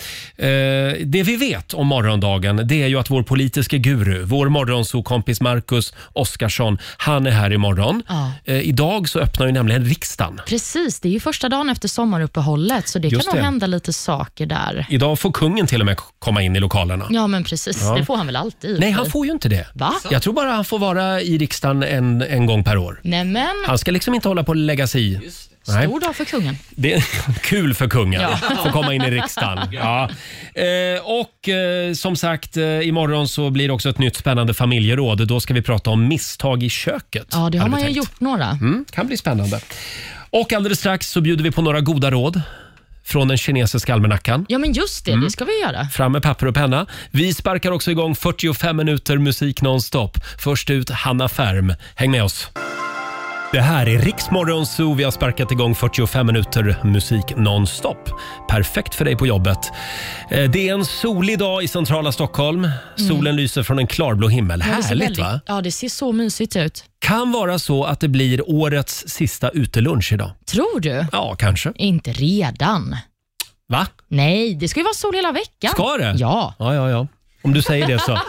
Speaker 1: Eh, det vi vet om morgondagen det är ju att vår politiska guru, vår morgonsokompis Marcus Oskarsson, han är här imorgon.
Speaker 2: Ja.
Speaker 1: Eh, idag så öppnar ju nämligen riksdagen.
Speaker 2: Precis, det är ju första dagen efter sommaruppehållet, så det
Speaker 1: Just
Speaker 2: kan nog
Speaker 1: det.
Speaker 2: hända lite saker där.
Speaker 1: Idag får kungen till och med k- komma in i lokalerna.
Speaker 2: Ja, men precis.
Speaker 1: Ja.
Speaker 2: Det får han väl alltid.
Speaker 1: Nej, han får ju inte det.
Speaker 2: Va?
Speaker 1: Jag tror bara han får vara i riksdagen en, en gång per år.
Speaker 2: Nämen,
Speaker 1: Han ska liksom inte hålla på och lägga sig i. Nej.
Speaker 2: stor dag för kungen.
Speaker 1: Det är kul för kungen
Speaker 2: Ja.
Speaker 1: att få komma in i riksdagen. Ja. Eh, och eh, som sagt, eh, imorgon så blir det också ett nytt spännande familjeråd. Då ska vi prata om misstag i köket.
Speaker 2: Ja, det har man
Speaker 1: hade vi
Speaker 2: ju
Speaker 1: tänkt.
Speaker 2: gjort några.
Speaker 1: Mm, kan bli spännande. Och alldeles strax så bjuder vi på några goda råd från den kinesiska almanackan.
Speaker 2: Ja, men just det.
Speaker 1: Mm.
Speaker 2: Det ska vi göra.
Speaker 1: Fram med papper och penna. Vi sparkar också igång 45 minuter musik nonstop. Först ut Hanna Färm. Häng med oss. Det här är Riksmorgon Zoo. Vi har sparkat igång 45 minuter musik nonstop. Perfekt för dig på jobbet. Eh, Det är en solig dag i centrala Stockholm. Solen lyser från en klarblå himmel.
Speaker 2: Mm. Ja, det ser
Speaker 1: Härligt
Speaker 2: väldigt-
Speaker 1: va?
Speaker 2: Ja, det ser så mysigt ut.
Speaker 1: Kan vara så att det blir årets sista utelunch idag.
Speaker 2: Tror du?
Speaker 1: Ja, kanske.
Speaker 2: Inte redan.
Speaker 1: Va?
Speaker 2: Nej, det ska ju vara sol hela veckan.
Speaker 1: Ska det?
Speaker 2: Ja.
Speaker 1: ja, ja, ja. Om du säger det så.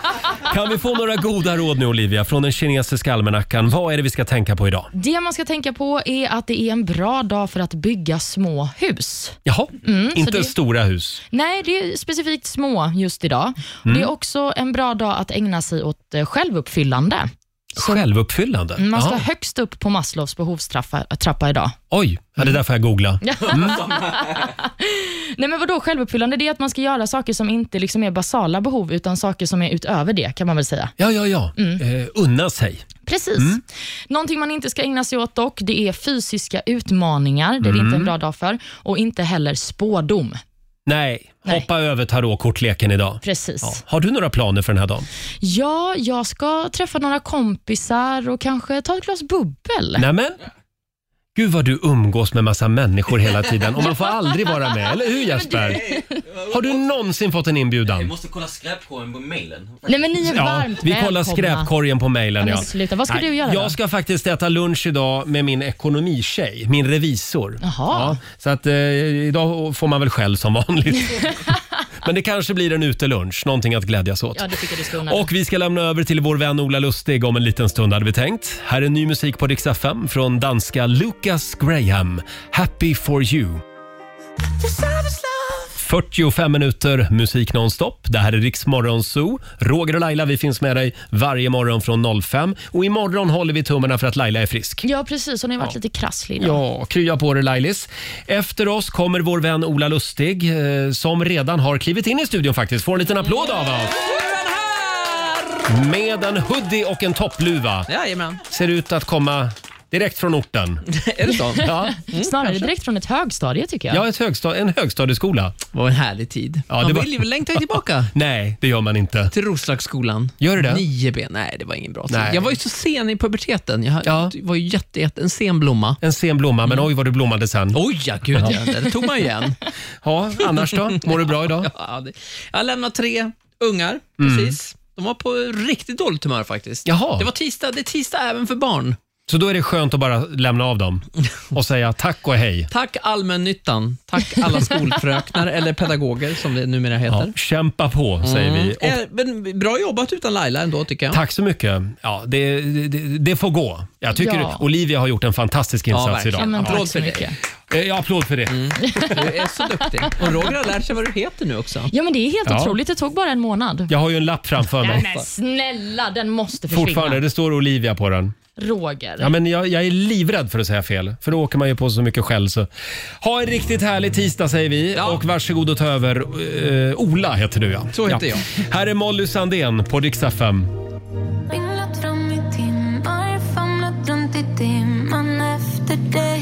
Speaker 1: Kan vi få några goda råd nu Olivia från den kinesiska almanackan? Vad är det vi ska tänka på idag?
Speaker 2: Det man ska tänka på är att det är en bra dag för att bygga små hus.
Speaker 1: Jaha,
Speaker 2: Mm, så
Speaker 1: inte
Speaker 2: det-
Speaker 1: stora hus.
Speaker 2: Nej, det är specifikt små just idag.
Speaker 1: Mm.
Speaker 2: Det är också en bra dag att ägna sig åt eh, självuppfyllande.
Speaker 1: Självuppfyllande?
Speaker 2: Mm, Man ska
Speaker 1: Jaha.
Speaker 2: högst upp på Maslows behovstrappa trappa idag.
Speaker 1: Oj, ja, det där får jag googla.
Speaker 2: Nej men vadå självuppfyllande? Det är att man ska göra saker som inte liksom är basala behov, utan saker som är utöver det kan man väl säga.
Speaker 1: Ja, ja, ja.
Speaker 2: Mm.
Speaker 1: Eh, unna sig.
Speaker 2: Precis.
Speaker 1: Mm.
Speaker 2: Någonting man inte ska ägna sig åt dock, det är fysiska utmaningar. Det är det
Speaker 1: Mm.
Speaker 2: inte en bra dag för. Och inte heller spådom.
Speaker 1: Nej, hoppa över tarotkortleken idag.
Speaker 2: Precis.
Speaker 1: Ja. Har du några planer för den här dagen?
Speaker 2: Ja, jag ska träffa några kompisar och kanske ta ett glas bubbel.
Speaker 1: Nämen. Gud vad du umgås med massa människor hela tiden och man får aldrig vara med, eller hur Jesper? Har du någonsin fått en inbjudan?
Speaker 4: måste kolla skräpkorgen på mailen.
Speaker 2: Nej, men ni är varmt
Speaker 1: Vi kollar
Speaker 2: välkomna.
Speaker 1: skräpkorgen på mejlen.
Speaker 2: Ja,
Speaker 1: Ja.
Speaker 2: men sluta. Vad ska du göra då?
Speaker 1: Jag ska faktiskt äta lunch idag med min ekonomitjej, min revisor. Ja, så att eh, idag får man väl själv som vanligt. men det kanske blir en utelunch, någonting att glädjas åt.
Speaker 2: Ja, det tycker jag du ska unna dig.
Speaker 1: Och vi ska lämna över till vår vän Ola Lustig om en liten stund hade vi tänkt. Här är ny musik på Rix FM från danska Lucas Graham, Happy for you. 45 minuter musik nonstop. Det här är Rix Morgon Zoo. Roger och Laila, vi finns med dig varje morgon från 05. Och imorgon håller vi tummarna för att Laila är frisk.
Speaker 2: Ja, precis. Hon har ju varit lite krasslig idag.
Speaker 1: Ja, krya på dig Lailis. Efter oss kommer vår vän Ola Lustig eh, som redan har klivit in i studion faktiskt. Får en liten applåd av
Speaker 4: Mm.
Speaker 1: oss. Med en hoodie och en toppluva.
Speaker 18: Jajamän.
Speaker 1: Ser ut att komma Direkt från
Speaker 4: Mm.
Speaker 1: orten.
Speaker 4: Är det så?
Speaker 1: Ja.
Speaker 2: Snarare direkt från ett högstadie tycker jag.
Speaker 1: Mm, Ja, ett högsta- en högstadieskola.
Speaker 4: Vad en härlig tid.
Speaker 1: Ja,
Speaker 4: Man
Speaker 1: det var-
Speaker 4: vill ju längta tillbaka.
Speaker 1: Nej, det gör man inte.
Speaker 4: Till Roslagsskolan.
Speaker 1: Gör du det?
Speaker 4: 9B. Nej, det var ingen bra tid.
Speaker 1: Nej.
Speaker 4: Jag var ju så sen i puberteten. Jag var ju jätte, jätte, en sen blomma.
Speaker 1: En sen blomma,
Speaker 4: Mm.
Speaker 1: men oj vad du blommade sen.
Speaker 4: Oj, ja, gud ja. Det tog man ju igen.
Speaker 1: Ja, annars då? Mår du bra idag?
Speaker 4: Ja, det, jag lämnade tre ungar,
Speaker 1: Mm.
Speaker 4: precis. De var på riktigt dåligt humör faktiskt.
Speaker 1: Jaha.
Speaker 4: Det var tisdag, det är tisdag även för barn.
Speaker 1: Så då är det skönt att bara lämna av dem och säga tack och hej.
Speaker 4: Tack allmännyttan. Tack alla skolfröknar, eller pedagoger som det numera heter.
Speaker 1: Kämpa på, säger vi. Och
Speaker 4: Eh, Men bra jobbat utan Laila ändå tycker jag.
Speaker 1: Tack så mycket. Ja, det, det, det får gå. Jag tycker
Speaker 4: Ja.
Speaker 1: Olivia har gjort en fantastisk
Speaker 4: Ja,
Speaker 1: insats
Speaker 4: verkligen. Ja,
Speaker 1: idag.
Speaker 4: Mm.
Speaker 1: Ja.
Speaker 4: Applåd för dig.
Speaker 1: Eh, ja, applåd för det.
Speaker 4: Du är så duktig. Och Roger har lärt sig vad du heter nu också.
Speaker 2: Ja, men det är helt
Speaker 1: Ja.
Speaker 2: otroligt. Det tog bara en månad.
Speaker 1: Jag har ju en lapp framför
Speaker 2: Nej,
Speaker 1: mig.
Speaker 2: men snälla, den måste försvinna.
Speaker 1: Fortfarande, det står Olivia på den.
Speaker 2: Roger.
Speaker 1: Ja, men jag, jag är livrädd för att säga fel, för då åker man ju på så mycket skäll. Så. Ha en riktigt härlig tisdag säger vi och varsågod och ta över. Eh, Ola heter du ja.
Speaker 4: Så heter
Speaker 1: ja. jag. Här är Molly Sandén på Dix FM.
Speaker 13: Ringlat fram i timmar, famlat runt i dimman efter dig